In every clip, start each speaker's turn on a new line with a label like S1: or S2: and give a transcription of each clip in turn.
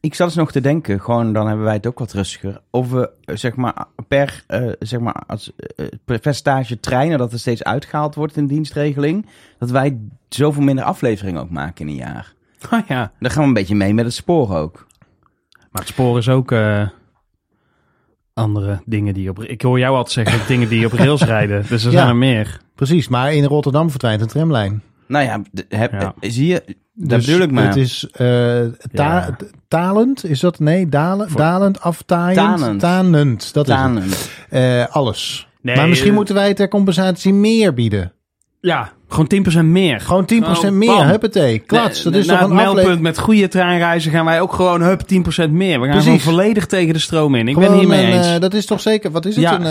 S1: ik zat eens nog te denken, gewoon dan hebben wij het ook wat rustiger. Of we eh, zeg maar per eh, zeg maar als eh, per percentage treinen dat er steeds uitgehaald wordt in dienstregeling, dat wij zoveel minder afleveringen ook maken in een jaar.
S2: Oh ja.
S1: Dan gaan we een beetje mee met het spoor ook.
S2: Maar het spoor is ook eh, andere dingen die op... Ik hoor jou altijd zeggen dingen die op rails rijden. Dus er
S3: Ja.
S2: zijn er meer.
S3: Precies, maar in Rotterdam verdwijnt een tramlijn.
S1: Nou ja, d- heb,
S2: Ja.
S1: eh, zie je, dat
S3: Dus
S1: bedoel ik maar.
S3: Het is eh, ta-
S2: Ja.
S3: t- talend, is dat? Nee, dalen,
S2: Voor-
S3: dalend, aftaaiend.
S1: Tanend.
S3: Tanend, dat is
S1: Tanen.
S3: het. Eh, alles.
S2: Nee,
S3: maar misschien
S2: eh,
S3: moeten wij ter compensatie meer bieden.
S2: Ja, gewoon 10% meer.
S3: Gewoon 10%
S2: Nou,
S3: meer,
S2: bam.
S3: huppatee. Klats, dat
S2: Na-
S3: is
S2: na
S3: toch
S2: het
S3: een
S2: meldpunt
S3: aflevering.
S2: met goede treinreizen gaan wij ook gewoon hup 10% meer. We gaan
S3: Precies.
S2: gewoon volledig tegen de stroom in. Ik ben
S3: Gewoon
S2: hier mee
S3: een,
S2: eens.
S3: eh, dat is toch zeker, wat is het,
S2: Ja.
S3: een eh,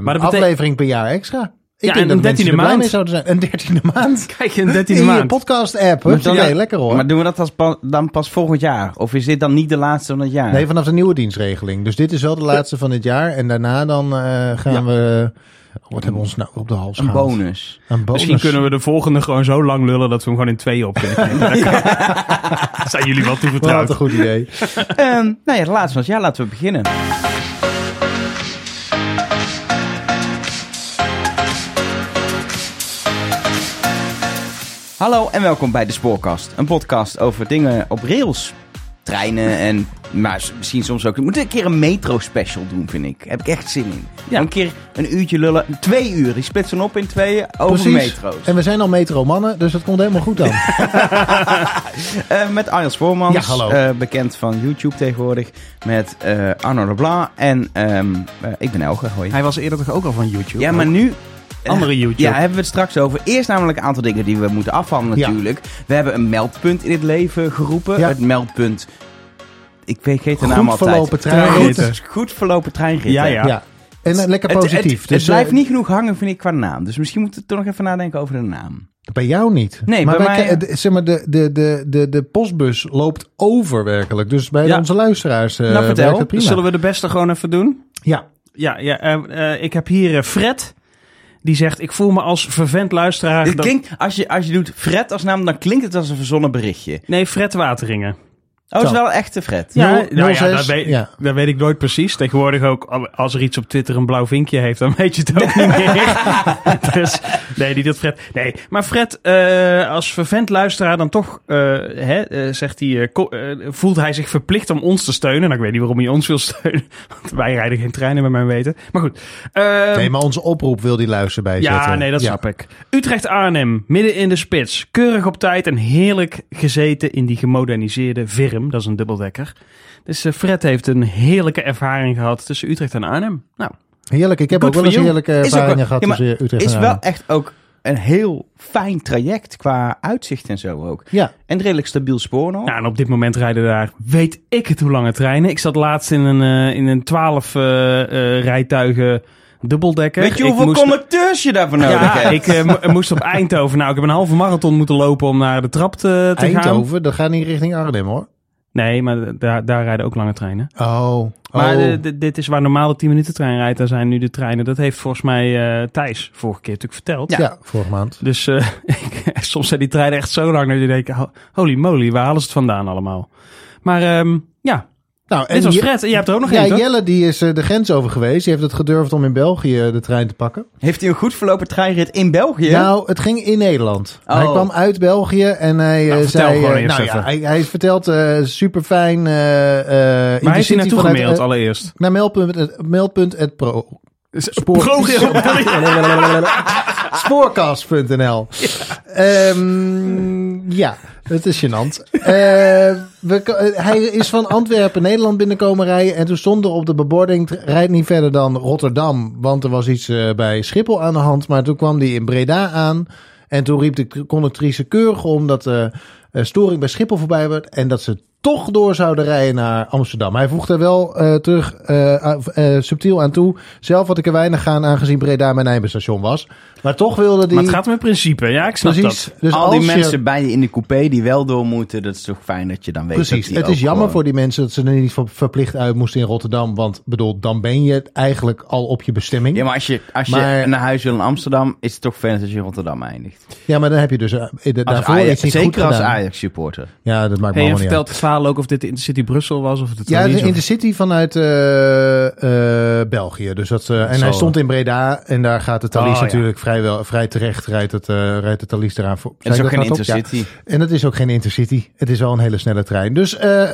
S2: Maar dat betek-
S3: aflevering per jaar extra? Ik
S2: Ja,
S3: denk
S2: en
S3: dat
S2: een
S3: mensen
S2: 13e
S3: er blij
S2: maand.
S3: mee zouden zijn. Een dertiende maand.
S2: Kijk, in 13e
S3: eh, In je
S2: maand.
S3: podcast-app.
S1: Maar dan-
S3: Oké, lekker hoor.
S1: Maar doen we dat als pa- dan pas volgend jaar? Of is dit dan niet de laatste van het jaar?
S3: Nee, vanaf de nieuwe dienstregeling. Dus dit is wel de laatste van dit jaar. En daarna dan eh, gaan we... Wat hebben we ons nou op de hals
S1: een
S3: gehaald?
S1: bonus.
S3: Een bonus.
S2: Misschien kunnen we de volgende gewoon zo lang lullen dat we hem gewoon in twee op kunnen knippen. Zijn jullie wel
S3: Wat
S2: toevertrouwd?
S3: een goed idee.
S1: Ehm nou ja, de laatste van het jaar. Laten we beginnen. Hallo en welkom bij De Spoorkast. Een podcast over dingen op rails. Treinen en maar s- misschien soms ook... We moeten een keer een metro special doen, vind ik. Heb ik echt zin in. Ja. Een keer een uurtje lullen. Twee uur. Die splitsen op in tweeën over metro's.
S3: En we zijn al metromannen, dus dat komt helemaal goed dan.
S1: Eh, met Arjels Voormans,
S3: Ja, hallo.
S1: eh, bekend van YouTube tegenwoordig. Met eh, Arno de Bla en ehm, eh, ik ben Elge, hoi.
S2: Hij was eerder toch ook al van YouTube?
S1: Ja, maar nu... eh,
S2: Andere YouTube.
S1: Ja, hebben we het straks over. Eerst namelijk een aantal dingen die we moeten afhandelen
S3: Ja.
S1: natuurlijk. We hebben een meldpunt in het leven geroepen.
S3: Ja.
S1: Het meldpunt... Ik weet geen de
S3: Goed
S1: naam altijd.
S3: verlopen treinritten.
S1: Goed, dus goed verlopen treinritten.
S2: Ja, ja.
S3: Ja. En eh, lekker
S1: Het-
S3: positief.
S1: Het, het,
S3: dus, eh,
S1: blijft niet genoeg hangen, vind ik, qua naam. Dus misschien moeten we toch nog even nadenken over de naam.
S3: Bij jou niet.
S1: Nee,
S3: maar
S1: bij
S3: wij
S1: mij-
S3: ke- de- zeg maar, de, de, de, de, de postbus loopt over werkelijk. Dus bij
S2: Ja.
S3: onze luisteraars eh
S1: Nou, vertel.
S3: werkt het prima.
S2: Dus Zullen we de beste gewoon even doen?
S3: Ja,
S2: Ja, ja eh, eh, ik heb hier eh, Fred. Die zegt, ik voel me als vervent luisteraar.
S1: Dit
S2: dat-
S1: klinkt, als, je, als je doet Fred als naam, dan klinkt het als een verzonnen berichtje.
S2: Nee, Fred Wateringen.
S1: Oh, het is
S3: Zo.
S1: wel een echte Fred.
S2: Ja,
S3: Nul-
S2: nou ja,
S3: 06,
S2: dat, weet,
S3: ja.
S2: dat weet ik nooit precies. Tegenwoordig ook, al- als er iets op Twitter een blauw vinkje heeft, dan weet je het ook niet meer. dus, nee, niet dat Fred... Nee, maar Fred, eh, als vervent luisteraar dan toch, eh, hè, eh, zegt hij, eh, ko- eh, voelt hij zich verplicht om ons te steunen. Nou, ik weet niet waarom hij ons wil steunen, want wij rijden geen treinen bij mijn weten. Maar goed. ehm,
S3: nee, maar onze oproep wil die luister bij
S2: ja, nee, dat snap ik. Utrecht-Arnhem, midden in de spits. Keurig op tijd en heerlijk gezeten in die gemoderniseerde Virm. Dat is een dubbeldekker. Dus eh, Fred heeft een heerlijke ervaring gehad tussen Utrecht en Arnhem. Nou,
S3: Heerlijk. Ik heb
S2: Good
S3: ook wel
S2: for
S3: eens
S2: you.
S3: heerlijke
S1: ook wel-
S3: ervaringen gehad
S1: Ja, maar
S3: tussen Utrecht en
S1: Is wel
S3: Arnhem.
S1: echt ook een heel fijn traject qua uitzicht en zo ook.
S3: Ja,
S1: En redelijk stabiel spoor nog.
S2: nou en op dit moment rijden daar, weet ik het hoe lange treinen. Ik zat laatst in een, eh, in een 12 eh, eh, rijtuigen dubbeldekker.
S1: Weet je
S2: Ik
S1: hoeveel Oh,
S2: moest-
S1: conducteurs je daarvoor nodig
S2: Ja,
S1: hebt?
S2: ik eh, mo- moest op Eindhoven. Nou, ik heb een halve marathon moeten lopen om naar de trap te, te gaan.
S3: Eindhoven, dat gaat niet richting Arnhem hoor.
S2: Nee, maar daar, daar rijden ook lange treinen.
S3: Oh, oh.
S2: Maar eh, d- dit is waar normaal de 10 minuten trein rijdt. Daar zijn nu de treinen. Dat heeft volgens mij eh, Thijs vorige keer natuurlijk verteld.
S3: ja. vorige maand.
S2: Dus eh, ik- soms zijn die treinen echt zo lang dat je denkt... ho- holy moly, waar halen ze het vandaan allemaal? Maar ehm, ja,
S3: Nou,
S2: dit was
S3: Je-
S2: Fred. En jij hebt er ook nog
S3: ja,
S2: één, toch?
S3: Jelle die is eh, de grens over geweest. Die heeft het gedurfd om in België eh, de trein te pakken.
S1: Heeft hij een goed verlopen treinrit in België?
S3: Nou, het ging in Nederland.
S1: Oh.
S3: Hij kwam uit België en hij
S2: Nou,
S3: eh,
S2: vertel
S3: zei...
S2: gewoon
S3: eh,
S2: eerst
S3: nou
S2: even.
S3: ja, hij, hij vertelt eh, super fijn... eh,
S2: Waar is hij naartoe gemaild allereerst?
S3: Naar meldpunt, eh, meldpunt het pro, spoor-
S2: ProRail.
S3: Spoorkast.nl. Ja. Ehm, ja, het is gênant. Eh, we, ko- eh, hij is van Antwerpen Nederland binnenkomen rijden. En toen stond er op de bebording: t- rijd niet verder dan Rotterdam. Want er was iets eh, bij Schiphol aan de hand. Maar toen kwam hij in Breda aan. eh, En toen riep de conductrice keurig om dat de storing bij Schiphol voorbij werd. En dat ze toch door zouden rijden naar Amsterdam. Hij voegt er wel eh, terug eh, aan- eh, subtiel aan toe. Zelf had ik er weinig aan, aangezien Breda mijn Nijmegen was. Maar toch wilde die...
S2: Maar het gaat om het principe. Ja, ik snap
S3: precies.
S2: dat.
S3: Dus
S1: Nou, Al die
S3: als je-
S1: mensen bij je in de coupé die wel door moeten, dat is toch fijn dat je dan weet.
S3: Precies.
S1: dat die
S3: Het
S1: ook
S3: is jammer
S1: gewoon-
S3: voor die mensen dat ze er niet ver- verplicht uit moesten in Rotterdam. Want bedoel, dan ben je eigenlijk al op je bestemming.
S1: Ja, maar als je, als je
S3: Maar-
S1: naar huis wil in Amsterdam, is het toch fijn als je in Rotterdam eindigt.
S3: Ja, maar dan heb je dus eh, eh, de-
S1: Als
S3: daarvoor
S1: Ajax,
S3: iets niet goed
S1: zeker als
S3: gedaan.
S1: Ajax-supporter.
S3: Ja, dat maakt me
S2: Hey, en
S3: helemaal niet uit.
S2: vertelt het verhaal ook of dit de Intercity Brussel was of het
S3: Ja,
S2: Thalys
S3: de
S2: of-
S3: Intercity vanuit eh, eh, België. Dus dat, eh, en
S2: Zo.
S3: hij stond in Breda. En daar gaat de Thalys
S2: Oh, ja.
S3: natuurlijk vrijwel, vrij terecht. Rijdt, het, eh, rijdt de Thalys eraan voor.
S1: Het
S3: Zei
S1: is
S3: ik
S1: ook
S3: dat
S1: geen
S3: nou toch? Ja.
S1: intercity.
S3: En dat is ook geen Intercity. Het is wel een hele snelle trein. Dus eh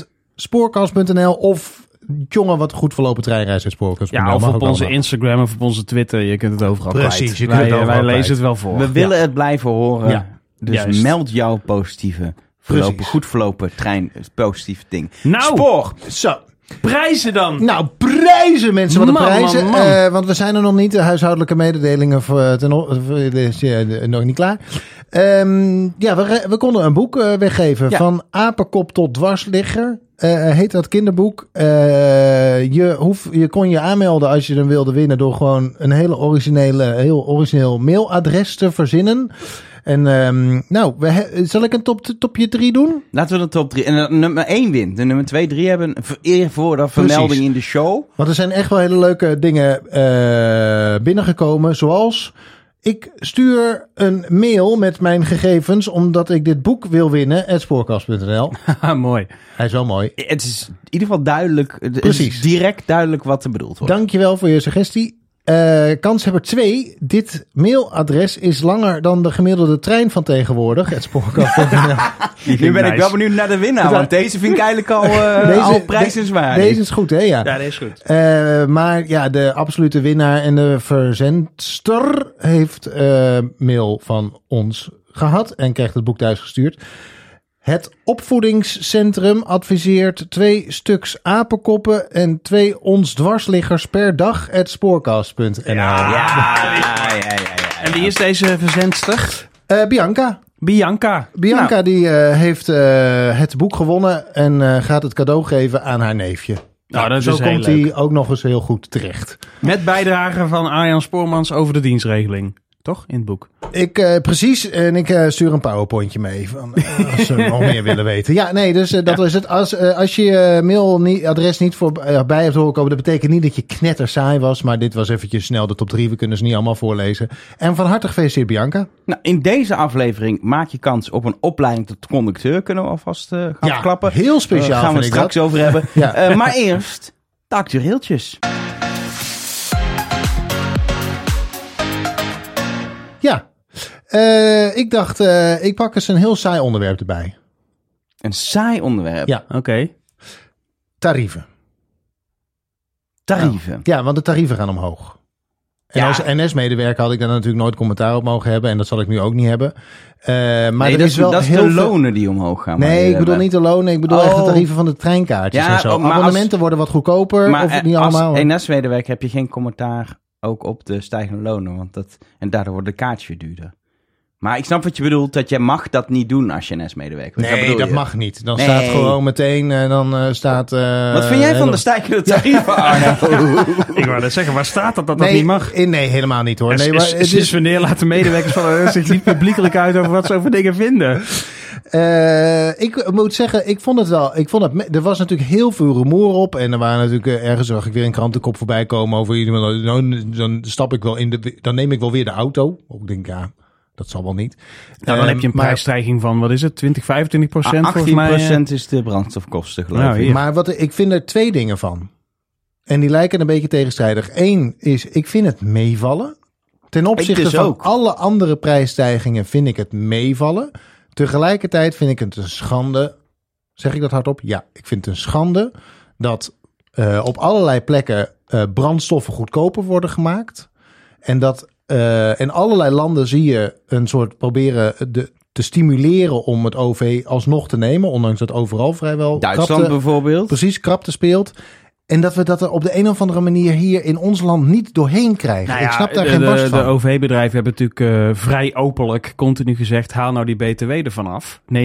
S3: meldpunt.spoorkast.nl of jongen, wat goed verlopen treinreis uit spoorkast.
S2: Ja, of op onze Instagram of op onze Twitter. Je kunt het overal
S3: Precies,
S2: kwijt.
S3: je kunt het
S2: Wij, eh,
S3: overal
S2: wij lezen
S3: kwijt.
S2: het wel voor.
S1: We willen het blijven horen.
S3: Ja,
S1: Dus
S2: juist.
S1: meld jouw positieve, verlopen,
S3: Precies.
S1: goed verlopen trein, positief ding.
S2: Nou,
S1: Spoor!
S3: Zo.
S2: prijzen dan!
S3: Nou, prijzen mensen, wat een
S2: Man, man,
S3: prijzen.
S2: man.
S3: Eh, want we zijn er nog niet, de huishoudelijke mededelingen voor, eh, ten, o- voor- eh, is, eh, nog niet klaar. Ehm, ja, we, re- we konden een boek eh, weggeven.
S1: Ja.
S3: Van apenkop tot dwarsligger. Eh, heet dat kinderboek. Eh, je, hoef, je kon je aanmelden als je hem wilde winnen door gewoon een hele originele, heel origineel mailadres te verzinnen. En ehm, nou, we he- zal ik een top, topje 3 doen?
S1: Laten we de top 3. En eh, nummer 1 wint. En nummer 2, 3 hebben een vereer voor de vermelding in de show.
S3: Want er zijn echt wel hele leuke dingen eh, binnengekomen. Zoals ik stuur een mail met mijn gegevens omdat ik dit boek wil winnen. at spoorkast.nl.
S2: Haha, mooi.
S3: Hij is wel Ah, mooi.
S1: Het is in ieder geval duidelijk. Het
S3: Precies.
S1: is direct duidelijk wat er bedoeld wordt.
S3: Dankjewel voor je suggestie. Eh, kanshebber 2. Dit mailadres is langer dan de gemiddelde trein van tegenwoordig. Het spoorkast.nl.
S1: nu ben ik wel benieuwd naar de winnaar. Want deze vind ik eigenlijk al, eh
S3: Deze-
S1: al prijzenswaardig.
S3: Deze is goed, hè? Ja.
S2: Ja, dat is goed.
S3: Eh, maar ja, de absolute winnaar en de verzendster heeft eh, mail van ons gehad en krijgt het boek thuis gestuurd. Het opvoedingscentrum adviseert twee stuks apenkoppen en twee ons dwarsliggers per dag at spoorkast.nl.
S1: Ja, ja, ja, ja, ja.
S2: En wie is deze verzendster?
S3: Eh, Bianca.
S2: Bianca.
S3: Bianca
S2: Nou,
S3: die eh, heeft eh, het boek gewonnen en eh, gaat het cadeau geven aan haar neefje.
S2: Nou, dat
S3: Zo
S2: is heel
S3: komt
S2: leuk.
S3: hij ook nog eens heel goed terecht.
S2: Met bijdrage van Arjan Spoormans over de dienstregeling. Toch? In het boek.
S3: Ik, eh, precies. En ik eh, stuur een powerpointje mee. Van, eh, als ze nog meer willen weten. Ja, nee, dus eh, dat is het. Als, eh, als je je mailadres niet voorbij hebt horen komen, dat betekent niet dat je knetter saai was. Maar dit was eventjes snel de top 3. We kunnen ze niet allemaal voorlezen. En van harte gefeliciteerd, Bianca.
S1: Nou, in deze aflevering maak je kans op een opleiding tot conducteur. Kunnen we alvast eh, gaan klappen.
S3: Heel speciaal.
S1: gaan we het
S3: vind ik
S1: straks
S3: dat.
S1: over hebben.
S3: Ja.
S1: Eh, maar eerst de actueeltjes.
S3: Ja. Eh, ik dacht, eh, ik pak eens een heel saai onderwerp erbij.
S1: Een saai onderwerp.
S3: Ja.
S2: Oké.
S3: Tarieven.
S1: Tarieven.
S3: Ja, want de tarieven gaan omhoog. En
S1: Ja.
S3: als NS-medewerker had ik daar natuurlijk nooit commentaar op mogen hebben. En dat zal ik nu ook niet hebben. Eh, maar
S1: nee,
S3: er
S1: dat
S3: is wel
S1: dat is
S3: heel
S1: de
S3: veel-
S1: lonen die omhoog gaan. maar
S3: Nee,
S1: die
S3: ik bedoel
S1: hebben-
S3: niet de lonen. Ik bedoel echt de
S1: Oh.
S3: tarieven van de treinkaartjes
S1: Ja,
S3: en zo.
S1: oh, maar
S3: Abonnementen worden wat goedkoper.
S1: Maar
S3: of
S1: eh,
S3: niet allemaal.
S1: als
S3: hoor.
S1: NS-medewerker heb je geen commentaar ook op de stijgende lonen. Want dat, en daardoor wordt de kaartje weer duurder. Maar ik snap wat je bedoelt, dat je mag dat niet doen als je NS-medewerker bent.
S3: nee, dat,
S1: bedoel je.
S3: mag niet. Dan
S1: Nee.
S3: staat gewoon meteen... eh, dan eh, staat... eh,
S1: Wat vind jij van
S3: helemaal-
S1: de stijgende tarieven, Arno?
S2: Ik wou net zeggen, waar staat dat dat
S3: Nee,
S2: dat niet mag?
S3: eh, nee, helemaal niet hoor. Nee,
S2: Nee,
S3: maar, het is,
S2: Sinds wanneer laten medewerkers van de NS zich niet publiekelijk uit over wat ze over dingen vinden?
S3: eh, ik moet zeggen, ik vond het wel. Ik vond het, me- er was natuurlijk heel veel rumoer op. En er waren natuurlijk eh, ergens zag ik weer een krantenkop voorbij komen over iemand. Nou, dan stap ik wel in de. Dan neem ik wel weer de auto. Ook denk ik, ja, dat zal wel niet.
S2: Nou, dan
S3: Ehm,
S2: heb je een
S3: maar- Ah,
S2: prijsstijging van, wat is het, 20, 25 procent volgens
S1: 18%
S2: mij? eh.
S1: is de brandstofkosten, geloof
S2: Nou,
S1: ik.
S2: hier.
S3: Maar wat, ik vind er twee dingen van. En die lijken een beetje tegenstrijdig. Eén is, ik vind het meevallen. Ten opzichte
S1: dus
S3: van
S1: ook.
S3: alle andere prijsstijgingen vind ik het meevallen. Tegelijkertijd vind ik het een schande. Zeg ik dat hardop? Ja, ik vind het een schande dat eh, op allerlei plekken eh, brandstoffen goedkoper worden gemaakt. En dat eh, in allerlei landen zie je een soort proberen de, te stimuleren om het OV alsnog te nemen. Ondanks dat overal vrijwel
S1: Duitsland
S3: krapte-
S1: bijvoorbeeld.
S3: precies krapte speelt. En dat we dat er op de een of andere manier hier in ons land niet doorheen krijgen.
S2: Nou
S3: ik
S2: ja,
S3: snap daar
S2: de,
S3: geen barst
S2: de,
S3: van.
S2: de OV-bedrijven hebben natuurlijk eh, vrij openlijk continu gezegd: haal nou die BTW ervan af, 9%.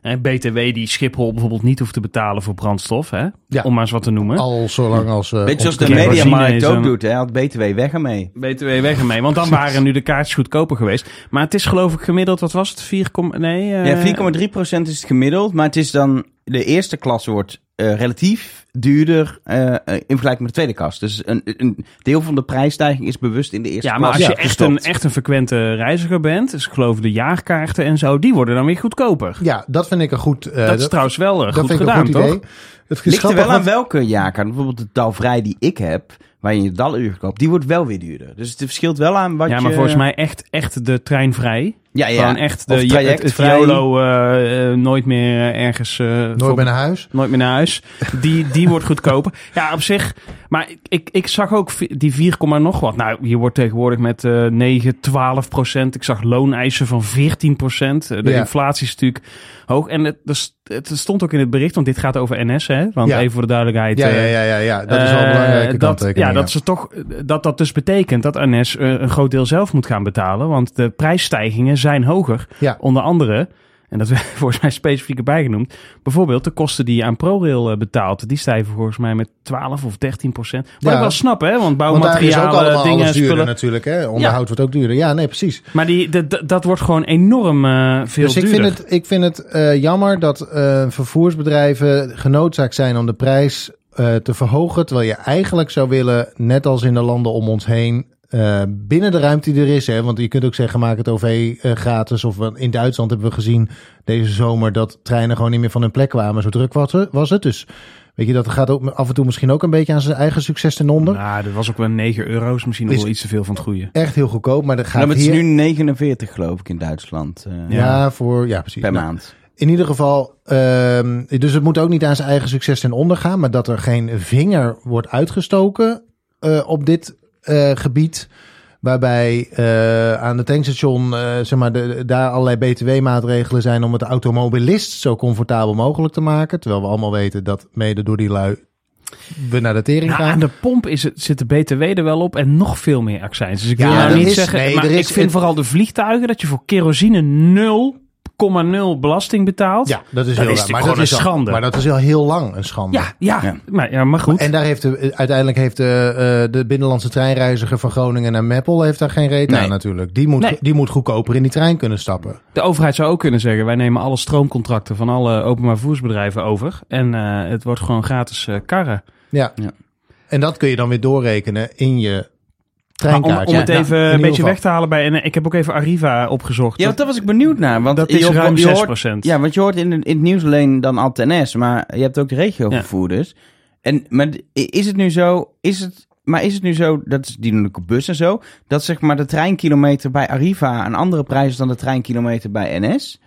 S2: En BTW die Schiphol bijvoorbeeld niet hoeft te betalen voor brandstof, hè?
S3: Ja.
S2: om maar eens wat te noemen.
S3: Al zolang als... eh,
S1: Weet je, zoals de
S2: ons-
S3: ontkennend.
S2: Kerosine
S1: mediamarkt
S2: is
S1: ook
S2: een-
S1: doet, hè? Had BTW weg ermee.
S2: BTW weg ermee, want dan waren nu de kaartjes goedkoper geweest. Maar het is geloof ik gemiddeld, wat was het? 4, kom- nee, eh,
S1: Ja, 4,3% is het gemiddeld, maar het is dan... De eerste klasse wordt eh, relatief duurder eh, eh, in vergelijking met de tweede klas. Dus een, een deel van de prijsstijging is bewust in de eerste
S2: Ja,
S1: klas.
S2: maar als je
S1: gestopt.
S2: echt een, echt een frequente reiziger bent, dus ik geloof de jaarkaarten en zo, die worden dan weer goedkoper.
S3: Ja, dat vind ik een goed... eh,
S2: dat is trouwens wel eh,
S3: dat
S2: goed
S3: vind ik
S2: gedaan,
S3: een goed
S2: toch?
S3: idee. Het
S1: Ligt er
S3: grappig,
S1: wel aan
S3: want-
S1: welke jaarkaart. Bijvoorbeeld de Dalvrij die ik heb, waarin je daluur koopt, die wordt wel weer duurder. Dus het verschilt wel aan wat je...
S2: Ja, maar volgens mij echt, echt de treinvrij.
S1: Ja, ja.
S2: Gewoon echt
S1: Of
S2: de ja, het, het
S1: trajectvrij.
S2: YOLO eh, eh, nooit meer eh, ergens eh, voor-
S3: Nooit bij naar huis.
S2: nooit meer naar huis. Die, die wordt goedkoper. Ja, op zich. Maar ik- ik, ik zag ook vi- die 4, komma nog wat. Nou, je wordt tegenwoordig met eh 9, 12 procent. Ik zag looneisen van 14 procent. Eh, de
S3: Ja.
S2: inflatie is natuurlijk hoog. En het, er st- het stond ook in het bericht, want dit gaat over NS, hè? Want
S3: Ja.
S2: even voor de duidelijkheid.
S3: Ja,
S2: eh,
S3: ja, ja, ja, ja. Dat is wel een
S2: eh,
S3: belangrijke
S2: dat,
S3: kanttekening.
S2: ja, dat ze toch dat dat dus betekent dat NS eh, een groot deel zelf moet gaan betalen, want de prijsstijgingen zijn hoger.
S3: Ja.
S2: Onder andere, en dat werd volgens mij specifiek erbij genoemd, bijvoorbeeld de kosten die je aan ProRail eh, betaalt, die stijgen volgens mij met 12 of 13 procent. Wat
S3: Ja.
S2: ik wel snap, hè? Want
S3: Want daar is ook
S2: bouwmaterialen,
S3: allemaal
S2: dingen,
S3: alles duurder
S2: spullen.
S3: natuurlijk. Hè? Onderhoud wordt ook duurder. Ja, nee, precies.
S2: Maar die, de- de- dat wordt gewoon enorm eh, veel
S3: dus ik
S2: duurder.
S3: vind het, ik vind het eh, jammer dat eh, vervoersbedrijven genoodzaakt zijn om de prijs eh, te verhogen. Terwijl je eigenlijk zou willen, net als in de landen om ons heen, eh, binnen de ruimte die er is. Hè? Want je kunt ook zeggen, maak het OV eh, gratis. Of want in Duitsland hebben we gezien deze zomer dat treinen gewoon niet meer van hun plek kwamen. Zo druk was, er- was het. Dus weet je, dat gaat ook af en toe misschien ook een beetje aan zijn eigen succes ten onder.
S2: Nou, dat was ook wel 9 euro's, misschien nog
S3: Is-
S2: wel iets te veel van het goede.
S3: Echt heel goedkoop, maar dat
S1: Ja,
S3: gaat
S1: Nou, maar het is
S3: hier...
S1: nu 49 geloof ik in Duitsland eh,
S3: Ja, voor... Ja, precies.
S1: per
S3: Nou,
S1: maand.
S3: In ieder geval, ehm, dus het moet ook niet aan zijn eigen succes ten onder gaan, maar dat er geen vinger wordt uitgestoken eh, op dit eh, gebied. Waarbij eh, aan de tankstation eh, zeg maar de, daar allerlei btw-maatregelen zijn om het de automobilist zo comfortabel mogelijk te maken. Terwijl we allemaal weten dat mede door die lui we naar de tering
S2: Nou,
S3: gaan.
S2: aan de pomp is het, zit de BTW er wel op en nog veel meer accijns. Dus ik
S3: Ja,
S2: wil nou
S3: er
S2: niet
S3: is-
S2: zeggen,
S3: nee,
S2: maar
S3: er is-
S2: ik vind
S3: het-
S2: vooral de vliegtuigen dat je voor kerosine 0,0 belasting betaalt.
S3: ja, dat is
S2: dat
S3: heel
S2: is
S3: raar,
S2: natuurlijk gewoon
S3: is
S2: een
S3: al-
S2: schande.
S3: Maar dat is al heel lang een schande.
S2: ja, ja,
S1: Ja.
S2: Maar, ja, maar goed.
S3: En daar heeft de, uiteindelijk heeft de, eh, de binnenlandse treinreiziger van Groningen naar Meppel heeft daar geen reet
S1: Nee.
S3: aan natuurlijk. Die moet,
S2: Nee.
S3: die moet goedkoper in die trein kunnen stappen.
S2: De overheid zou ook kunnen zeggen, wij nemen alle stroomcontracten van alle openbaar voersbedrijven over. En eh, het wordt gewoon gratis eh, karren.
S3: Ja.
S1: Ja.
S3: En dat kun je dan weer doorrekenen in je
S2: Maar om,
S3: treinkaartje.
S2: om het
S3: Ja,
S2: even
S3: in
S2: een
S3: ieder
S2: beetje
S3: geval.
S2: weg te halen bij... En, eh, ik heb ook even Arriva opgezocht.
S1: Ja, want
S2: dat,
S1: daar was ik benieuwd naar. Want
S2: dat is
S1: je,
S2: ruim
S1: je
S2: 6
S1: hoort, Ja, want je hoort in, het- in het nieuws alleen dan al NS, maar je hebt ook de regiovervoerders. En maar d- is het nu zo, is het, maar is het nu zo, dat is die doen ook op bus en zo, dat zeg maar de treinkilometer bij Arriva een andere prijs is dan de treinkilometer bij NS?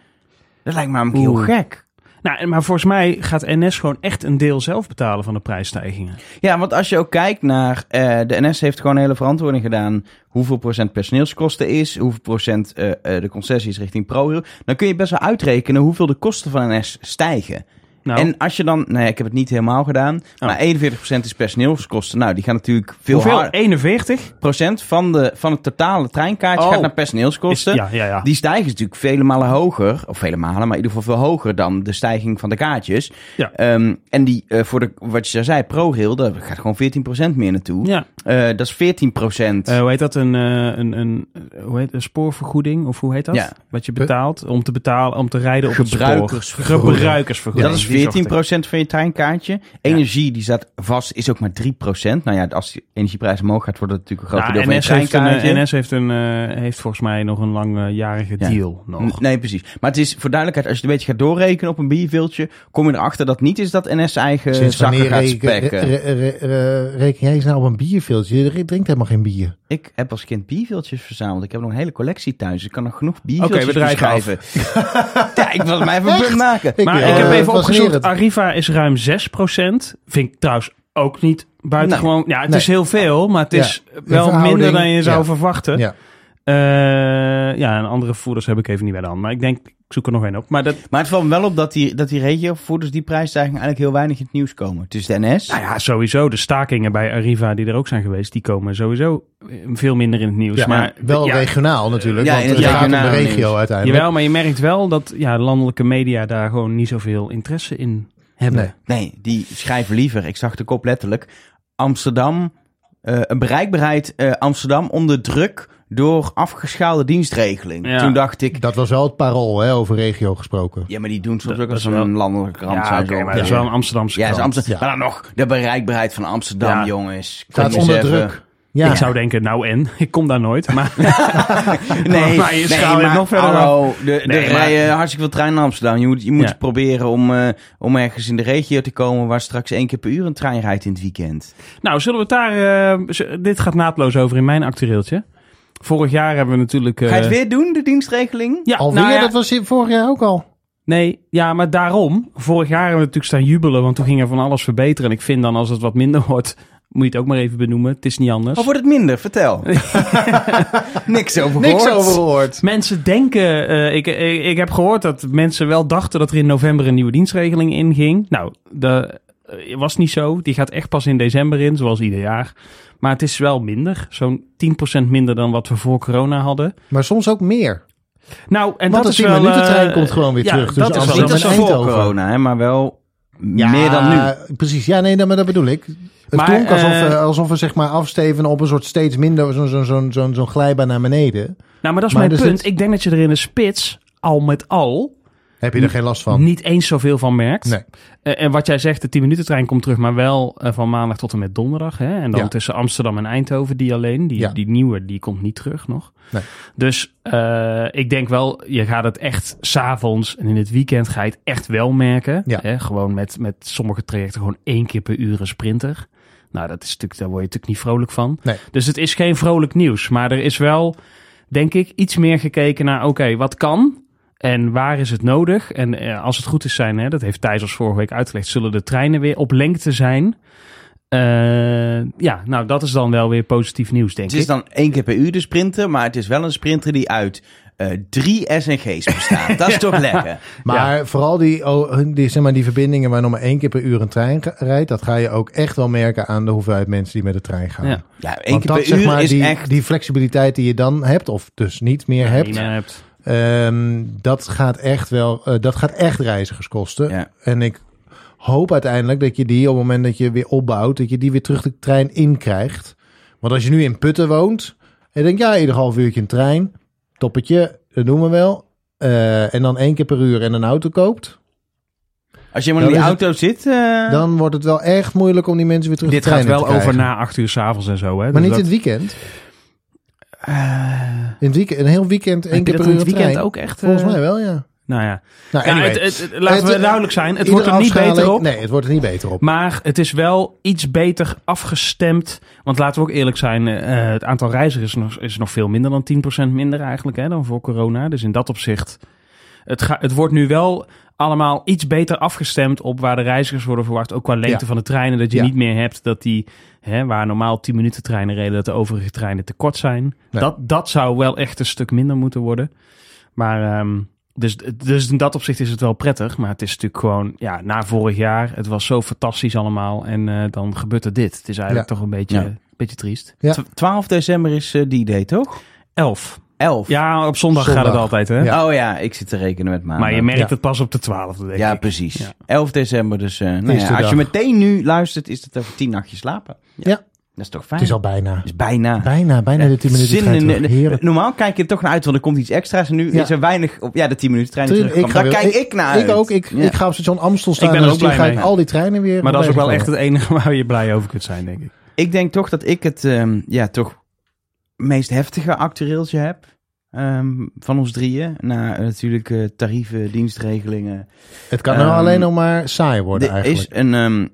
S1: Dat lijkt me namelijk heel
S2: Oeh.
S1: gek.
S2: Nou, en- maar volgens mij gaat NS gewoon echt een deel zelf betalen van de prijsstijgingen.
S1: Ja, want als je ook kijkt naar, eh, de NS heeft gewoon een hele verantwoording gedaan hoeveel procent personeelskosten is, hoeveel procent eh, eh, de concessies richting ProRail. Dan kun je best wel uitrekenen hoeveel de kosten van NS stijgen.
S2: Nou, Oh.
S1: En als je dan, nee, ik heb het niet helemaal gedaan, maar 41% is personeelskosten. Nou, die gaan natuurlijk veel
S2: hoeveel?
S1: harder.
S2: 41?
S1: Procent van, de, van het totale treinkaartje
S2: Oh.
S1: gaat naar personeelskosten.
S2: Is- ja, ja, ja.
S1: Die stijgen natuurlijk vele malen hoger, of vele malen, maar in ieder geval veel hoger dan de stijging van de kaartjes.
S2: Ja.
S1: Ehm, en die, eh, voor de, wat je daar zei, ProRail, daar gaat gewoon 14% meer naartoe.
S2: ja.
S1: Eh, dat is 14%.
S2: Eh, hoe heet dat? Een, eh, een, een, eh, hoe heet, een spoorvergoeding? Of hoe heet dat?
S1: Ja.
S2: Wat je betaalt om te betalen, om te rijden op het spoor.
S1: Gebruikersvergoeding.
S2: Gebruikersvergoeding.
S1: dat is
S2: die zocht ik.
S1: 14% van je treinkaartje. Energie die staat vast, is ook maar 3%. Nou ja, als de energieprijs omhoog gaat, wordt dat natuurlijk een groot
S2: Nou,
S1: deel van je
S2: NS, heeft een,
S1: treinkaartje.
S2: eh, NS heeft, een, eh, heeft volgens mij nog een langjarige
S1: Ja.
S2: deal. Nog.
S1: N- Nee, precies. Maar het is voor duidelijkheid, als je het een beetje gaat doorrekenen op een bierveeltje, kom je erachter dat niet is dat NS eigen
S3: Eh, Sinds
S1: zakken
S3: wanneer
S1: gaat
S3: reken,
S1: spekken.
S3: re- re- re- reken jij eens nou op een bierveeltje? Je drinkt helemaal geen bier.
S1: ik heb als kind bierveeltjes verzameld. Ik heb nog een hele collectie thuis. Ik kan nog genoeg bierveeltjes
S2: Oké, we drijven af.
S1: beschrijven. ja, ik wil mij even een punt maken.
S2: Maar
S3: eh,
S2: ik heb even
S3: fascinerend.
S2: opgezocht, Arriva is ruim 6%. Vind ik trouwens ook niet buitengewoon. Ja, het
S3: Nee.
S2: is heel veel, maar het
S3: Ja.
S2: is
S3: In
S2: wel
S3: verhouding,
S2: minder dan je zou
S3: ja.
S2: verwachten.
S3: Ja.
S2: Eh, ja, en andere voerders heb ik even niet bij de hand. Maar ik denk, ik zoek er nog één op. Maar dat,
S1: Maar het valt me wel op dat die, dat die regiovoerders die prijsstijging eigenlijk heel weinig in het nieuws komen. Dus de NS.
S2: nou ja, sowieso. De stakingen bij Arriva die er ook zijn geweest, die komen sowieso eh, veel minder in het nieuws.
S3: Ja,
S2: maar,
S3: wel
S2: ja,
S3: regionaal natuurlijk,
S1: Ja,
S3: want
S1: in
S3: het
S1: het
S3: gaat om de
S1: regionale
S3: regio
S1: nieuws.
S3: uiteindelijk.
S2: Jawel, maar je merkt wel dat ja, landelijke media daar gewoon niet zoveel interesse in hebben.
S3: Nee.
S1: Nee, die schrijven liever. Ik zag de kop letterlijk. Amsterdam, eh, een bereikbaarheid eh, Amsterdam onder druk door afgeschaalde dienstregeling.
S2: Ja.
S1: Toen dacht ik,
S3: Dat was wel het parool hè, over regio gesproken.
S1: ja, maar die doen soms
S2: Dat-
S1: ook als
S2: dat is wel-
S1: een landelijke krant.
S2: Ja,
S1: zijn
S2: oké,
S1: ze
S2: maar dat is
S1: ongeveer.
S2: wel een Amsterdamse
S1: Ja, is
S2: krant.
S1: Amsterdam.
S3: Ja.
S1: Maar dan nog, de bereikbaarheid van Amsterdam,
S2: Ja.
S1: jongens. Kom
S3: Staat
S1: eens
S3: onder
S1: even.
S3: druk. Ja,
S2: Ik zou denken, nou en? Ik kom daar nooit. Maar
S1: Nee,
S2: Maar je
S1: nee,
S2: schaalt het
S1: maar
S2: nog verder af.
S1: hallo, de, de
S2: Nee, maar-
S1: rijden hartstikke veel treinen naar Amsterdam. Je moet, je moet
S2: Ja.
S1: proberen om, eh, om ergens in de regio te komen waar straks één keer per uur een trein rijdt in het weekend.
S2: Nou, zullen we het daar... eh, z- dit gaat naadloos over in mijn actueeltje. Vorig jaar hebben we natuurlijk... eh,
S1: Ga je het weer doen, de dienstregeling?
S2: Ja,
S3: alweer,
S2: nou ja,
S3: dat was hier vorig jaar ook al.
S2: Nee, ja, maar daarom. Vorig jaar hebben we natuurlijk staan jubelen, want toen ging er van alles verbeteren. En ik vind dan, als het wat minder wordt, moet je het ook maar even benoemen. Het is niet anders.
S1: Of wordt het minder? Vertel. Niks over
S3: Niks
S1: gehoord.
S3: over gehoord.
S2: Mensen denken, eh, ik, ik, ik heb gehoord dat mensen wel dachten dat er in november een nieuwe dienstregeling inging. Nou, dat eh, was niet zo. Die gaat echt pas in december in, zoals ieder jaar. Maar het is wel minder. Zo'n 10% minder dan wat we voor corona hadden.
S3: Maar soms ook meer.
S2: Nou, en
S3: Want
S2: dat
S3: de
S2: is wel...
S3: 10-minuten-trein
S2: eh,
S3: komt gewoon weer
S2: ja,
S3: terug. Dus
S2: Dat is
S1: Dat
S2: wel
S1: is
S3: Amsterdam
S1: niet
S2: een-
S1: als
S3: en
S1: voor
S3: Eindhoven.
S1: corona, hè, maar wel meer dan nu.
S3: nu. Precies, ja, nee, dat- maar dat bedoel ik. Het
S2: Maar,
S3: klonk alsof,
S2: eh,
S3: we- alsof we zeg maar afsteven op een soort steeds minder, zo'n zo, zo, zo, zo'n glijbaan naar beneden.
S2: Nou, maar dat is
S3: Maar dus
S2: mijn
S3: er
S2: punt.
S3: zit-
S2: Ik denk dat je er in de spits, al met al,
S3: Heb je er geen last van?
S2: niet eens zoveel van merkt.
S3: Nee.
S2: Eh, en wat jij zegt, de 10 minuten trein komt terug, maar wel eh, van maandag tot en met donderdag. Hè? En dan
S3: Ja.
S2: tussen Amsterdam en Eindhoven, die alleen. Die,
S3: Ja.
S2: die nieuwe, die komt niet terug nog.
S3: Nee.
S2: Dus eh, ik denk wel, je gaat het echt s'avonds en in het weekend ga je het echt wel merken.
S3: Ja.
S2: Hè? Gewoon met, met sommige trajecten gewoon één keer per uur een sprinter. Nou, dat is natuurlijk, daar word je natuurlijk niet vrolijk van.
S3: Nee.
S2: Dus het is geen vrolijk nieuws. Maar er is wel, denk ik, iets meer gekeken naar... oké, wat kan en waar is het nodig? En eh, als het goed is zijn, hè, dat heeft Thijs als vorige week uitgelegd... zullen de treinen weer op lengte zijn. Eh, ja, nou, dat is dan wel weer positief nieuws, denk
S1: Het is
S2: ik.
S1: dan één keer per uur de sprinter, maar het is wel een sprinter die uit eh, drie SNG's bestaat. Dat is toch lekker?
S3: Maar vooral die, oh, die, zeg maar, die verbindingen waar nog maar één keer per uur een trein ge- rijdt, dat ga je ook echt wel merken aan de hoeveelheid mensen die met de trein gaan.
S2: Ja.
S1: Ja, één
S3: Want
S1: keer
S3: dat,
S1: per
S3: zeg
S1: uur
S3: maar,
S1: is
S3: die,
S1: echt...
S3: die flexibiliteit die je dan hebt, of dus niet meer hebt,
S2: Die je eh, hebt.
S3: ehm, dat gaat echt wel, eh, dat gaat echt reizigers kosten.
S1: Ja.
S3: En ik hoop uiteindelijk dat je die op het moment dat je weer opbouwt, dat je die weer terug de trein in krijgt. Want als je nu in Putten woont en je denkt, ja, ieder half uurtje een trein, toppetje, dat doen we wel. eh, en dan één keer per uur en een auto koopt.
S1: Als je helemaal in
S3: Dan
S1: die
S3: is
S1: auto zit... eh,
S3: Dan wordt het wel echt moeilijk om die mensen weer terug
S2: Dit
S3: de
S2: gaat
S3: trein
S2: wel
S3: te
S2: over
S3: krijgen.
S2: na acht uur s'avonds en zo, hè?
S3: Maar
S2: Dus
S3: niet
S2: dat-
S3: in het weekend.
S2: Eh,
S3: In het weekend, een heel weekend, één
S2: heb je
S3: keer
S2: dat
S3: per
S2: in
S3: uur
S2: het
S3: een
S2: weekend
S3: trein.
S2: ook echt... eh,
S3: Volgens mij wel, ja.
S2: Nou ja.
S3: Nou,
S2: Ja,
S3: anyway.
S2: het- het- laten we
S3: Het-
S2: duidelijk zijn. Het
S3: Iedere
S2: wordt er niet
S3: afschaling-
S2: beter op.
S3: Nee, het wordt er niet beter op.
S2: Maar het is wel iets beter afgestemd. Want laten we ook eerlijk zijn. eh, het aantal reizigers is nog, is nog veel minder dan 10% minder eigenlijk hè, dan voor corona. Dus in dat opzicht. Het, ga, het wordt nu wel allemaal iets beter afgestemd op waar de reizigers worden verwacht. Ook qua lengte
S3: Ja.
S2: van de treinen. Dat je
S3: Ja.
S2: niet meer hebt dat die, hè, waar normaal 10 minuten treinen reden, dat de overige treinen te kort zijn.
S3: Nee.
S2: Dat, dat zou wel echt een stuk minder moeten worden. Maar ehm, dus, dus in dat opzicht is het wel prettig. Maar het is natuurlijk gewoon, ja, na vorig jaar, het was zo fantastisch allemaal. En eh, dan gebeurt er dit. Het is eigenlijk toch een beetje,
S1: Ja.
S2: een beetje triest.
S3: Ja.
S1: tw- 12 december is eh, die day, toch?
S2: 11.
S1: 11.
S2: Ja, op zondag,
S3: Zondag.
S2: gaat het altijd, hè?
S3: Ja.
S1: Oh ja, ik zit te rekenen met maandag.
S2: Maar je merkt
S3: Ja.
S2: het pas op de 12e, denk
S1: Ja,
S2: ik.
S1: precies.
S2: Ja.
S1: 11 december, dus eh, nou ja,
S3: Eerste
S1: als
S3: dag.
S1: je meteen nu luistert, is het over tien nachtjes slapen.
S3: Ja.
S1: Dat is toch
S3: Het
S1: fijn?
S3: is al bijna.
S1: is bijna.
S3: Bijna, bijna de 10 minuten
S1: Zin in-
S3: trein terug. Heerlijk.
S1: Normaal kijk je er toch naar uit, want er komt iets extra's. En nu
S3: Ja.
S1: is er weinig op. Ja, de 10 minuten trein die
S3: Tuurlijk,
S1: terugkomt. Daar
S3: weer-
S1: kijk ik naar
S3: Ik
S1: uit.
S3: ook. Ik,
S1: Ja.
S3: ik ga op station Amstel staan.
S2: ben er
S3: en
S2: ook
S3: dan
S2: blij
S3: ga ik
S2: mee.
S3: al die treinen weer.
S2: Maar dat is ook wel echt
S3: een
S2: het enige waar je blij over kunt zijn, denk ik.
S1: Ik denk toch dat ik het ehm, ja, toch meest heftige actueeltje heb. ehm, van ons drieën. Na eh, natuurlijk eh, tarieven, dienstregelingen.
S3: Het kan nou
S1: Ehm,
S3: alleen nog maar saai worden
S1: Er is
S3: eigenlijk.
S1: een, ehm,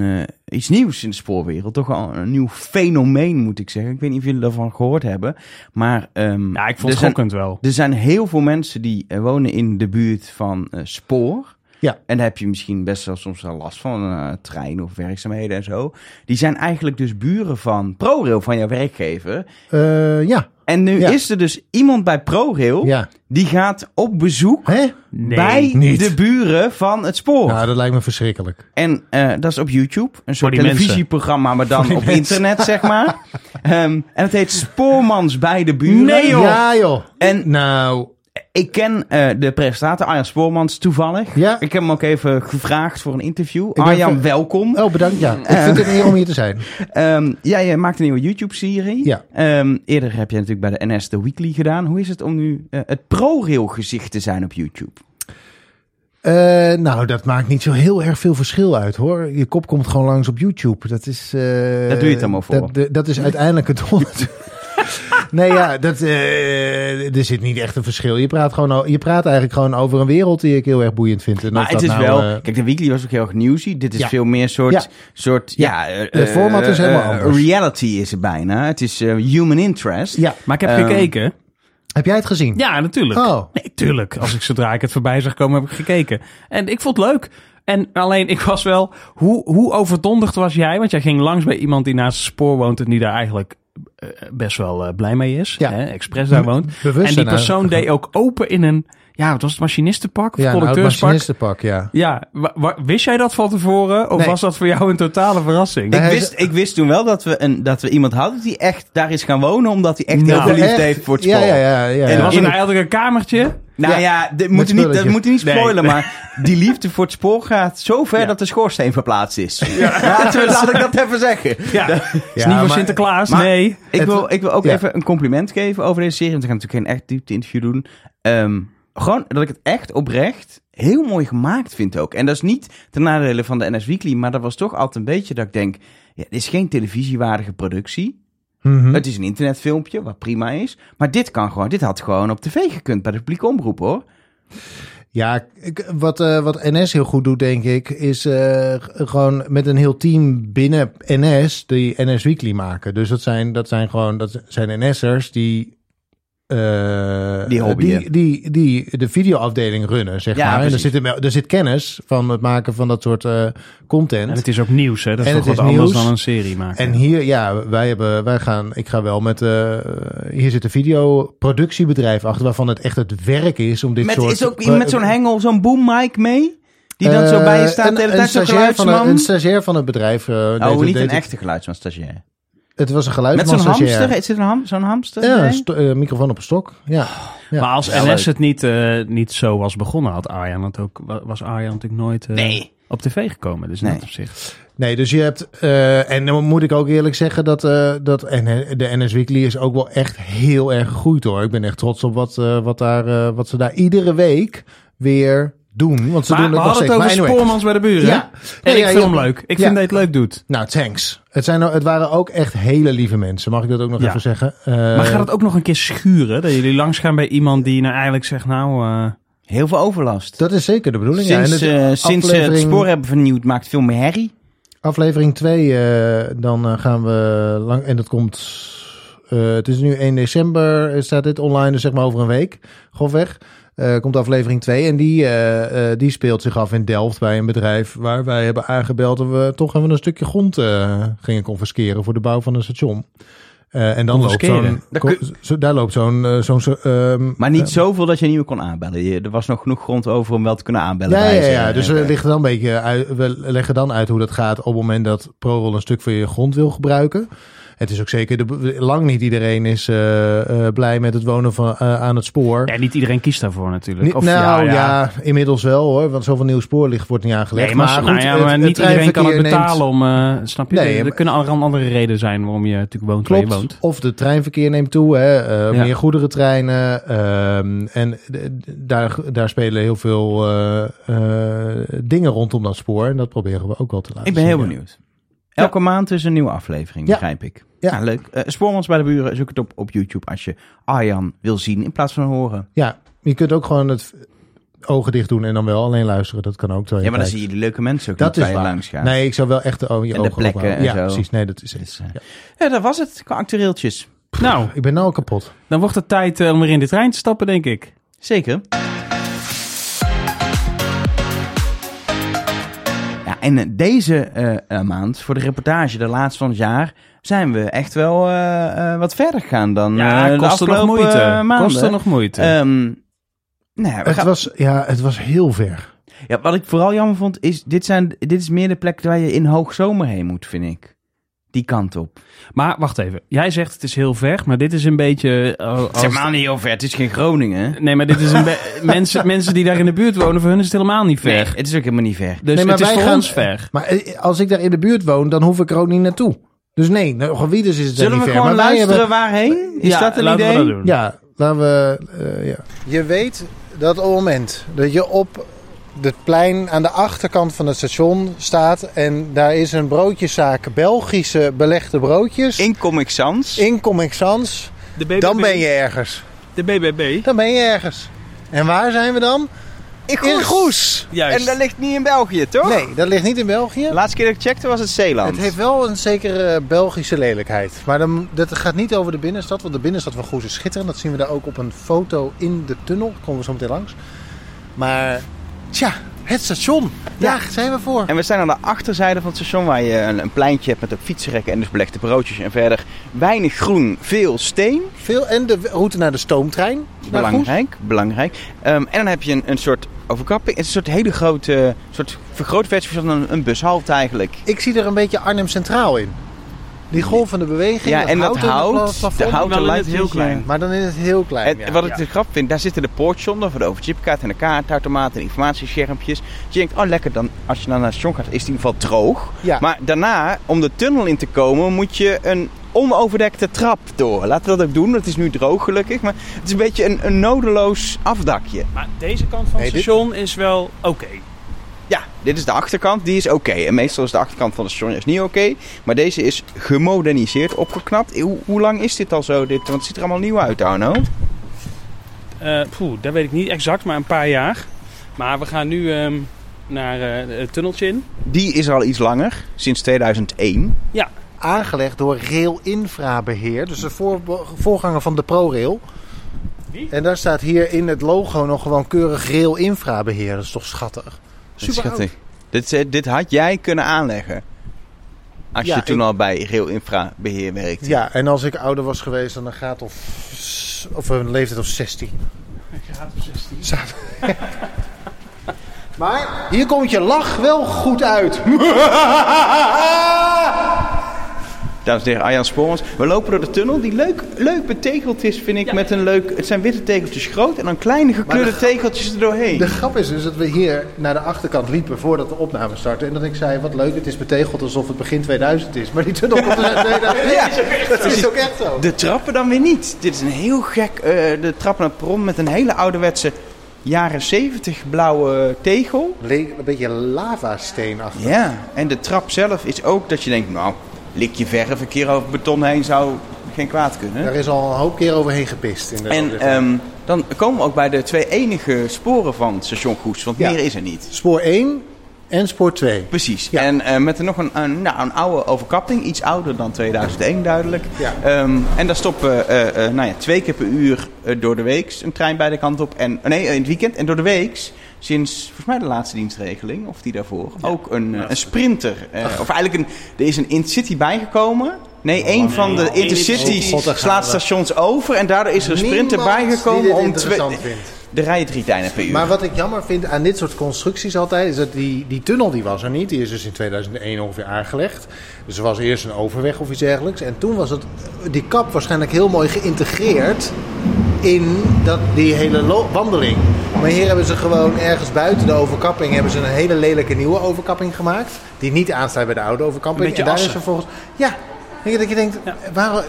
S1: een, eh, iets nieuws in de spoorwereld. Toch wel een nieuw fenomeen, moet ik zeggen. Ik weet niet of jullie daarvan gehoord hebben. Maar ehm,
S2: Ja, Nou, ik vond
S1: er,
S2: het
S1: zijn,
S2: schokkend wel.
S1: er zijn heel veel mensen die eh, wonen in de buurt van eh, Spoor.
S3: Ja.
S1: En daar heb je misschien best wel soms wel last van, eh trein of werkzaamheden en zo. Die zijn eigenlijk dus buren van ProRail, van jouw werkgever.
S3: Eh, ja,
S1: En nu
S3: Ja.
S1: is er dus iemand bij ProRail,
S3: ja.
S1: die gaat op bezoek
S3: Hè?
S2: Nee,
S1: bij
S3: niet.
S1: de buren van het spoor.
S3: Nou, dat lijkt me verschrikkelijk.
S1: En eh, dat is op YouTube. Een
S2: Voor
S1: soort
S2: die
S1: televisieprogramma, maar dan
S2: Voor
S1: op
S2: die mensen.
S1: internet, zeg maar. Ehm, en het heet Spoormans bij de buren.
S2: Nee, joh.
S3: Ja, joh.
S1: En
S3: Nou,
S1: ik ken eh, de presentator Arjan Spoormans toevallig.
S3: ja.
S1: Ik heb hem ook even gevraagd voor een interview.
S3: ben
S1: Arjan,
S3: ver-
S1: welkom.
S3: Oh, bedankt. Ja, ik vind het een eer om hier te zijn.
S1: Ehm, ja, je maakt een nieuwe YouTube-serie.
S3: Ja.
S1: Ehm, eerder heb je natuurlijk bij de NS The Weekly gedaan. Hoe is het om nu eh, het ProRail gezicht te zijn op YouTube?
S3: Eh, nou, dat maakt niet zo heel erg veel verschil uit, hoor. Je kop komt gewoon langs op YouTube. Dat is... eh,
S1: Daar doe je het allemaal voor.
S3: Dat, dat- dat is uiteindelijk het doel. nee, ja, dat, eh, er zit niet echt een verschil. Je praat, gewoon, o- je praat eigenlijk gewoon over een wereld die ik heel erg boeiend vind. En of
S1: Maar het
S3: dat
S1: is
S3: nou,
S1: wel...
S3: eh,
S1: kijk, de Weekly was ook heel erg newsy. Dit is
S3: Ja.
S1: veel meer soort...
S3: Ja.
S1: soort
S3: Ja.
S1: ja, eh,
S3: Het format is
S1: eh,
S3: helemaal
S1: eh,
S3: anders.
S1: Reality is het bijna. Het is eh, human interest.
S3: ja,
S2: maar ik heb
S1: Ehm,
S2: gekeken.
S3: heb jij het gezien?
S2: Ja, natuurlijk.
S3: Oh,
S2: Nee, tuurlijk. Als ik zodra ik het voorbij zag komen, heb ik gekeken. En ik vond het leuk. En alleen, ik was wel... Hoe, hoe overdonderd was jij? Want jij ging langs bij iemand die naast het spoor woont... en die daar eigenlijk eh, best wel eh, blij mee is.
S3: Ja.
S2: Hè? Expres daar woont.
S3: bewust.
S2: en die persoon deed ook open in een... Ja, wat was het? Machinistenpak? Of
S3: ja, nou, een
S2: conducteurspak?
S3: machinistenpak, ja.
S2: Ja, wa- wa- wist jij dat van tevoren? Of
S3: Nee.
S2: was dat voor jou een totale verrassing?
S1: Ik
S3: Hij is-
S1: wist, ik wist toen wel dat we, een, dat we iemand hadden die echt daar is gaan wonen. Omdat hij echt
S2: Nou,
S1: heel veel liefde
S3: Echt?
S1: heeft voor het
S3: Ja,
S1: spoor.
S3: ja, ja. ja,
S1: En
S2: Er
S3: ja.
S2: was
S1: in-
S2: een, hij had ook een kamertje.
S1: Nou
S3: Ja,
S1: ja, dit moeten we niet, dat
S3: spulletje.
S1: moeten we niet
S2: Nee.
S1: spoilen. Maar die liefde voor het spoor gaat zo ver
S2: Ja.
S1: dat de schoorsteen verplaatst is. Laten we, laat ik dat even zeggen.
S2: Ja, dat is
S3: Ja,
S2: niet voor
S3: maar-
S2: Sinterklaas,
S1: maar-
S2: nee.
S1: Ik,
S3: Het-
S1: wil, ik wil ook
S3: ja.
S1: even een compliment geven over deze serie. Want we gaan natuurlijk geen echt diepte interview doen. Ehm, gewoon dat ik het echt oprecht heel mooi gemaakt vind ook. En dat is niet ten nadele van de NS Weekly. Maar dat was toch altijd een beetje dat ik denk... Ja, dit is geen televisiewaardige productie.
S3: Mhm.
S1: Het is een internetfilmpje, wat prima is. Maar dit kan gewoon, dit had gewoon op tv gekund bij de publieke omroep hoor.
S3: Ja, ik- wat, eh, wat NS heel goed doet, denk ik, is eh, g- gewoon met een heel team binnen NS die NS Weekly maken. Dus dat zijn, dat zijn gewoon dat zijn NS'ers die. eh,
S1: Die hobbyen.
S3: die, die, die de videoafdeling runnen, zeg
S1: Ja,
S3: maar. En er
S1: precies.
S3: zit, wel- er zit kennis van het maken van dat soort eh, content.
S2: En het is ook nieuws, hè? Dat is
S3: En
S2: toch
S3: het
S2: wat
S3: is
S2: anders
S3: nieuws.
S2: dan een serie maken.
S3: En hier, ja, wij, hebben, wij gaan, ik ga wel met, eh, hier zit een videoproductiebedrijf achter waarvan het echt het werk is om dit
S1: Met,
S3: soort...
S1: is ook iemand met zo'n hengel, zo'n boom mic mee? Die dan zo
S3: Eh,
S1: bij je staat de
S3: een,
S1: hele
S3: een
S1: tijd zo'n
S3: stagiair van
S1: geluidsman?
S3: een, een stagiair van het bedrijf. eh, deed
S1: oh,
S3: het-
S1: niet
S3: deed
S1: een
S3: het.
S1: echte geluidsman stagiair.
S3: Het was een
S1: Met zo'n
S3: geluidsman stagiair.
S1: hamster? Is het een ham, zo'n hamster?
S3: Ja,
S1: Nee?
S3: een sto- eh, microfoon op een stok. Ja. Ja.
S2: Maar als
S1: Ja, leuk.
S2: NS het niet, eh, niet zo was begonnen, had Arjan het ook, wa- was Arjan natuurlijk nooit eh,
S1: Nee.
S2: op tv gekomen. Dus
S1: Nee.
S2: net op zich.
S3: Nee, dus je hebt... eh, en dan moet ik ook eerlijk zeggen dat, eh, dat en, de NS Weekly is ook wel echt heel erg gegroeid hoor. Ik ben echt trots op wat, eh, wat, daar, eh, wat ze daar iedere week weer doen. Want ze
S2: maar
S3: doen
S2: we
S3: het
S2: hadden
S3: nog steeds.
S2: het over
S3: Maar anyway.
S2: spoormans bij de
S1: dus,
S2: buren.
S3: Ja.
S2: En
S3: Ja,
S2: ik
S3: ja,
S2: vind
S3: ja.
S2: hem leuk. Ik
S3: Ja.
S2: vind dat hij het leuk doet.
S3: Nou, thanks. Het, zijn, het waren ook echt hele lieve mensen. Mag ik dat ook nog
S2: Ja.
S3: even zeggen? Eh,
S2: Maar gaat het ook nog een keer schuren? Dat jullie langs gaan bij iemand die nou eigenlijk zegt, nou... eh,
S1: Heel veel overlast.
S3: Dat is zeker de bedoeling. ja. En
S1: sinds
S3: het-
S1: eh, sinds ze het
S3: dus aflevering-
S1: spoor hebben vernieuwd, maakt het veel meer herrie.
S3: Aflevering 2, eh, dan eh, gaan we lang. En dat komt. eh, het is nu 1 december, eh, staat dit online, dus zeg maar over een week, grofweg. eh, komt aflevering 2 en die, eh, eh, die speelt zich af in Delft bij een bedrijf waar wij hebben aangebeld dat we toch even een stukje grond eh, gingen confisceren voor de bouw van een station. Eh, en dan loopt
S2: Confisceren?
S3: zo'n,
S1: Dat
S3: co-
S1: kun-
S3: zo- daar loopt zo'n... eh, zo'n zo- ehm,
S1: Maar niet zoveel dat je niet meer kon aanbellen. Je- er was nog genoeg grond over om wel te kunnen aanbellen.
S3: Ja,
S1: bij
S3: ja,
S1: ze.
S3: ja. Dus we,
S1: Eh,
S3: leggen dan een beetje uit, we leggen dan uit hoe dat gaat op het moment dat ProRoll een stuk van je grond wil gebruiken. Het is ook zeker, de, lang niet iedereen is eh, eh, blij met het wonen van, eh, aan het spoor.
S2: ja, niet iedereen kiest daarvoor natuurlijk.
S3: Ni-
S2: Of,
S3: nou ja, inmiddels wel hoor, want zoveel nieuw spoorlicht wordt niet aangelegd.
S2: Nee, maar,
S3: maar,
S2: nou
S3: goed,
S2: ja,
S3: het-
S2: maar
S3: het
S2: niet iedereen kan het
S3: treinverkeer
S2: betalen
S3: neemt-
S2: om... eh, snap je?
S3: Nee,
S2: er, er
S3: maar-
S2: kunnen allerhand andere redenen zijn waarom je natuurlijk woont waar je woont.
S3: Klopt, of de treinverkeer neemt toe, hè, eh,
S2: Ja.
S3: meer goederentreinen. ehm, en d- d- daar, daar spelen heel veel eh, eh, dingen rondom dat spoor. En dat proberen we ook wel te laten
S1: Ik ben heel
S3: zien, ja.
S1: benieuwd. Elke maand is een nieuwe aflevering,
S3: Ja.
S1: begrijp ik.
S3: Ja.
S1: Ja, leuk. Eh Spoormans bij de buren, zoek het op op YouTube als je Arjan wil zien in plaats van horen.
S3: Ja, je kunt ook gewoon het ogen dicht doen en dan wel alleen luisteren. Dat kan ook. terwijl
S1: Ja, maar dan zie
S3: kijkt.
S1: je die leuke mensen ook niet
S3: Dat
S1: waar
S3: is
S1: je
S3: waar.
S1: langs gaat.
S3: Nee, ik zou wel echt de, o- je
S1: En de
S3: ogen
S1: plekken
S3: open houden.
S1: en
S3: Ja,
S1: zo.
S3: precies. Nee, dat is
S1: Dus,
S3: het.
S1: eh,
S3: Ja.
S1: Ja, dat was het qua actueeltjes.
S2: Nou,
S3: Ik ben nou al kapot.
S2: dan wordt het tijd eh, om weer in de trein te stappen, denk ik.
S1: Zeker. en eh, deze eh, eh, maand, voor de reportage, de laatste van het jaar, zijn we echt wel eh, eh, wat verder gegaan dan eh, de
S2: kostte nog
S1: afgelopen eh,
S2: moeite.
S1: maanden.
S2: Kostte nog moeite.
S3: Eh.
S1: Ehm, nou ja, we
S3: Het
S1: gaan-
S3: was, ja, het was heel ver.
S1: ja, wat ik vooral jammer vond, is dit, zijn, dit is meer de plek waar je in hoogzomer heen moet, vind ik. Die kant op.
S2: maar wacht even. Jij zegt het is heel ver, maar dit is een beetje... eh,
S1: Het is
S2: als-
S1: helemaal niet heel ver, het is geen Groningen.
S2: Nee, maar dit is een be- mensen, mensen die daar in de buurt wonen, voor hun is het helemaal niet ver.
S1: Nee, het is ook helemaal niet ver.
S2: Dus
S3: Nee, maar
S2: het is
S3: wij
S2: voor
S3: gaan-
S2: ons ver.
S3: Maar eh, als ik daar in de buurt woon, dan hoef ik er ook niet naartoe. Dus nee, nou, Wieders is het er
S1: Zullen
S3: niet
S1: we
S3: ver.
S1: gewoon
S3: maar wij
S1: luisteren
S3: hebben-
S1: waarheen? Is
S2: Ja,
S1: dat een
S2: laten we
S1: idee?
S2: dat doen.
S3: Ja, laten we. eh, ja. Je weet dat op het moment dat je op het plein aan de achterkant van het station staat. en daar is een broodjeszaak Belgische belegde broodjes.
S1: In Comic Sans.
S3: in Comic Sans.
S2: De BBB,
S3: Dan ben je ergens.
S2: De BBB.
S3: Dan ben je ergens. En waar zijn we dan? In Goes.
S1: En dat ligt niet in België, toch?
S3: Nee, dat ligt niet in België.
S1: De laatste keer dat ik checkte was het Zeeland.
S3: Het heeft wel een zekere eh, Belgische lelijkheid. Maar dan, dat gaat niet over de binnenstad, want de binnenstad van Goes is schitterend. Dat zien we daar ook op een foto in de tunnel. Daar komen we zo meteen langs. Maar tja, het station. Daar zijn we voor.
S1: En we zijn aan de achterzijde van het station waar je een, een pleintje hebt met ook fietsrekken en dus belegde broodjes. En verder weinig groen, veel steen.
S3: Veel, en de route naar de stoomtrein. naar Goes.
S1: Belangrijk, belangrijk. Ehm, en dan heb je een, een soort overkapping. Het is een soort hele grote, soort vergroot versie van een, een bushalte eigenlijk.
S3: Ik zie er een beetje Arnhem Centraal in. Die golvende beweging.
S1: Ja,
S3: dat
S1: en dat
S3: houten
S1: hout,
S3: plafond.
S1: de houten
S2: Wel in
S1: lijkt
S2: het
S1: heel
S2: liedje.
S1: klein.
S3: Maar dan is het heel klein.
S1: En
S3: ja.
S1: wat ik
S3: Ja.
S1: te grap vind, daar zitten de poortzonden voor de overchipkaart en de kaartautomaat en de informatieschermpjes. Dus je denkt, oh lekker, dan, als je dan naar het station gaat, is het in ieder geval droog.
S3: Ja.
S1: Maar daarna, om de tunnel in te komen, moet je een onoverdekte trap door. Laten we dat ook doen, het is nu droog gelukkig, maar het is een beetje een, een nodeloos afdakje.
S2: Maar deze kant van
S3: Nee,
S2: het
S3: dit-
S2: station is wel oké.
S1: Ja, dit is de achterkant, die is oké. En meestal is de achterkant van het station juist niet oké. maar deze is gemoderniseerd, opgeknapt. Hoe, hoe lang is dit al zo? Dit? Want het ziet er allemaal nieuw uit, Arno.
S2: Eh poeh, dat weet ik niet exact, maar een paar jaar. Maar we gaan nu ehm, naar eh, het tunneltje in.
S1: Die is al iets langer, sinds 2001.
S3: aangelegd door Rail Infra Beheer. Dus de voor- voorganger van de ProRail.
S2: Wie?
S3: En daar staat hier in het logo nog gewoon keurig Rail Infra Beheer. Dat is toch schattig?
S1: Dit is
S3: Super
S1: schattig. Dit, eh, dit had jij kunnen aanleggen. Als
S3: Ja,
S1: je toen
S3: ik-
S1: al bij Rail Infra Beheer werkte.
S3: Ja, en als ik ouder was geweest dan een gaat of, s- of een leeftijd of 16. Zou- maar hier komt je lach wel goed uit.
S1: Dames en heren, Arjan Spoormans. We lopen door de tunnel die leuk, leuk betegeld is, vind ik. Met een leuk, het zijn witte tegeltjes groot en dan kleine gekleurde tegeltjes erdoorheen.
S3: De grap is dus dat we hier naar de achterkant liepen voordat de opname startte. En dat ik zei, wat leuk, het is betegeld alsof het begin 2000 is. Maar die tunnel komt dus uit 2000. Ja, dat is ook echt zo.
S1: De trappen dan weer niet. Dit is een heel gek, eh, de trappen naar het perron met een hele ouderwetse jaren 70 blauwe tegel.
S3: Leek een beetje lavasteen achter.
S1: Ja, en de trap zelf is ook dat je denkt, nou, lik je verf een keer over beton heen zou geen kwaad kunnen.
S3: Daar is al een hoop keer overheen gepist. In de
S1: En ehm, dan komen we ook bij de twee enige sporen van het station Goes, want
S3: Ja.
S1: meer is er niet.
S3: spoor 1 en spoor 2.
S1: Precies.
S3: Ja.
S1: En eh, met er nog een, een, nou, een oude overkapping, iets ouder dan 2001 duidelijk.
S3: Ja.
S1: Ehm, en daar stoppen eh, eh, nou ja, twee keer per uur eh, door de week een trein beide kanten op. En, nee, eh, in het weekend. En door de week, sinds volgens mij de laatste dienstregeling, of die daarvoor, ook een, eh, een sprinter. eh, of eigenlijk, een, er is een intercity bijgekomen. Nee, één van de
S2: één
S1: intercities
S3: intercity. Oh, God, daar gaan
S1: slaat
S3: we.
S1: stations over. En daardoor is er een sprinter
S3: Niemand die
S1: bijgekomen
S3: dit
S1: om
S3: interessant
S1: twee...
S3: vindt.
S1: Er rijden drie treinen per uur.
S3: Maar wat ik jammer vind aan dit soort constructies altijd, is dat die, die tunnel die was er niet. Die is dus in 2001 ongeveer aangelegd. Dus er was eerst een overweg of iets dergelijks. En toen was het, die kap waarschijnlijk heel mooi geïntegreerd in dat, die hele lo- wandeling. Maar hier hebben ze gewoon ergens buiten de overkapping hebben ze een hele lelijke nieuwe overkapping gemaakt. Die niet aansluit bij de oude overkapping.
S2: Een beetje
S3: en daar
S2: Assen.
S3: is vervolgens. Ja, dat je denkt, waarom.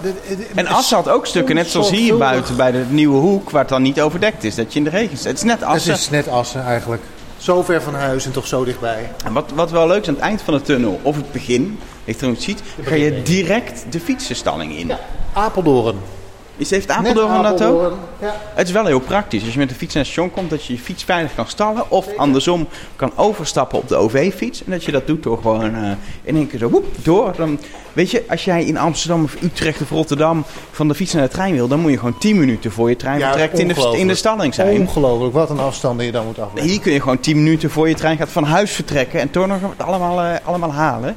S1: En Assen had ook stukken, net zoals hier
S3: onzorgvuldig.
S1: buiten bij de Nieuwe Hoek, waar het dan niet overdekt is. Dat je in de regen staat. Het is net
S3: Het
S1: Assen.
S3: is net Assen eigenlijk. Zo ver van huis en toch zo dichtbij.
S1: En Wat, wat wel leuk is, aan het eind van de tunnel, of het begin, ligt er hoe je het ziet, ga je direct de fietsenstalling in.
S3: Apeldoorn.
S1: Is heeft
S3: Net
S1: Apeldoorn dat ook?
S3: Apeldoorn. Ja.
S1: Het is wel heel praktisch. Als je met de fiets naar het station komt, dat je je fiets veilig kan stallen. Of andersom kan overstappen op de OV-fiets. En dat je dat doet door gewoon eh, in één keer zo woep, door. Dan, weet je, als jij in Amsterdam of Utrecht of Rotterdam van de fiets naar de trein wil, dan moet je gewoon 10 minuten voor je trein
S3: Ja,
S1: vertrekt in de, in de
S3: ongelooflijk.
S1: stalling zijn.
S3: Ongelooflijk, wat een afstand je dan moet afleggen.
S1: Hier kun je gewoon 10 minuten voor je trein gaat van huis vertrekken en toch nog het allemaal, eh, allemaal halen.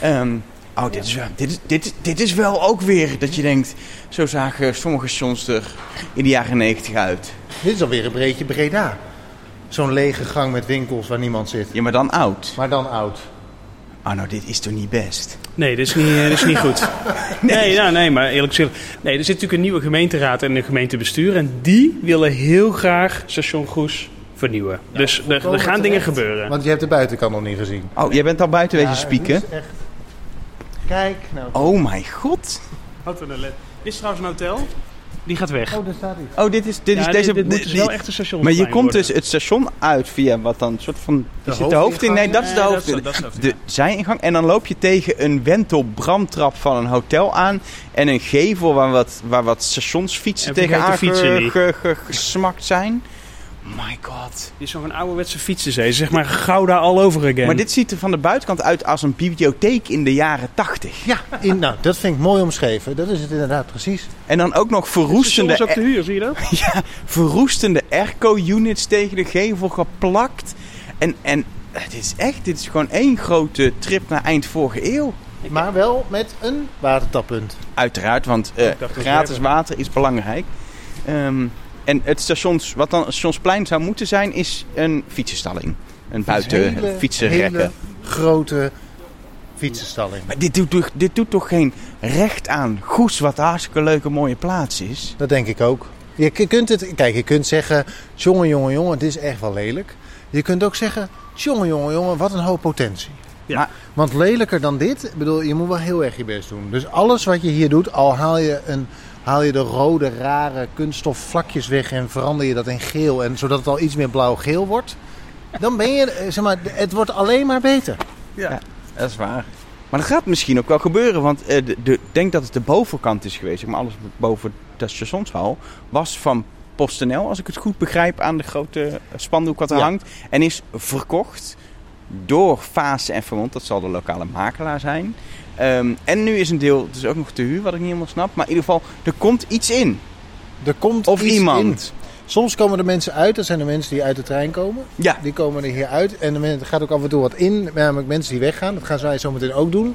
S1: Ehm, oh, dit is, wel, dit, is, dit, is- dit is wel ook weer dat je denkt, zo zagen sommige stations er in de jaren 90 uit.
S3: Dit is alweer een breedje Breda. Zo'n lege gang met winkels waar niemand zit.
S1: Ja, maar dan oud.
S3: Maar dan oud.
S1: Oh, nou, dit is toch niet best?
S2: Nee, dat is niet, eh, dat is niet goed. Nee, nou, nee, maar eerlijk gezegd. Nee, er zit natuurlijk een nieuwe gemeenteraad en een gemeentebestuur. En die willen heel graag station Groes vernieuwen. dus er, er gaan
S3: terecht.
S2: dingen gebeuren.
S3: Want je hebt de buitenkant nog niet gezien.
S1: Oh, jij bent al buiten wezen spieken?
S3: Kijk nou.
S1: Oh, mijn god.
S2: Dit is trouwens een hotel. Die gaat weg.
S3: Oh, daar staat hij.
S1: Oh, dit is, dit is
S2: Ja,
S1: deze...
S2: dit, dit moet
S1: dit-
S2: dus wel
S1: dit-
S2: echt een station
S1: maar je komt dus het station uit via wat dan een soort van... is het de hoofdin?
S3: hoofdingang?
S1: Nee, dat is de
S2: Nee, dat is-
S1: hoofdingang.
S2: dat is de
S1: de
S2: hoofdingang.
S1: zijingang. En dan loop je tegen een wentelbramtrap van een hotel aan. En een gevel waar wat, waar wat stationsfietsen
S2: En vergeet
S1: tegenaan
S2: de fietsen
S1: ge,
S2: niet.
S1: ge- ge- gesmakt zijn. My god.
S2: Dit is zo'n ouderwetse fietsenzee. Zeg maar Gouda all over again.
S1: dus- Maar dit ziet er van de buitenkant uit als een bibliotheek in de jaren tachtig.
S3: Ja, in, nou, dat vind ik mooi omschreven. Dat is het inderdaad precies.
S1: En dan ook nog
S2: Station
S1: verroestende
S2: is ook te huur, zie je dat?
S1: verroestende airco-units tegen de gevel geplakt. En, en het is echt, dit is gewoon één grote trip naar eind vorige eeuw.
S3: Maar wel met een watertappunt.
S1: Uiteraard, want eh,
S2: dacht dat we
S1: gratis
S2: hebben.
S1: water is belangrijk. Ehm, en het stations, wat dan het stationsplein zou moeten zijn, is een fietsenstalling. Een buiten
S3: Hele,
S1: fietsenrekken.
S3: hele grote fietsenstalling.
S1: Maar dit doet, toch- dit doet toch geen recht aan Goes, wat een hartstikke leuke mooie plaats is.
S3: Dat denk ik ook. Je k- kunt het, kijk, je kunt zeggen, jongen, jongen, jongen, het is echt wel lelijk. Je kunt ook zeggen, jongen, jongen, jongen, wat een hoop potentie.
S2: Ja.
S1: Maar-
S3: Want lelijker dan dit, ik bedoel, je moet wel heel erg je best doen. Dus alles wat je hier doet, al haal je, een, haal je de rode, rare kunststof vlakjes weg en verander je dat in geel, en, zodat het al iets meer blauw-geel wordt. Dan ben je, eh, zeg maar, d- het wordt alleen maar beter.
S1: Dat is waar. Maar dat gaat misschien ook wel gebeuren, want eh, de, de, ik denk dat het de bovenkant is geweest. zeg Maar alles boven de stationshal was van PostNL, als ik het goed begrijp, aan de grote eh, spandoek wat er
S3: Ja.
S1: hangt. En is verkocht door Faas en Vermont, dat zal de lokale makelaar zijn. Ehm, en nu is een deel, het is ook nog te huur, wat ik niet helemaal snap. Maar in ieder geval, er komt iets in.
S3: Er komt
S1: Of
S3: iets in.
S1: iemand.
S3: Soms komen er mensen uit, dat zijn de mensen die uit de trein komen.
S1: Ja,
S3: Die komen er hier uit en er men- er gaat ook af en toe wat in. Namelijk mensen die weggaan. Dat gaan zij zometeen ook doen.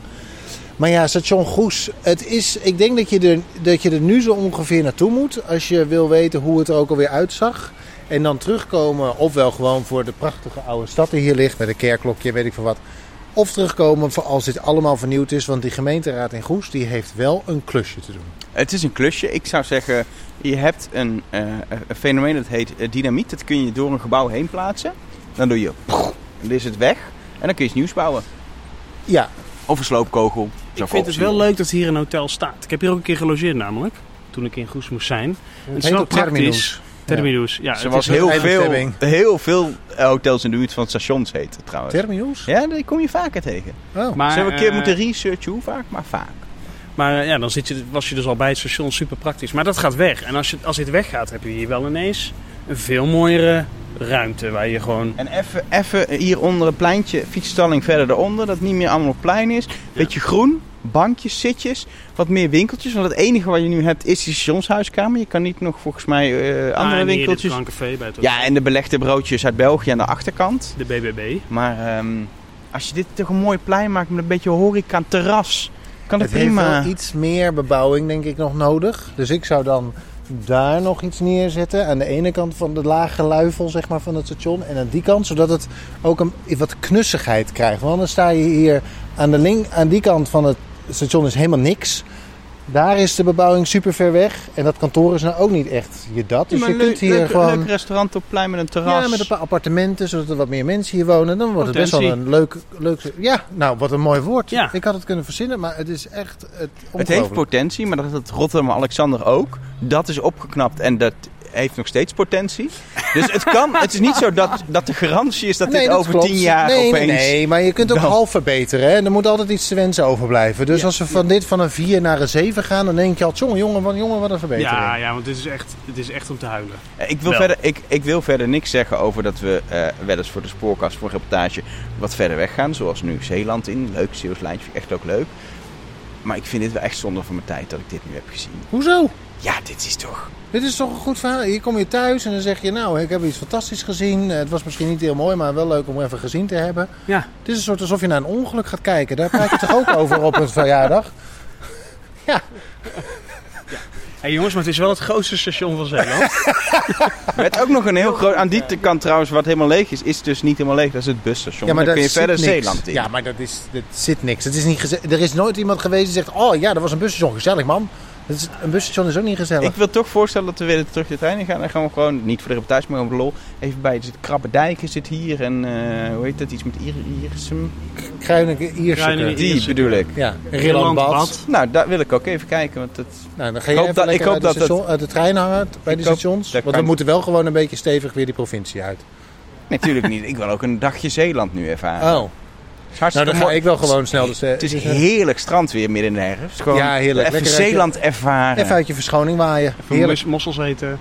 S3: Maar ja, station Goes. Het is, ik denk dat je, er, dat je er nu zo ongeveer naartoe moet. Als je wil weten hoe het er ook alweer uitzag. En dan terugkomen. Ofwel gewoon voor de prachtige oude stad die hier ligt. Met een kerkklokje, weet ik veel wat. Of terugkomen voor als dit allemaal vernieuwd is. Want die gemeenteraad in Goes die heeft wel een klusje te doen.
S1: Het is een klusje. Ik zou zeggen, je hebt een, eh, een fenomeen dat heet eh, dynamiet. Dat kun je door een gebouw heen plaatsen. Dan doe je... Dan is het weg. En dan kun je iets nieuws bouwen.
S3: Ja,
S1: Of een sloopkogel.
S2: Ik vind het wel leuk dat hier een hotel staat. Ik heb hier ook een keer gelogeerd namelijk. Toen ik in Goes moest zijn. Het is
S3: heet
S2: wel
S3: ook Terminus.
S2: praktisch. Terminus. Ja,
S1: Ze
S2: het
S1: was
S2: is-
S1: heel
S3: een
S1: veel,
S3: eindbestemming.
S1: heel veel eh, hotels in de buurt van stations heten trouwens.
S3: Terminus?
S1: Ja, die kom je vaker tegen.
S3: Oh.
S2: Maar,
S1: Zullen we een keer
S2: eh,
S1: moeten researchen hoe vaak? Maar vaak.
S2: Maar eh, ja, dan zit je, was je dus al bij het station super praktisch. Maar dat gaat weg. En als, je, als dit weggaat, heb je hier wel ineens een veel mooiere ruimte waar je gewoon.
S1: En even- even hier onder het pleintje, fietsstalling verder eronder, dat het niet meer allemaal op plein is. Beetje groen, bankjes, zitjes, wat meer winkeltjes. Want het enige wat je nu hebt is die stationshuiskamer. Je kan niet nog volgens mij eh,
S2: Ah, en
S1: andere
S2: hier dit
S1: winkeltjes.
S2: krancafé bij het
S1: Ja, en de belegde broodjes uit België aan de achterkant.
S2: de BBB.
S1: Maar ehm, als je dit toch een mooi plein maakt met een beetje horeca, terras, kan dat
S3: Het heeft
S1: prima.
S3: wel iets meer bebouwing, denk ik, nog nodig. Dus ik zou dan daar nog iets neerzetten. Aan de ene kant van de lage luifel zeg maar, van het station. En aan die kant, zodat het ook een, wat knussigheid krijgt. Want dan sta je hier aan, de link, aan die kant van het station is helemaal niks. Daar is de bebouwing super ver weg. En dat kantoor is nou ook niet echt je dat. Dus
S1: Ja, maar
S3: je
S1: leuk-
S3: kunt hier
S1: leuk,
S3: gewoon...
S1: leuk restaurant op plein met een terras.
S3: Ja, met een paar appartementen, zodat er wat meer mensen hier wonen. Dan wordt het best wel
S2: Potentie.
S3: een leuk, leuk... Ja, nou, wat een mooi woord.
S2: Ja.
S3: Ik had het kunnen verzinnen, maar het is echt... Het,
S1: Het heeft
S3: ongelooflijk.
S1: potentie, maar dat had Rotterdam Alexander ook. Dat is opgeknapt en dat
S4: heeft nog steeds potentie. Dus het kan. Het is niet zo dat, dat de garantie is dat
S5: Nee,
S4: dit
S5: dat
S4: over
S5: klopt.
S4: tien jaar
S5: nee,
S4: opeens...
S5: Nee, nee, maar je kunt ook
S4: Dan-
S5: half verbeteren. Hè? En Er moet altijd iets te wensen overblijven. Dus als we van dit van een 4 naar een 7 gaan, dan denk je al, jongen, jongen, wat, jongen, wat een verbetering.
S2: Ja, ja, want dit is echt, dit is echt om te huilen.
S4: Ik wil,
S2: Wel.
S4: verder, ik, ik wil verder niks zeggen over dat we eh, wel eens voor de spoorkast, voor een reportage, wat verder weg gaan. Zoals nu Zeeland in. Leuk, Zeeuwslijntje vind ik echt ook leuk. Maar ik vind dit wel echt zonde van mijn tijd dat ik dit nu heb gezien.
S5: Hoezo?
S4: Ja, dit is toch...
S5: Dit is toch een goed verhaal. Hier kom je thuis en dan zeg je, nou, ik heb iets fantastisch gezien. Eh, Het was misschien niet heel mooi, maar wel leuk om even gezien te hebben.
S2: Ja.
S5: Het is een soort alsof je naar een ongeluk gaat kijken. Daar praat je toch ook over op een verjaardag?
S2: hey, jongens, maar het is wel het grootste station van Zeeland.
S4: Met ook nog een heel groot... Aan die kant trouwens, wat helemaal leeg is, is dus niet helemaal leeg. Dat is het busstation.
S5: Ja,
S4: dan
S5: maar daar
S4: kun je
S5: zit
S4: verder
S5: niks.
S4: Zeeland in.
S5: Ja, maar dat, is, dat zit niks. Het is niet geze- er is nooit iemand geweest die zegt, oh ja, dat was een busstation. Gezellig, man. Dat is, een busstation is ook niet gezellig.
S4: Ik wil toch voorstellen dat we weer terug de trein in gaan. Dan gaan we gewoon, niet voor de reportage, maar om de lol. Even bij, er zit Krabbedijk, is zit hier. En eh, hoe heet dat, iets met Ier- Iersum?
S5: Kruinige Ierse.
S2: Kruinige-
S4: Die
S2: Iersum.
S4: bedoel ik.
S5: eh, Ja, Rillandbad.
S4: Nou, daar wil ik ook even kijken, want dat...
S5: Nou, dan ga je
S4: Ik hoop
S5: even
S4: dat-
S5: lekker
S4: ik hoop
S5: uit, de
S4: dat het-
S5: station- uit de trein hangen bij
S4: Ik
S5: de
S4: hoop-
S5: stations.
S4: dat
S5: Want we
S4: kan-
S5: moeten wel gewoon een beetje stevig weer die provincie uit.
S4: Natuurlijk niet. Ik wil ook een dagje Zeeland nu ervaren.
S5: Oh,
S4: Het is
S5: nou
S4: hartstikke
S5: dan ga
S4: mooi.
S5: ik wel gewoon snel de
S4: Het is heerlijk strandweer midden in de herfst. Gewoon
S5: Ja, heerlijk.
S4: Even
S5: Lekker uit je-
S4: Zeeland ervaren.
S5: Even uit je verschoning waaien. Heerlijk.
S2: Heerlijk. Mossels eten.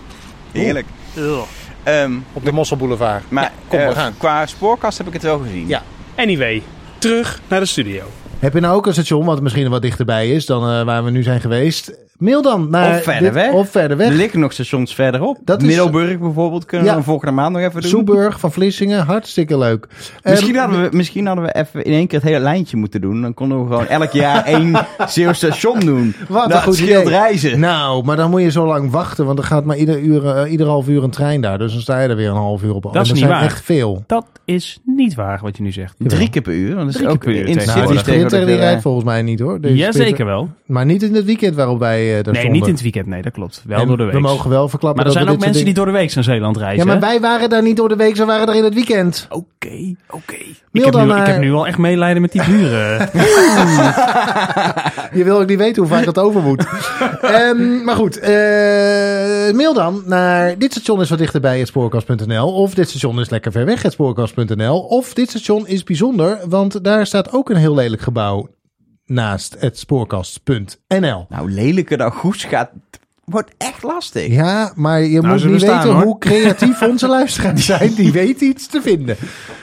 S4: Heerlijk.
S2: Ugh.
S4: Ehm,
S5: Op de Mosselboulevard.
S4: maar
S5: kom, we
S4: eh,
S5: gaan.
S4: qua spoorkast heb ik het wel gezien.
S5: Ja.
S2: Anyway, terug naar de studio.
S3: Heb je nou ook een station wat misschien wat dichterbij is dan eh, waar we nu zijn geweest? Mail dan naar
S1: Of verder weg.
S3: Of Eh, verder
S1: Er
S3: weg.
S1: liggen nog stations verderop.
S3: Dat is-
S1: Middelburg bijvoorbeeld kunnen
S3: Ja.
S1: we dan volgende maand nog even doen.
S3: Soeburg van Vlissingen, hartstikke leuk.
S1: Misschien,
S3: Ehm,
S1: hadden we, misschien hadden we even in één keer het hele lijntje moeten doen. Dan konden we gewoon elk jaar één Zeeuws station doen.
S3: Wat een
S1: Dat
S3: goed
S1: scheelt
S3: idee.
S1: reizen.
S3: Nou, maar dan moet je zo lang wachten, want er gaat maar ieder, uur, eh, ieder half uur een trein daar. Dus dan sta je er weer een half uur op. En
S2: is niet
S3: zijn
S2: waar.
S3: echt veel. Nou,
S2: Dat is niet waar wat je nu zegt.
S1: Drie keer per uur. want Dat is
S2: Drie
S1: ook
S2: keer per
S1: weer
S2: uur
S1: in
S3: Nou, die
S1: Cities
S2: tegenwoordig.
S3: sprinter die
S1: tegenwoordig.
S3: rijdt volgens mij niet hoor. Deze
S2: Jazeker
S3: sprinter-
S2: wel.
S3: Maar niet in het weekend waarop wij eh, daar
S2: Nee,
S3: stonden.
S2: niet in het weekend. Nee, dat klopt. Wel
S3: En
S2: door de week.
S3: We mogen wel verklappen
S2: maar er
S3: dat
S2: zijn
S3: we
S2: ook
S3: dit
S2: mensen die
S3: soort dingen-
S2: door de week naar Zeeland reizen.
S3: Ja, maar
S2: hè?
S3: wij waren daar niet door de week, ze waren er in het weekend.
S2: Oké, oké. Ik,
S3: Mail
S2: heb
S3: dan
S2: nu- ik
S3: naar-
S2: heb nu al echt meelijden met die buren.
S3: Je wil ook niet weten hoe vaak dat over moet. Ehm, maar goed, eh, mail dan naar dit station is wat dichterbij het spoorkast.nl of dit station is lekker ver weg het spoorkast.nl of dit station is bijzonder, want daar staat ook een heel lelijk gebouw naast het spoorkast.nl.
S1: Nou, lelijker dan goed gaat, wordt echt lastig.
S3: Ja, maar je moet
S2: Nou, ze
S3: niet
S2: bestaan,
S3: weten
S2: hoor.
S3: hoe creatief onze luisteraars zijn. Die weten iets te vinden.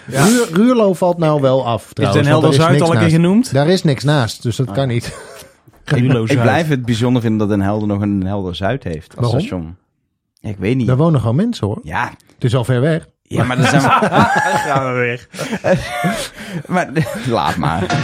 S3: Ruur- Ruurlo valt nou wel af
S2: is
S3: trouwens.
S2: Den
S3: want
S2: Helder
S3: daar
S2: Zuid
S3: niks
S2: al een keer
S3: naast.
S2: genoemd? Ah.
S3: Daar is niks naast, dus dat kan niet.
S2: Ruurlo
S1: Ik
S2: Zuid.
S1: blijf het bijzonder vinden dat Den Helder nog een Den Helder Zuid heeft als
S3: Waarom?
S1: station. Ik weet niet.
S3: Daar wonen gewoon mensen hoor.
S1: Ja,
S3: Het is al ver weg.
S1: ja maar dan zijn we...
S2: Daar gaan we weer.
S1: maar, laat maar.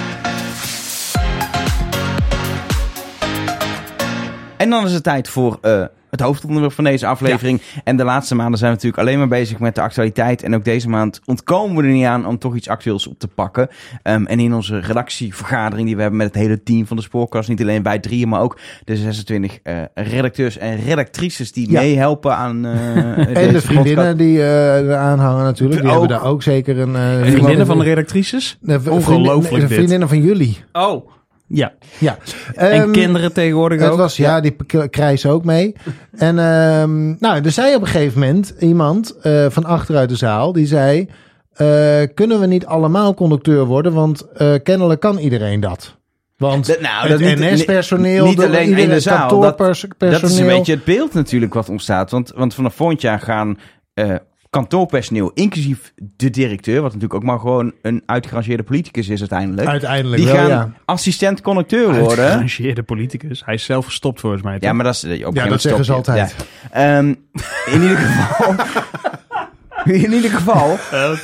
S1: En dan is het tijd voor eh, het hoofdonderwerp van deze aflevering. En de laatste maanden zijn we natuurlijk alleen maar bezig met de actualiteit. En ook deze maand ontkomen we er niet aan om toch iets actueels op te pakken. Ehm, en in onze redactievergadering die we hebben met het hele team van de Spoorkast. Niet alleen wij drieën, maar ook de 26 eh, redacteurs en redactrices die
S3: Ja.
S1: meehelpen aan eh
S3: En
S1: deze
S3: de vriendinnen
S1: podcast.
S3: die eh, aanhangen natuurlijk. Die
S1: Ook.
S3: hebben daar ook zeker een... eh,
S2: Vriendinnen
S3: iemand-
S2: van de redactrices?
S3: Nee, v-
S2: Ongelooflijk
S3: vriendinnen-
S2: dit.
S3: Vriendinnen van jullie.
S2: Oh. Ja.
S3: Ja.
S2: En
S3: Ehm,
S2: kinderen tegenwoordig
S3: Het
S2: ook.
S3: was, ja, die k- krijgen ze ook mee. En ehm, nou, er zei op een gegeven moment iemand eh, van achteruit de zaal, die zei... eh, kunnen we niet allemaal conducteur worden? Want eh, kennelijk kan iedereen dat. Want
S1: Dat- nou, dat
S3: het
S1: niet-
S3: NS-personeel,
S1: niet alleen in de zaal, dat-
S3: kantoorpersoneel...
S1: Dat is een beetje het beeld natuurlijk wat ontstaat. Want, want vanaf volgend jaar gaan eh, kantoorpersoneel, inclusief de directeur, wat natuurlijk ook maar gewoon een uitgerangeerde politicus is uiteindelijk.
S3: Uiteindelijk
S1: die
S3: wel,
S1: gaan
S3: ja.
S1: assistent-conducteur worden.
S2: Gearrangeerde politicus. Hij is zelf gestopt volgens mij.
S1: Ja,
S2: toch?
S1: maar dat is. Op een gegeven
S3: Ja,
S1: moment
S3: dat zeggen ze
S1: stop je.
S3: altijd.
S1: Ja. Ehm, in ieder geval. in ieder geval.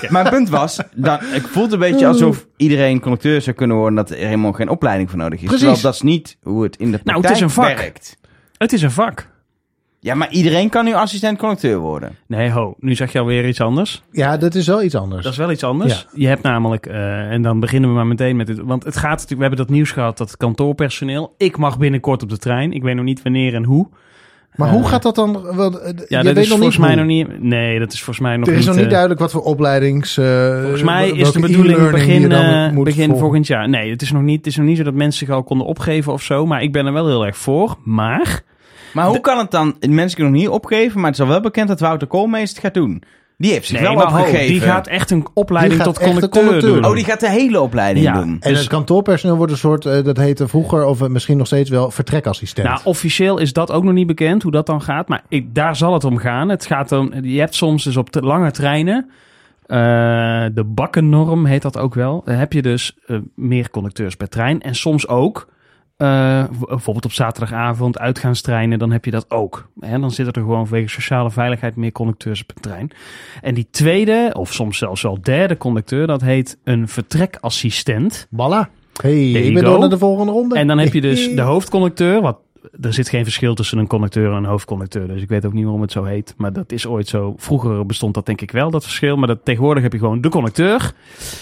S1: Mijn punt was. Dat, ik voel het een beetje alsof iedereen conducteur zou kunnen worden. Dat er helemaal geen opleiding voor nodig is.
S3: Precies.
S1: Terwijl dat is niet hoe het in de praktijk
S2: Nou, het is een vak.
S1: werkt.
S2: Het is een vak.
S1: Ja, maar iedereen kan nu assistent-conducteur worden.
S2: Nee, ho. Nu zeg je alweer iets anders.
S3: Ja, dat is wel iets anders.
S2: Dat is wel iets anders. Je hebt namelijk, eh, en dan beginnen we maar meteen met het. Want het gaat natuurlijk, we hebben dat nieuws gehad, dat kantoorpersoneel. Ik mag binnenkort op de trein. Ik weet nog niet wanneer en hoe.
S3: Maar
S2: Eh,
S3: hoe gaat dat dan? Want, eh,
S2: Ja,
S3: je
S2: dat
S3: weet
S2: is
S3: nog
S2: volgens
S3: niet
S2: mij
S3: hoe.
S2: nog niet. Nee, dat is volgens mij nog
S3: Er is
S2: niet.
S3: nog niet
S2: eh,
S3: duidelijk wat voor opleidings. eh,
S2: Volgens mij is
S3: welke
S2: de bedoeling
S3: e-learning je
S2: begin,
S3: dan
S2: eh,
S3: moet
S2: begin
S3: volgen.
S2: volgend jaar. Nee, het is, nog niet, het is nog niet zo dat mensen zich al konden opgeven of zo. Maar ik ben er wel heel erg voor. Maar
S1: Maar hoe kan het dan? Mensen kunnen nog niet opgeven, maar het is al wel bekend dat Wouter Koolmees het gaat doen. Die heeft zich
S2: Nee,
S1: wel
S2: maar ho,
S1: opgegeven.
S2: die gaat echt een opleiding
S3: Die gaat
S2: tot
S3: echt een
S2: conducteur,
S3: conducteur.
S2: doen.
S1: Oh, die gaat de hele opleiding
S2: Ja.
S1: doen.
S3: En
S2: Dus-
S3: het kantoorpersoneel wordt een soort, eh, dat heette vroeger, of eh, misschien nog steeds wel, vertrekassistent.
S2: Nou, officieel is dat ook nog niet bekend, hoe dat dan gaat. Maar ik, daar zal het om gaan. Het gaat om, je hebt soms dus op te lange treinen, eh, de bakkennorm heet dat ook wel. Dan heb je dus eh, meer conducteurs per trein. En soms ook, eh, w- bijvoorbeeld op zaterdagavond, uitgaanstreinen, dan heb je dat ook. Hè, dan zitten er gewoon wegens sociale veiligheid meer conducteurs per trein. En die tweede, of soms zelfs wel derde conducteur, dat heet een vertrekassistent.
S3: Balla. Hey,
S2: There
S3: ik
S2: you
S3: ben
S2: go.
S3: door naar de volgende ronde.
S2: En dan heb je
S3: eh,
S2: dus de hoofdconducteur. Wat, er zit geen verschil tussen een conducteur en een hoofdconducteur. Dus ik weet ook niet waarom het zo heet. Maar dat is ooit zo. Vroeger bestond dat denk ik wel, dat verschil. Maar dat, tegenwoordig heb je gewoon de conducteur.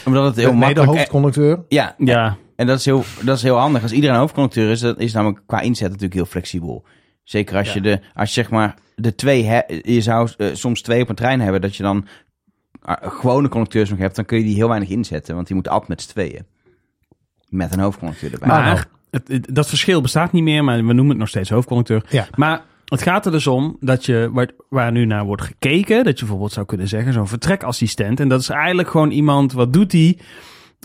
S1: Omdat het heel
S3: Eh, nee, de
S1: makkelijk...
S3: hoofdconducteur.
S1: ja,
S2: Ja,
S1: en dat is, heel, dat is heel handig. Als iedereen hoofdconducteur is, dat is namelijk qua inzet natuurlijk heel flexibel. Zeker als je de, als je zeg maar de twee, he- je zou eh, soms twee op een trein hebben, dat je dan ah, gewone conducteurs nog hebt, dan kun je die heel weinig inzetten, want die moeten altijd met z'n tweeën. Met een hoofdconducteur erbij.
S2: maar het, het- dat verschil bestaat niet meer. Maar we noemen het nog steeds hoofdconducteur.
S3: Ja.
S2: Maar het gaat er dus om dat je, waar, waar nu naar wordt gekeken, dat je bijvoorbeeld zou kunnen zeggen, zo'n vertrekassistent. En dat is eigenlijk gewoon iemand, wat doet die?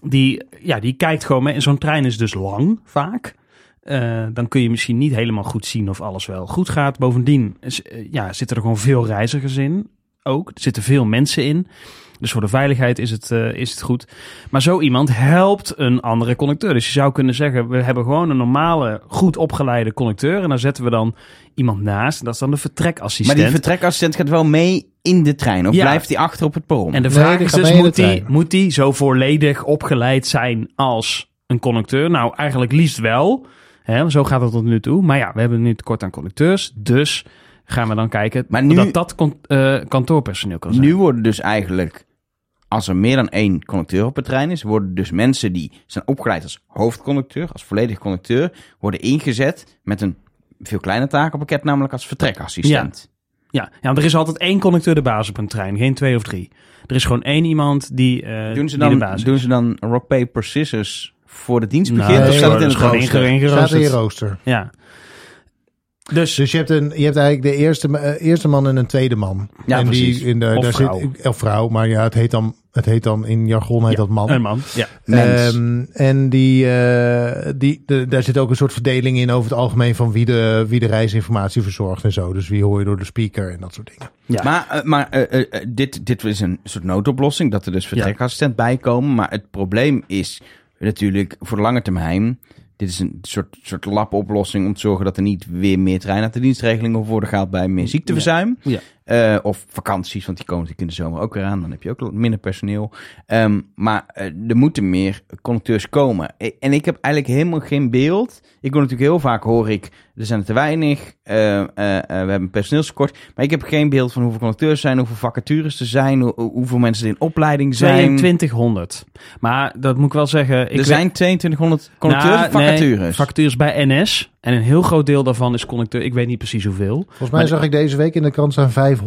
S2: Die, ja, die kijkt gewoon mee. En zo'n trein is dus lang, vaak. Eh, dan kun je misschien niet helemaal goed zien of alles wel goed gaat. Bovendien is, eh, ja, zitten er gewoon veel reizigers in. Ook. Er zitten veel mensen in. Dus voor de veiligheid is het, eh, is het goed. Maar zo iemand helpt een andere conducteur. Dus je zou kunnen zeggen, we hebben gewoon een normale, goed opgeleide conducteur. En daar zetten we dan iemand naast. En dat is dan de
S1: maar
S2: vertrekassistent.
S1: die vertrekassistent gaat wel mee in de trein, of
S2: Ja.
S1: blijft die achter op het perron?
S2: En de
S3: Nee,
S2: vraag
S3: die
S2: is
S3: gaat
S2: dus,
S3: mee in
S2: moet
S3: de
S2: die,
S3: trein.
S2: moet die zo volledig opgeleid zijn als een conducteur? Nou, eigenlijk liefst wel. Hè, zo gaat het tot nu toe. Maar ja, we hebben nu tekort aan conducteurs. Dus gaan we dan kijken
S1: Maar nu-
S2: dat dat kon- eh, kantoorpersoneel kan zijn.
S1: Nu worden dus eigenlijk, als er meer dan één conducteur op het trein is, worden dus mensen die zijn opgeleid als hoofdconducteur, als volledig conducteur, worden ingezet met een veel kleiner takenpakket, namelijk als vertrekassistent.
S2: Ja, ja, want er is altijd één conducteur de baas op een trein. Geen twee of drie. Er is gewoon één iemand die, eh
S1: Doen, ze
S2: die de
S1: dan,
S2: baas is.
S1: doen ze dan rock, paper, scissors voor de dienst
S2: Nou,
S1: begint?
S3: nee,
S1: of staat het
S2: dat
S1: in
S2: is
S1: het
S2: gewoon
S1: rooster?
S2: inge-
S3: Staat in je
S2: ingeroosterd.
S3: rooster.
S2: Ja. Dus
S3: Dus je hebt, een, je hebt eigenlijk de eerste, eh, eerste man en een tweede man.
S1: Ja,
S3: en
S1: precies.
S3: Die in de,
S2: Of
S3: daar
S2: vrouw.
S3: Zit, of vrouw, maar ja, het heet dan, het heet dan in jargon heet dat man.
S2: een man. Ja.
S1: Mens.
S3: Ehm, en die, eh, die, de- daar zit ook een soort verdeling in over het algemeen van wie de, wie de reisinformatie verzorgt en zo. Dus wie hoor je door de speaker en dat soort dingen.
S2: Ja.
S1: Maar, eh, maar eh, eh, eh, dit, dit is een soort noodoplossing, dat er dus vertrekassistent bij komen. Maar het probleem is natuurlijk voor de lange termijn. Dit is een soort, soort laboplossing om te zorgen dat er niet weer meer treinen uit de dienstregeling hoeven worden gehaald bij meer ziekteverzuim.
S2: Ja.
S1: Eh, of vakanties, want die komen natuurlijk in de zomer ook weer aan. Dan heb je ook minder personeel. Ehm, maar eh, er moeten meer conducteurs komen. E- En ik heb eigenlijk helemaal geen beeld. Ik hoor natuurlijk heel vaak, hoor ik, er zijn er te weinig. eh, eh, eh, we hebben een personeelstekort. Maar ik heb geen beeld van hoeveel conducteurs er zijn, hoeveel vacatures er zijn, hoe- hoeveel mensen er in opleiding zijn.
S2: 2200. Maar dat moet ik wel zeggen. Ik
S1: er
S2: weet-
S1: zijn 2200 conducteurs
S2: Nou,
S1: en vacatures.
S2: nee, vacatures bij NS. En een heel groot deel daarvan is conducteur. Ik weet niet precies hoeveel. Oké,
S3: Volgens mij
S2: Maar-
S3: zag ik deze week in de krant staan 500.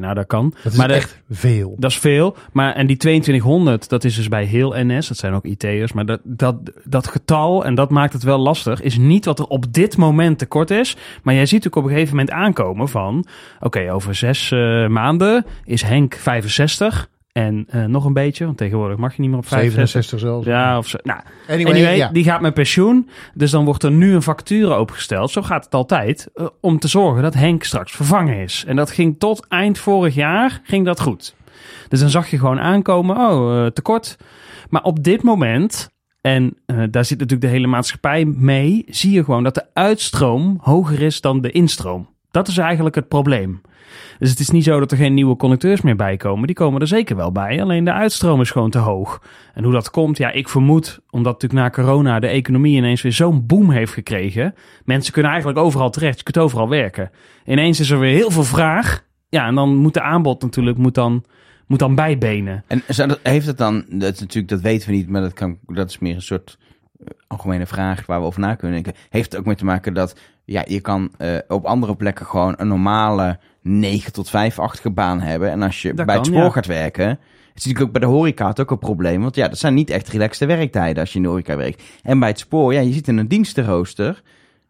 S2: nou dat kan.
S3: Dat is
S2: maar de-
S3: echt veel.
S2: dat is veel. Maar, en die 2200, dat is dus bij heel NS. Dat zijn ook IT'ers. Maar dat, dat, dat getal, en dat maakt het wel lastig, is niet wat er op dit moment tekort is. Maar jij ziet ook op een gegeven moment aankomen van... Oké, over zes eh, maanden is Henk 65. En eh, nog een beetje, want tegenwoordig mag je niet meer op 65.
S3: 67 zelfs.
S2: Ja, of zo. Nou,
S3: Anyway,
S2: Anyway,
S3: ja.
S2: die gaat met pensioen. Dus dan wordt er nu een factuur opgesteld. Zo gaat het altijd. eh, om te zorgen dat Henk straks vervangen is. En dat ging tot eind vorig jaar ging dat goed. Dus dan zag je gewoon aankomen. Oh, eh, tekort. Maar op dit moment. En eh, daar zit natuurlijk de hele maatschappij mee. Zie je gewoon dat de uitstroom hoger is dan de instroom. Dat is eigenlijk het probleem. Dus het is niet zo dat er geen nieuwe conducteurs meer bij komen. Die komen er zeker wel bij. Alleen de uitstroom is gewoon te hoog. En hoe dat komt, ja, ik vermoed, omdat natuurlijk na corona de economie ineens weer zo'n boom heeft gekregen. Mensen kunnen eigenlijk overal terecht, je kunt overal werken. Ineens is er weer heel veel vraag. Ja, en dan moet de aanbod natuurlijk moet dan, moet dan bijbenen.
S1: En zou dat, heeft het dan, dat is natuurlijk, dat weten we niet, maar dat, kan, dat is meer een soort eh, algemene vraag waar we over na kunnen denken. Heeft het ook mee te maken dat, ja, je kan eh, op andere plekken gewoon een normale 9 tot 5, 8 baan hebben. En als je
S2: Dat
S1: bij het
S2: kan,
S1: spoor
S2: ja.
S1: gaat werken, het is natuurlijk ook bij de horeca het ook een probleem. Want ja, dat zijn niet echt relaxte werktijden als je in de horeca werkt. En bij het spoor, ja, je zit in een dienstenrooster.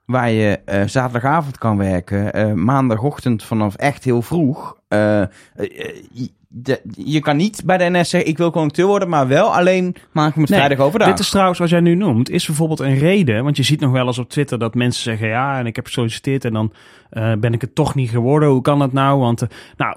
S1: Waar je eh, zaterdagavond kan werken, eh, maandagochtend vanaf echt heel vroeg. Eh, eh, je- de- je kan niet bij de NS zeggen, ik wil conducteur worden, maar wel alleen maak ik me
S2: Nee,
S1: vrijdag overdag.
S2: Dit is trouwens, wat jij nu noemt, is bijvoorbeeld een reden. Want je ziet nog wel eens op Twitter dat mensen zeggen: ja, en ik heb gesolliciteerd en dan eh, ben ik het toch niet geworden. Hoe kan dat nou? Want, eh, nou,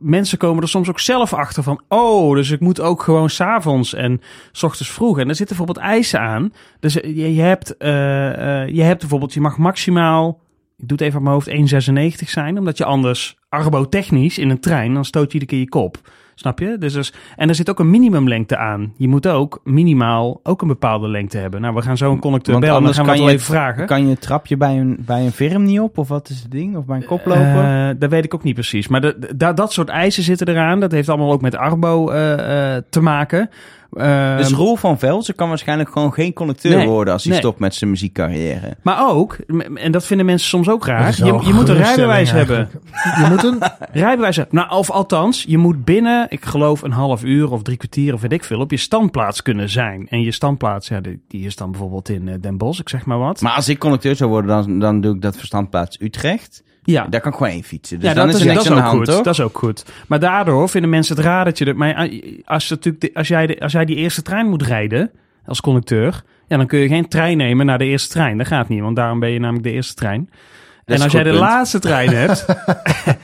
S2: mensen komen er soms ook zelf achter van: oh, dus ik moet ook gewoon s'avonds en s ochtends vroeg. En er zitten bijvoorbeeld eisen aan. Dus eh, je, je hebt, eh, eh, je hebt bijvoorbeeld, je mag maximaal. Ik doe het even op mijn hoofd 1,96 zijn, omdat je anders arbotechnisch in een trein, dan stoot je iedere keer je kop. Snap je? Dus, dus en er zit ook een minimumlengte aan. Je moet ook minimaal ook een bepaalde lengte hebben. Nou, we gaan zo een conducteur
S1: Want
S2: bellen. Dan
S1: anders
S2: gaan we het
S1: kan
S2: al
S1: je-
S2: even vragen.
S1: Kan je het trapje bij een, bij een firm niet op? Of wat is het ding? Of bij een koploper?
S2: Eh, dat weet ik ook niet precies. Maar de, de- da- dat soort eisen zitten eraan. Dat heeft allemaal ook met Arbo eh, eh, te maken. Ehm,
S1: dus Roel van Velsen kan waarschijnlijk gewoon geen conducteur
S2: Nee,
S1: worden als hij
S2: nee.
S1: stopt met zijn muziekcarrière.
S2: maar ook, m- en dat vinden mensen soms ook
S3: Dat
S2: raar,
S3: is
S2: je,
S3: wel
S2: je moet een
S3: geruststelling
S2: rijbewijs hebben.
S3: eigenlijk. Je moet een...
S2: Rijbewijs hebben. Nou, of althans, je moet binnen, ik geloof, een half uur of drie kwartier of weet ik veel, op je standplaats kunnen zijn. En je standplaats, ja, die, die is dan bijvoorbeeld in eh, Den Bosch, ik zeg maar wat.
S1: Maar als ik conducteur zou worden, dan, dan doe ik dat verstandplaats Utrecht.
S2: ja.
S1: Daar kan ik gewoon één fietsen. Dus
S2: ja,
S1: dan
S2: dat
S1: is er niks
S2: dat
S1: aan de
S2: ook
S1: hand,
S2: goed.
S1: hoor.
S2: Dat is ook goed. Maar daardoor vinden mensen het raar dat je... De, maar ja, als, je natuurlijk de- als, jij de- als jij die eerste trein moet rijden als conducteur... Ja, dan kun je geen trein nemen naar de eerste trein. Dat gaat niet, want daarom ben je namelijk de eerste trein.
S1: is
S2: En
S1: een
S2: als jij de
S1: goed punt.
S2: laatste trein hebt...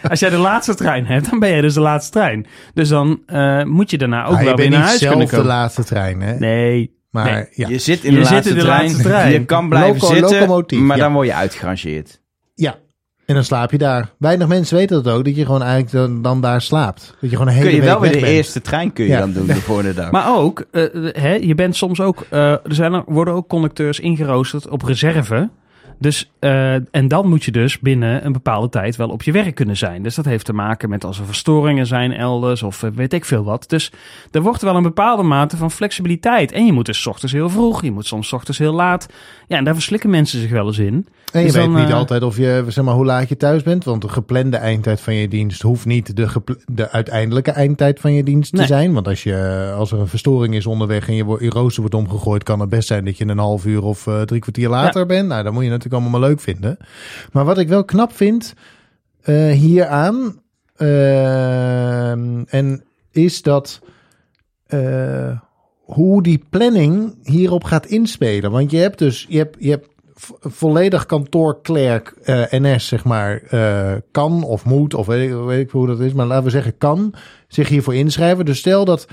S2: als jij de laatste trein hebt, dan ben jij dus de laatste trein. Dus dan eh, moet je daarna ook
S3: Ah, je
S2: wel weer
S3: bent
S2: naar
S3: niet
S2: huis
S3: zelf
S2: kunnen
S3: de
S2: komen.
S3: laatste trein, hè?
S2: nee,
S3: Maar
S2: nee.
S3: ja.
S1: Je zit in,
S2: Je
S1: de,
S2: zit
S1: laatste
S2: in de
S1: trein,
S2: laatste trein.
S1: Je kan blijven
S3: Loco-
S1: zitten,
S3: locomotief,
S1: maar
S3: ja.
S1: dan word je uitgerangeerd.
S3: ja. En dan slaap je daar. Weinig mensen weten dat ook, dat je gewoon eigenlijk dan, dan daar slaapt. Dat je gewoon een hele
S1: Kun je
S3: week
S1: wel weer
S3: weg
S1: de
S3: bent.
S1: eerste trein kun je
S3: Ja.
S1: dan doen de volgende dag.
S2: Maar ook, eh, hè, je bent soms ook, eh, er zijn, er worden ook conducteurs ingeroosterd op reserve. Dus, eh, en dan moet je dus binnen een bepaalde tijd wel op je werk kunnen zijn. Dus dat heeft te maken met als er verstoringen zijn elders of eh, weet ik veel wat. Dus er wordt wel een bepaalde mate van flexibiliteit. En je moet dus 's ochtends heel vroeg, je moet soms 's ochtends heel laat. Ja, en daar verslikken mensen zich wel eens in.
S3: En je
S2: Dus
S3: weet
S2: dan,
S3: niet
S2: eh,
S3: altijd of je, zeg maar, hoe laat je thuis bent. Want de geplande eindtijd van je dienst hoeft niet de, gepl- de uiteindelijke eindtijd van je dienst
S2: Nee.
S3: te zijn. Want als, je, als er een verstoring is onderweg en je, wo- je rooster wordt omgegooid, kan het best zijn dat je een half uur of eh, drie kwartier later bent. Nou, dat moet je natuurlijk allemaal maar leuk vinden. Maar wat ik wel knap vind eh, hieraan, ehm, en is dat. eh, hoe die planning hierop gaat inspelen. Want je hebt dus, je hebt, je hebt vo- volledig kantoorklerk eh, NS, zeg maar, eh, kan of moet, of weet ik, weet ik hoe dat is, maar laten we zeggen kan, zich hiervoor inschrijven. Dus stel dat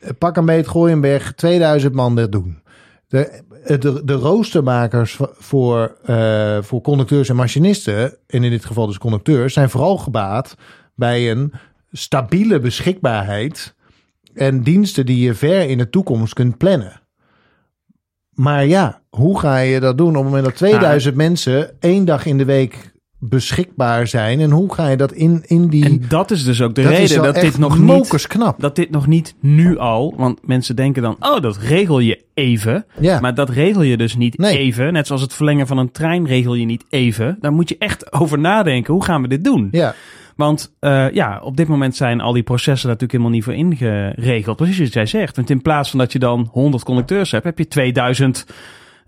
S3: eh, pak een beet Gooienberg 2000 man dit doen. De, eh, de, de roostermakers v- voor, eh, voor conducteurs en machinisten, en in dit geval dus conducteurs, zijn vooral gebaat bij een stabiele beschikbaarheid en diensten die je ver in de toekomst kunt plannen. Maar ja, hoe ga je dat doen op het moment dat 2000 mensen één dag in de week beschikbaar zijn? En hoe ga je dat in, in die.
S2: En dat is dus ook de
S3: dat is
S2: reden
S3: wel
S2: dat
S3: echt
S2: dit nog niet
S3: mokersknap.
S2: dat dit nog niet nu al, want mensen denken dan, oh, dat regel je even.
S3: Ja.
S2: Maar dat regel je dus niet
S3: Nee.
S2: even. Net zoals het verlengen van een trein regel je niet even. Daar moet je echt over nadenken. Hoe gaan we dit doen?
S3: Ja,
S2: Want eh, ja, op dit moment zijn al die processen daar natuurlijk helemaal niet voor ingeregeld. Precies wat jij zegt. Want in plaats van dat je dan 100 conducteurs hebt, heb je 2000.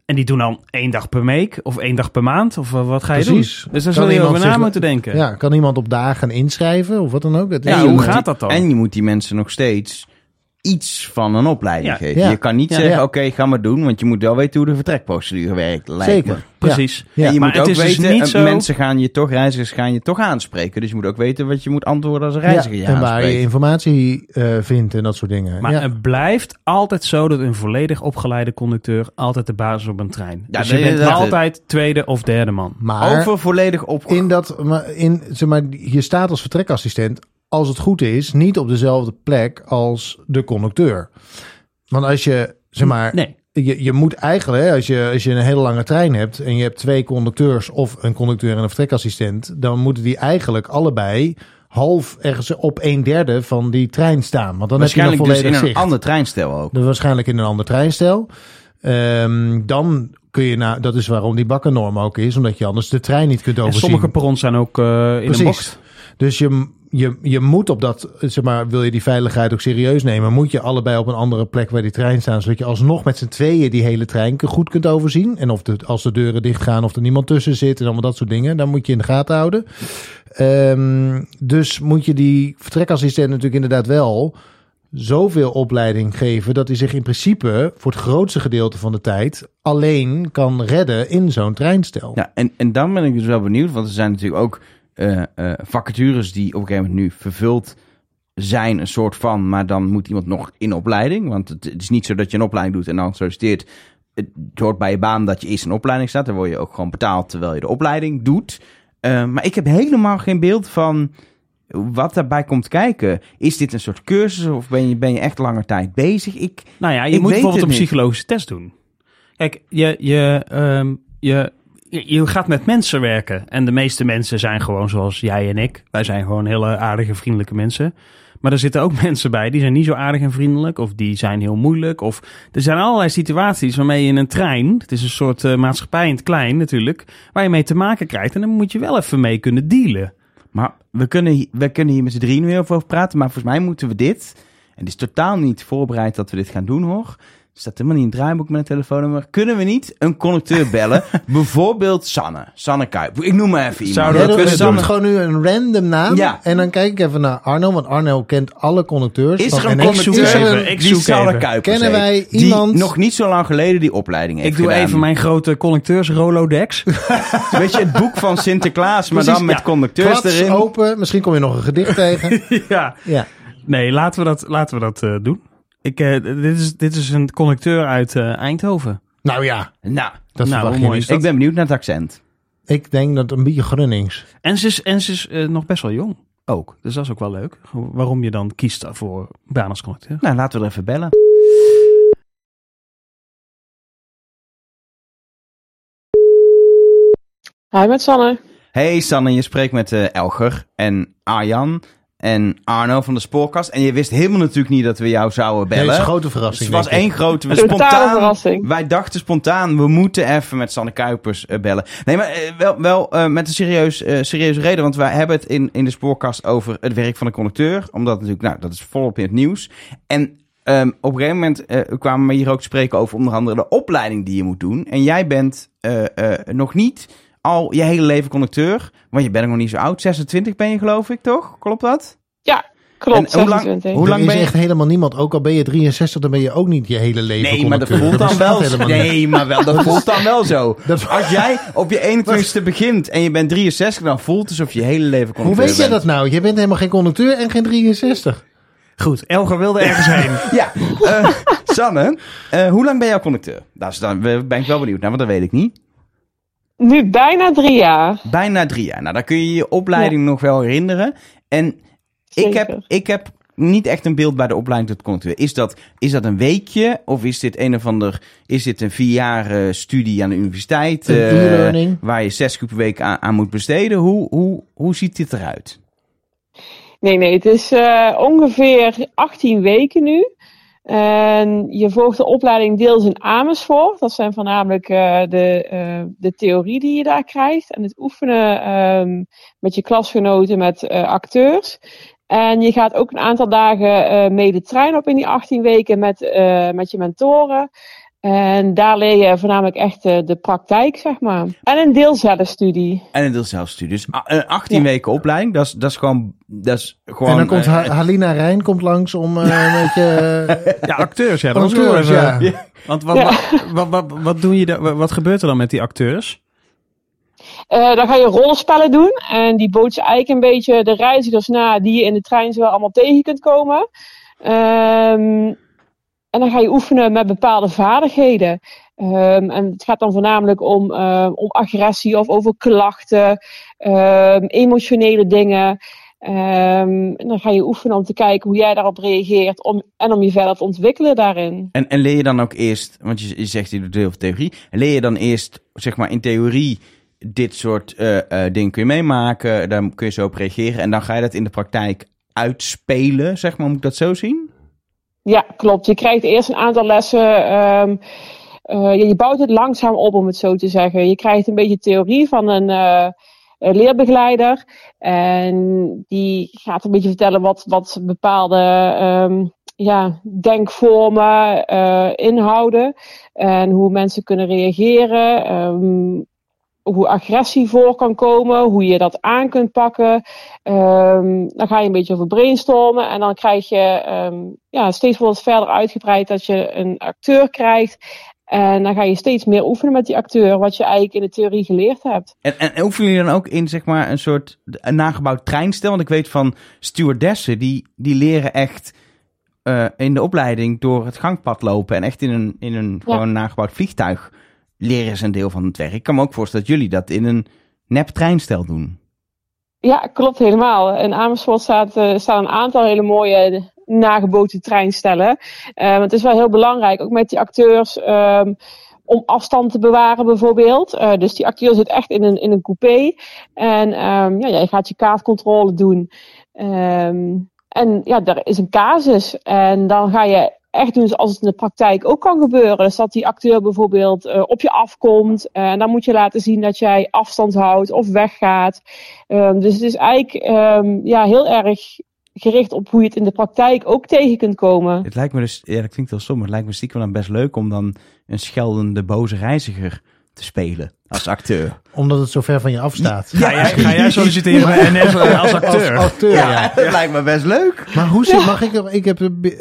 S2: En die doen dan één dag per week of één dag per maand. Of eh, wat ga je
S3: Precies.
S2: doen? Dus daar
S3: Kan
S2: zul je
S3: iemand
S2: over na
S3: zich-
S2: moeten denken.
S3: ja, kan iemand op dagen inschrijven of wat dan ook? Dat is
S2: Ja,
S1: je
S2: hoe
S1: moet
S2: gaat
S1: die-
S2: dat dan?
S1: En je moet die mensen nog steeds iets van een opleiding
S2: Ja.
S1: geven.
S3: Ja.
S1: Je kan niet
S2: Ja.
S1: zeggen,
S3: Ja.
S1: oké, ga maar doen. Want je moet wel weten hoe de vertrekprocedure werkt, lijkt me.
S3: zeker.
S2: Precies.
S1: En je
S2: Maar
S1: moet
S2: het
S1: ook
S2: is dus
S1: weten,
S2: niet
S1: eh,
S2: zo-
S1: mensen gaan je toch, reizigers gaan je toch aanspreken. Dus je moet ook weten wat je moet antwoorden als een
S3: Ja,
S1: reiziger je
S3: en waar je
S1: aanspreekt.
S3: informatie eh, vindt en dat soort dingen.
S2: Maar
S3: ja.
S2: het blijft altijd zo dat een volledig opgeleide conducteur altijd de basis op een trein.
S1: Ja,
S2: dus
S1: nee,
S2: je bent
S1: dat-
S2: altijd tweede of derde man.
S3: maar
S1: Over volledig op.
S3: in dat, maar in, zeg maar, je staat als vertrekassistent, als het goed is, niet op dezelfde plek als de conducteur. Want als je, zeg maar,
S2: Nee.
S3: je, je moet eigenlijk, hè, als je, als je een hele lange trein hebt en je hebt twee conducteurs of een conducteur en een vertrekassistent, dan moeten die eigenlijk allebei half ergens op een derde van die trein staan. Want dan heb je nog
S1: Waarschijnlijk
S3: volledig
S1: dus in een
S3: zicht.
S1: ander treinstel ook.
S3: Dus waarschijnlijk in een ander treinstel. Ehm, dan kun je na, dat is waarom die bakkennorm ook is, omdat je anders de trein niet kunt
S2: En
S3: overzien.
S2: sommige perrons zijn ook eh, in een
S3: Precies.
S2: bocht.
S3: Dus je, je, je moet op dat, zeg maar, wil je die veiligheid ook serieus nemen, moet je allebei op een andere plek waar die trein staan, zodat je alsnog met z'n tweeën die hele trein goed kunt overzien. En of de, als de deuren dicht gaan, of er niemand tussen zit en allemaal dat soort dingen, dan moet je in de gaten houden. Ehm, dus moet je die vertrekassistent natuurlijk inderdaad wel zoveel opleiding geven dat hij zich in principe voor het grootste gedeelte van de tijd alleen kan redden in zo'n treinstel.
S1: Ja, Nou, en, en dan ben ik dus wel benieuwd, want er zijn natuurlijk ook eh, eh, vacatures die op een gegeven moment nu vervuld zijn, een soort van, maar dan moet iemand nog in opleiding. Want het, het is niet zo dat je een opleiding doet en dan solliciteert. Het hoort bij je baan dat je eerst in opleiding staat. Dan word je ook gewoon betaald terwijl je de opleiding doet. Eh, maar ik heb helemaal geen beeld van wat daarbij komt kijken. Is dit een soort cursus of ben je, ben je echt langer tijd bezig? Ik,
S2: Nou ja, je
S1: Ik
S2: moet
S1: weet
S2: bijvoorbeeld
S1: het
S2: een
S1: niet.
S2: psychologische test doen. Kijk, je, je, ehm, je, je je gaat met mensen werken. En de meeste mensen zijn gewoon zoals jij en ik. Wij zijn gewoon hele aardige, vriendelijke mensen. Maar er zitten ook mensen bij die zijn niet zo aardig en vriendelijk. Of die zijn heel moeilijk. Of er zijn allerlei situaties waarmee je in een trein. Het is een soort eh, maatschappij in het klein natuurlijk. Waar je mee te maken krijgt. En dan moet je wel even mee kunnen dealen.
S1: Maar we kunnen, hi- we kunnen hier met z'n drieën nu heel veel over praten. Maar volgens mij moeten we dit. En het is totaal niet voorbereid dat we dit gaan doen hoor. Er staat helemaal niet in het draaiboek met een telefoonnummer. Kunnen we niet een conducteur bellen? Bijvoorbeeld Sanne. Sanne Kuip. Ik noem maar even iemand.
S2: Zouden
S3: Ja,
S2: we
S1: dat
S3: doe-
S2: kunnen
S3: doe
S2: doen?
S3: het gewoon nu een random naam.
S1: Ja.
S3: En dan kijk ik even naar Arno, want Arno kent alle conducteurs.
S1: Is
S3: Want-
S1: er een
S3: en ik-
S1: conducteur?
S3: is er een-
S2: Ik
S1: Die
S2: zoek
S1: Sanne
S2: even.
S1: Kuip.
S3: Kennen wij iemand-
S1: Die nog niet zo lang geleden die opleiding heeft
S2: Ik doe
S1: gedaan.
S2: even mijn grote collecteurs Rolodex.
S1: Weet je, het boek van Sinterklaas, maar
S2: Precies,
S1: dan met
S2: ja.
S1: conducteurs
S3: Klats
S1: erin.
S3: open, misschien kom je nog een gedicht tegen.
S2: ja.
S3: Ja.
S2: Nee, laten we dat, laten we dat eh, doen. Ik, eh, dit, is, dit is een conducteur uit eh, Eindhoven.
S3: Nou ja,
S1: Nou,
S3: dat
S2: Nou,
S3: verwacht
S2: hoe
S3: je
S2: mooi
S3: niet.
S2: is dat?
S1: ik ben benieuwd naar het accent.
S3: Ik denk dat een beetje Grunnings.
S2: En ze is, en ze is eh, nog best wel jong. Ook. Dus dat is ook wel leuk. Gewoon Waarom je dan kiest voor baan als conducteur.
S1: Nou, laten we er even bellen.
S6: Hi, met Sanne.
S1: Hey Sanne, je spreekt met eh, Elger en Arjan en Arno van de Spoorkast. En je wist helemaal natuurlijk niet dat we jou zouden
S3: Nee,
S1: bellen.
S3: dat is een grote
S1: Dus
S3: verrassing.
S1: het was
S3: denk ik.
S1: één grote... We
S6: Een totale
S1: spontaan,
S6: verrassing.
S1: wij dachten spontaan, we moeten even met Sanne Kuipers eh, bellen. Nee, maar eh, wel, wel eh, met een serieus, eh, serieuze reden. Want wij hebben het in, in de Spoorkast over het werk van de conducteur. Omdat natuurlijk, nou, dat is volop in het nieuws. En... ehm, op een gegeven moment eh, kwamen we hier ook te spreken over onder andere de opleiding die je moet doen. En jij bent eh, eh, nog niet al je hele leven conducteur. Want je bent nog niet zo oud. 26 ben je geloof ik, toch? Klopt dat?
S6: Klopt,
S1: En hoe lang-
S6: 26.
S1: hoe-
S3: Er
S1: lang
S3: is
S1: ben je-
S3: echt helemaal niemand. Ook al ben je 63, dan ben je ook niet je hele leven
S1: Nee, maar dat
S3: conducteur.
S1: voelt dan
S3: bestaat
S1: wel zo.
S3: helemaal niet.
S1: Nee, maar wel, dat voelt dan wel zo.
S3: Dat-
S1: Als jij op je 21ste begint en je bent 63, dan voelt het alsof je je hele leven
S3: Hoe
S1: conducteur
S3: weet jij
S1: bent.
S3: dat nou? Je bent helemaal geen conducteur en geen 63.
S2: Goed, Elger wilde ergens heen.
S1: Ja, eh, Sanne, eh, hoe lang ben jij al conducteur? Daar is dan, daar ben ik wel benieuwd naar, want dat weet ik niet.
S6: Nu bijna drie jaar.
S1: Bijna drie jaar. Nou, dan kun je je opleiding nog wel herinneren. En ik
S6: Zeker.
S1: heb, ik heb niet echt een beeld bij de opleiding tot conducteur. Is dat, is dat een weekje? Of is dit een of ander... Is dit een vier jaar eh, studie aan de universiteit?
S3: Een
S1: eh,
S3: e-learning?
S1: waar je zes keer per week aan, aan moet besteden? Hoe, hoe, hoe ziet dit eruit?
S6: Nee, nee, het is eh, ongeveer 18 weken nu. En je volgt de opleiding deels in Amersfoort. Dat zijn voornamelijk eh, de, eh, de theorie die je daar krijgt. En het oefenen ehm, met je klasgenoten, met eh, acteurs. En je gaat ook een aantal dagen eh, mee de trein op in die 18 weken met, eh, met je mentoren. En daar leer je voornamelijk echt eh, de praktijk, zeg maar. En een deel zelfstudie.
S1: En een deel zelfstudie. Dus a- een 18
S6: Ja.
S1: weken opleiding, dat is, dat is gewoon... Dat is gewoon
S3: en dan komt
S1: eh,
S3: Ha- Halina Rijn komt langs om eh, een beetje... eh,
S2: Ja, acteurs. Ja, dat was
S3: conducteurs,
S2: wel even-
S3: ja.
S2: Want wat, wat, wat, wat, wat doen je da- wat- wat gebeurt er dan met die acteurs?
S6: Eh, dan ga je rollenspellen doen. En die bootsen eigenlijk een beetje de reizigers na die je in de trein zo allemaal tegen kunt komen. Ehm, en dan ga je oefenen met bepaalde vaardigheden. Ehm, en het gaat dan voornamelijk om, eh, om agressie of over klachten, ehm, emotionele dingen. Ehm, en dan ga je oefenen om te kijken hoe jij daarop reageert om, en om je verder te ontwikkelen daarin.
S1: En, en leer je dan ook eerst, want je, je zegt je doet heel veel theorie, leer je dan eerst, zeg maar in theorie, dit soort eh, eh, dingen kun je meemaken, daar kun je zo op reageren en dan ga je dat in de praktijk uitspelen, zeg maar, moet ik dat zo zien?
S6: Ja, klopt. Je krijgt eerst een aantal lessen. ehm, eh, ja, je bouwt het langzaam op, om het zo te zeggen. Je krijgt een beetje theorie van een, eh, eh, leerbegeleider. En die gaat een beetje vertellen wat, wat bepaalde ehm, ja, denkvormen eh, inhouden. En hoe mensen kunnen reageren. ehm, hoe agressie voor kan komen, hoe je dat aan kunt pakken. Ehm, dan ga je een beetje over brainstormen. En dan krijg je ehm, ja, steeds wordt het verder uitgebreid dat je een acteur krijgt. En dan ga je steeds meer oefenen met die acteur, wat je eigenlijk in de theorie geleerd hebt.
S1: En, en, en oefenen jullie dan ook in zeg maar, een soort een nagebouwd treinstel? Want ik weet van stewardessen, die, die leren echt eh, in de opleiding door het gangpad lopen. En echt in een, in een gewoon nagebouwd vliegtuig leren ze een deel van het werk. Ik kan me ook voorstellen dat jullie dat in een nep treinstel doen.
S6: Ja, klopt helemaal. In Amersfoort staat, eh, staan een aantal hele mooie eh, nageboten treinstellen. Eh, want het is wel heel belangrijk, ook met die acteurs, ehm, om afstand te bewaren bijvoorbeeld. Eh, dus die acteur zit echt in een, in een coupé. En ehm, ja, jij gaat je kaartcontrole doen. Ehm, en ja, daar is een casus. En dan ga je echt doen zoals het in de praktijk ook kan gebeuren. Dus dat die acteur bijvoorbeeld eh, op je afkomt. Eh, en dan moet je laten zien dat jij afstand houdt of weggaat. Ehm, dus het is eigenlijk ehm, ja, heel erg gericht op hoe je het in de praktijk ook tegen kunt komen.
S1: Het lijkt me dus, ja, dat klinkt wel stom, maar het lijkt me stiekem dan best leuk om dan een scheldende boze reiziger te spelen als acteur.
S3: Omdat het zo ver van je afstaat.
S2: Ga jij, ga jij solliciteren bij NS als acteur?
S3: Als acteur, ja.
S1: dat lijkt me best leuk.
S3: Maar hoe zit, mag ik, ik heb een be-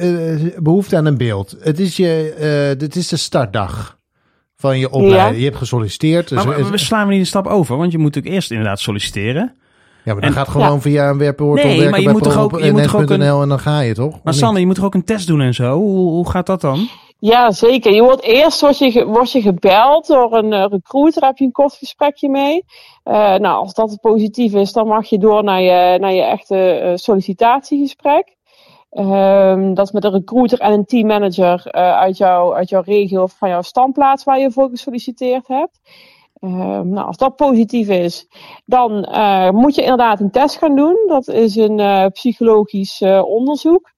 S3: eh, behoefte aan een beeld. Het is, je, eh, dit is de startdag van je opleiding.
S6: Ja.
S3: Je hebt gesolliciteerd. Dus
S2: Maar, maar we slaan we niet een stap over, want je moet natuurlijk eerst inderdaad solliciteren.
S3: ja, maar
S2: en-
S3: dan gaat gewoon
S6: Ja.
S3: via een webwoord
S2: Nee,
S3: of werken
S2: maar je
S3: bij
S2: moet toch ook- je moet toch ook een-
S3: ProRob.nl en dan ga je toch?
S2: Maar
S3: Of
S2: Sanne,
S3: niet?
S2: je moet toch ook een test doen en zo? Hoe, hoe gaat dat dan?
S6: Ja, zeker. Je wordt eerst word je, ge- word je gebeld door een eh, recruiter. Daar heb je een kort gesprekje mee. Eh, nou, als dat positief is, dan mag je door naar je, naar je echte eh, sollicitatiegesprek. Ehm, dat is met een recruiter en een teammanager eh, uit, jouw, uit jouw regio of van jouw standplaats waar je voor gesolliciteerd hebt. Ehm, nou, als dat positief is, dan eh, moet je inderdaad een test gaan doen. Dat is een eh, psychologisch eh, onderzoek.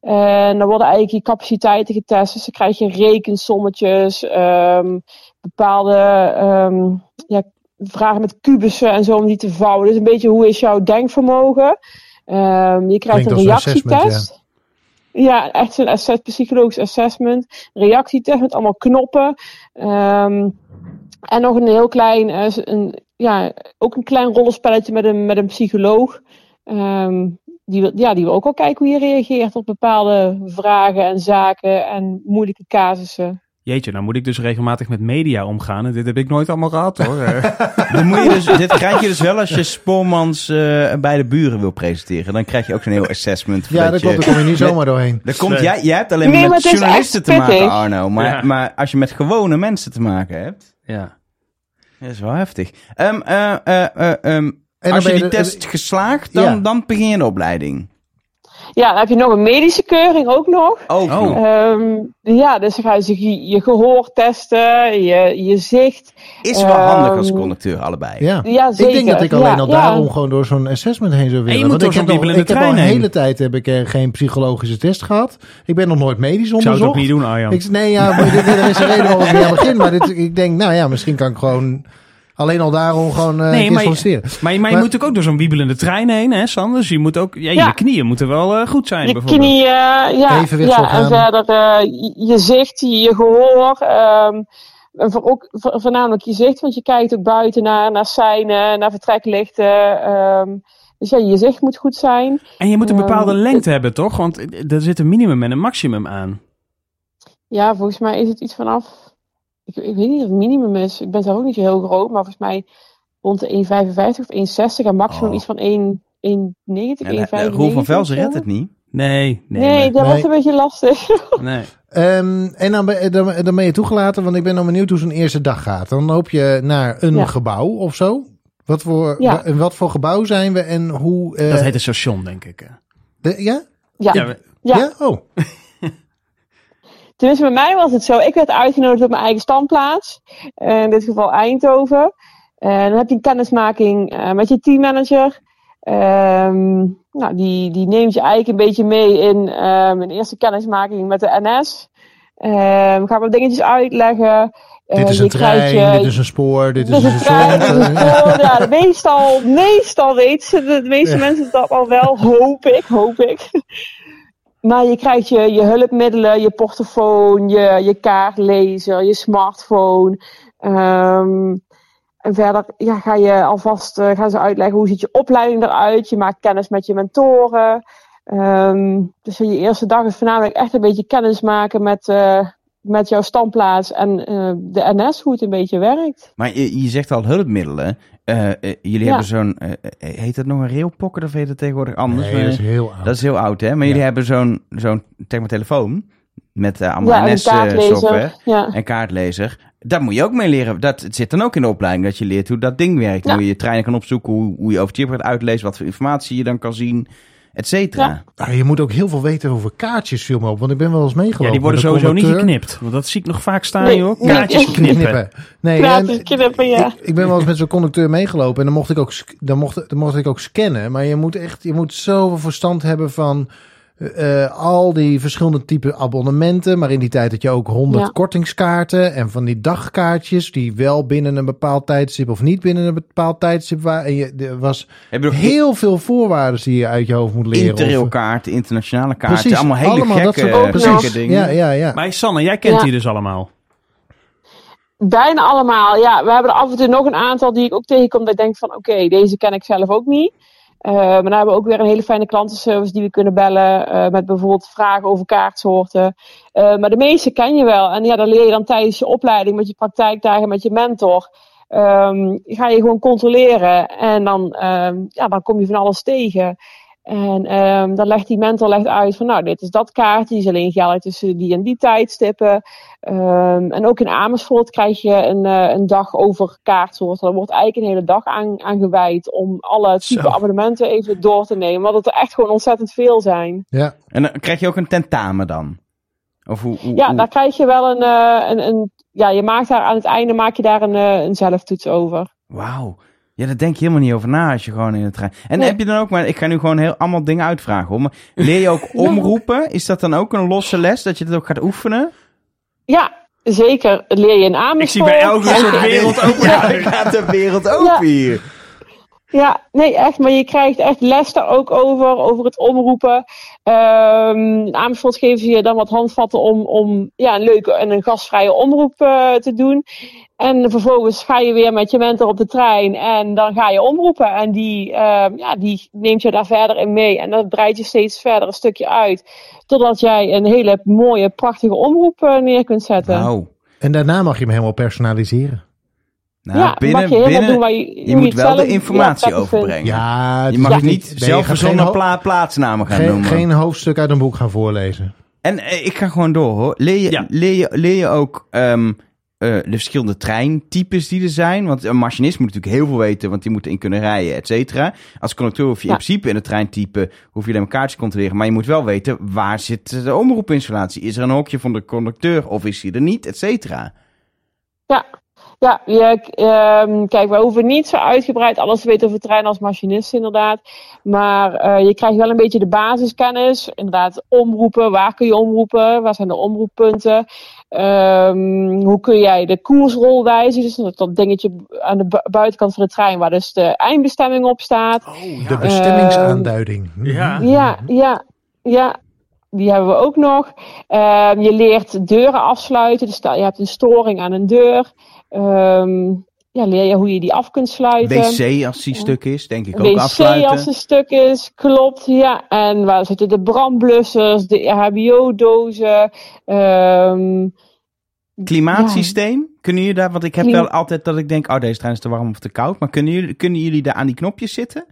S6: En dan worden eigenlijk je capaciteiten getest. Dus dan krijg je rekensommetjes, ehm, bepaalde ehm, ja, vragen met kubussen en zo om die te vouwen. Dus een beetje hoe is jouw denkvermogen? Ehm, je krijgt
S3: Klinkt
S6: een
S3: als een assessment,
S6: reactietest. Ja. echt zo'n assess- psychologisch assessment. Reactietest met allemaal knoppen. Ehm, en nog een heel klein, eh, s- een, ja, ook een klein rollenspelletje met een, met een psycholoog. Ehm, die, wil- ja, die wil ook al kijken hoe je reageert op bepaalde vragen en zaken en moeilijke casussen.
S2: Jeetje, nou moet ik dus regelmatig met media omgaan. En dit heb ik nooit allemaal gehad hoor. Eh,
S1: Dan moet je dus, dit krijg je dus wel als je Spoormans eh, bij de buren wil presenteren. Dan krijg je ook zo'n heel assessment.
S3: Ja, dat klopt.
S1: Je,
S3: Daar kom je niet zomaar doorheen.
S1: daar komt,
S2: Nee.
S1: jij, jij hebt alleen
S6: Nee,
S1: maar
S6: maar
S1: met
S6: het is echt
S1: journalisten te maken,
S6: pittig.
S1: Arno. Maar,
S2: Ja.
S1: maar als je met gewone mensen te maken hebt,
S2: ja.
S1: dat is wel heftig. Ehm, eh, eh, eh, ehm,
S3: En dan
S1: als je
S3: ben
S1: die
S3: je de-
S1: test geslaagd, dan,
S3: Ja.
S1: dan begin je de opleiding.
S6: Ja, dan heb je nog een medische keuring ook nog.
S1: Ook
S2: Oh.
S1: nog.
S6: Ehm, ja, dus dan ga je ze- je gehoor testen, je, je zicht.
S1: Is wel handig als
S6: Ehm,
S1: conducteur allebei.
S3: Oh. Ja.
S6: Ja, zeker.
S3: Ik denk dat ik alleen
S6: Ja,
S3: al
S6: ja.
S3: daarom gewoon door zo'n assessment heen zou
S2: En je
S3: willen.
S2: moet
S3: Want
S2: door
S3: ik heb,
S2: zo'n
S3: nog,
S2: wiebelende
S3: ik heb al een
S2: trein heen.
S3: hele tijd heb ik eh, geen psychologische test gehad. Ik ben nog nooit medisch
S2: Ik zou
S3: onderzocht.
S2: het ook niet doen, Arjan.
S3: Ik, nee, ja, maar dit, er is een reden waarom ik niet aan begin. Maar dit, ik denk, nou ja, misschien kan ik gewoon alleen al daarom gewoon eh
S2: Nee,
S3: een keer
S2: maar je-
S3: solliciteren.
S2: Maar, je- maar je
S3: Maar-
S2: moet natuurlijk ook door zo'n wiebelende trein heen, hè Sander? Dus je moet ook... Ja,
S6: Ja.
S2: Je knieën moeten wel eh, goed zijn,
S6: Je
S2: bijvoorbeeld.
S6: knieën, ja, ja en
S3: Evenwichtsorgaan.
S6: verder eh, je- je zicht, je, je gehoor. ehm, en voor ook voor- voornamelijk je zicht, want je kijkt ook buiten naar, naar seinen, naar vertreklichten. ehm. dus ja, je zicht moet goed zijn.
S2: En je moet een bepaalde
S6: Ehm,
S2: lengte hebben, toch? Want eh, er zit een minimum en een maximum aan.
S6: Ja, volgens mij is het iets vanaf. Ik, ik weet niet of het minimum is. Ik ben zelf ook niet zo heel groot, maar volgens mij rond de 1,55 of 1,60 en maximum
S1: Oh.
S6: iets van 1, 1,90, 1,95.
S1: En, eh, Roel van Velzen redt het niet.
S2: Nee, nee.
S6: Nee,
S2: maar-
S6: dat was
S3: Nee.
S6: een beetje lastig.
S2: nee.
S3: Ehm, en dan, ben- dan, dan ben je toegelaten, want ik ben dan benieuwd hoe zo'n eerste dag gaat. Dan loop je naar een
S6: Ja.
S3: gebouw of zo. Wat voor,
S6: Ja.
S3: wa- en wat voor gebouw zijn we en hoe... eh,
S2: Dat heet een station, denk ik. hè.
S3: de- ja?
S6: Ja,
S2: Ja,
S6: ja.
S2: maar-
S3: ja? Oh,
S6: Tenminste, bij mij was het zo. Ik werd uitgenodigd op mijn eigen standplaats. Eh, in dit geval Eindhoven. En dan heb je een kennismaking eh, met je teammanager. Ehm, nou, die, die neemt je eigenlijk een beetje mee in eh, ehm, een eerste kennismaking met de NS. Ehm gaan we dingetjes uitleggen.
S3: dit
S6: Eh,
S3: is
S6: je
S3: een trein,
S6: krijgt je-
S3: dit is een spoor, dit
S6: dat
S3: is
S6: is
S3: een
S6: een eh, trein, dit
S3: station.
S6: is een spoor. Ja, meestal, meestal weten ze, de, de meeste mensen dat al wel, hoop ik, hoop ik. Maar je krijgt je, je hulpmiddelen, je portofoon, je, je kaartlezer, je smartphone. Ehm, en verder ja, ga je alvast eh, gaan ze uitleggen hoe ziet je opleiding eruit. Je maakt kennis met je mentoren. Ehm, dus in je eerste dag is voornamelijk echt een beetje kennis maken met, eh, met jouw standplaats en eh, de NS, hoe het een beetje werkt.
S1: Maar je, je zegt al hulpmiddelen. Eh, eh, jullie
S6: Ja.
S1: hebben zo'n, eh, eh, heet dat nog een railpocket of heet dat tegenwoordig anders?
S3: Nee, eh, dat is
S1: Maar-
S3: heel oud.
S1: dat is heel oud, hè? Maar jullie hebben zo'n, zo'n zeg maar, telefoon met eh
S6: Ja,
S1: allemaal
S6: en een
S1: NS-software.
S6: kaartlezer. Ja.
S1: en kaartlezer. Daar moet je ook mee leren. Dat het zit dan ook in de opleiding dat je leert hoe dat ding werkt.
S6: Ja.
S1: Hoe je je treinen kan opzoeken, hoe, hoe je over chip gaat uitlezen, wat voor informatie je dan kan zien, et cetera.
S6: Ja.
S3: Ah, je moet ook heel veel weten over kaartjes, viel me op. Want ik ben wel eens meegelopen.
S2: Ja, die worden
S3: met een
S2: sowieso niet
S3: conducteur.
S2: geknipt. Want dat zie ik nog vaak staan,
S6: Nee,
S2: joh.
S6: nee.
S2: Kaartjes knippen.
S3: Nee, en-
S6: Praatjes knippen, ja.
S3: Ik, ik ben wel eens met zo'n conducteur meegelopen en dan mocht ik ook, sc- dan mocht, dan mocht ik ook scannen. Maar je moet echt, je moet zoveel verstand hebben van eh, eh, al die verschillende type abonnementen. Maar in die tijd had je ook honderd
S6: Ja.
S3: kortingskaarten en van die dagkaartjes die wel binnen een bepaald tijdstip of niet binnen een bepaald tijdstip waren. En je, er was
S1: Heb je nog
S3: heel veel voorwaarden die je uit je hoofd moet leren. Of-
S1: interrailkaarten, internationale kaarten,
S3: Precies,
S1: allemaal hele
S3: allemaal dat
S1: gekke,
S3: soort- Oh,
S1: eh,
S6: precies.
S1: gekke dingen.
S3: ja, ja, ja.
S2: Maar Sanne, jij kent
S6: Ja.
S2: die dus allemaal.
S6: Bijna allemaal, ja. We hebben er af en toe nog een aantal die ik ook tegenkom. Dat ik denk van, oké, deze ken ik zelf ook niet. Eh, maar dan hebben we ook weer een hele fijne klantenservice die we kunnen bellen. eh, met bijvoorbeeld vragen over kaartsoorten. Eh, maar de meeste ken je wel. En ja, dan leer je dan tijdens je opleiding, met je praktijkdagen, met je mentor. ehm, ga je gewoon controleren. En dan, ehm, ja, dan kom je van alles tegen. En ehm, dan legt die mentor legt uit van, nou, dit is dat kaartje. Die is alleen geldig tussen die en die tijdstippen. Ehm, en ook in Amersfoort krijg je een, eh, een dag over kaartsoorten. Er wordt eigenlijk een hele dag aan, aan gewijd om alle type
S2: Zo.
S6: abonnementen even door te nemen. Want het er echt gewoon ontzettend veel zijn.
S3: ja.
S1: En dan krijg je ook een tentamen dan. Of hoe, hoe,
S6: Ja,
S1: hoe-
S6: daar krijg je wel een, eh, een, een ja, je maakt daar aan het einde maak je daar een, eh, een zelftoets over.
S1: Wauw. Ja, daar denk je helemaal niet over na als je gewoon in de trein... En
S6: Nee.
S1: heb je dan ook... Maar ik ga nu gewoon heel, allemaal dingen uitvragen. Hoor. Maar leer je ook omroepen? Is dat dan ook een losse les? Dat je dat ook gaat oefenen?
S6: Ja, zeker. Leer je in
S2: Ik zie
S6: Amersfoort.
S2: bij elke soort wereld open.
S1: Ja, dan gaat de wereld open
S6: Ja.
S1: hier.
S6: Ja, nee, echt. Maar je krijgt echt les daar ook over, over het omroepen. Ehm in Amersfoort geven ze je dan wat handvatten om, om ja, een leuke en een gastvrije omroep eh, te doen. En vervolgens ga je weer met je mentor op de trein en dan ga je omroepen. En die, ehm, ja, die neemt je daar verder in mee. En dat breidt je steeds verder een stukje uit. Totdat jij een hele mooie, prachtige omroep eh, neer kunt zetten.
S1: Nou,
S3: En daarna mag je hem helemaal personaliseren.
S1: nou
S6: ja,
S1: binnen,
S6: mag je helemaal
S1: binnen,
S6: doen waar je, hoe
S1: je
S6: je
S1: moet
S6: het
S1: wel
S6: zelf,
S1: de informatie
S6: ja, prettig vindt.
S1: overbrengen.
S3: Ja,
S1: Je
S3: het
S1: mag
S3: is
S1: niet
S3: nee, je gaat
S1: zelf verzonnen
S3: geen ho-
S1: pla- plaatsnamen gaan
S3: geen,
S1: noemen.
S3: geen hoofdstuk uit een boek gaan voorlezen.
S1: En eh, ik ga gewoon door hoor. Leer je,
S2: Ja.
S1: leer je, leer je ook ehm, eh, de verschillende treintypes die er zijn? Want een machinist moet natuurlijk heel veel weten, want die moet in kunnen rijden, et cetera. Als conducteur hoef je
S6: Ja.
S1: in principe in het treintype hoef je alleen maar kaartjes te controleren. Maar je moet wel weten, waar zit de omroepinstallatie? Is er een hokje van de conducteur of is die er niet, et cetera?
S6: Ja, ja je, ehm, kijk, we hoeven niet zo uitgebreid alles te weten over treinen als machinist, inderdaad. Maar eh, je krijgt wel een beetje de basiskennis. Inderdaad, omroepen. Waar kun je omroepen? Waar zijn de omroeppunten? Ehm, hoe kun jij de koersrol wijzen? Dus dat, dat dingetje aan de bu- buitenkant van de trein, waar dus de eindbestemming op staat.
S3: De bestemmingsaanduiding. Mhm.
S2: Ja.
S6: Ja, ja, ja. Die hebben we ook nog. Ehm, je leert deuren afsluiten. Dus stel, je hebt een storing aan een deur. Ehm, ja, leer je hoe je die af kunt sluiten.
S1: WC als die stuk is, denk ik ook
S6: WC als
S1: afsluiten.
S6: een stuk is, klopt, ja. En waar zitten de brandblussers, de HBO-dozen. ehm,
S1: Klimaatsysteem, kunnen jullie daar, want ik heb
S6: Klima-
S1: wel altijd dat ik denk, oh deze trein is te warm of te koud. Maar kunnen jullie, kunnen jullie daar aan die knopjes zitten?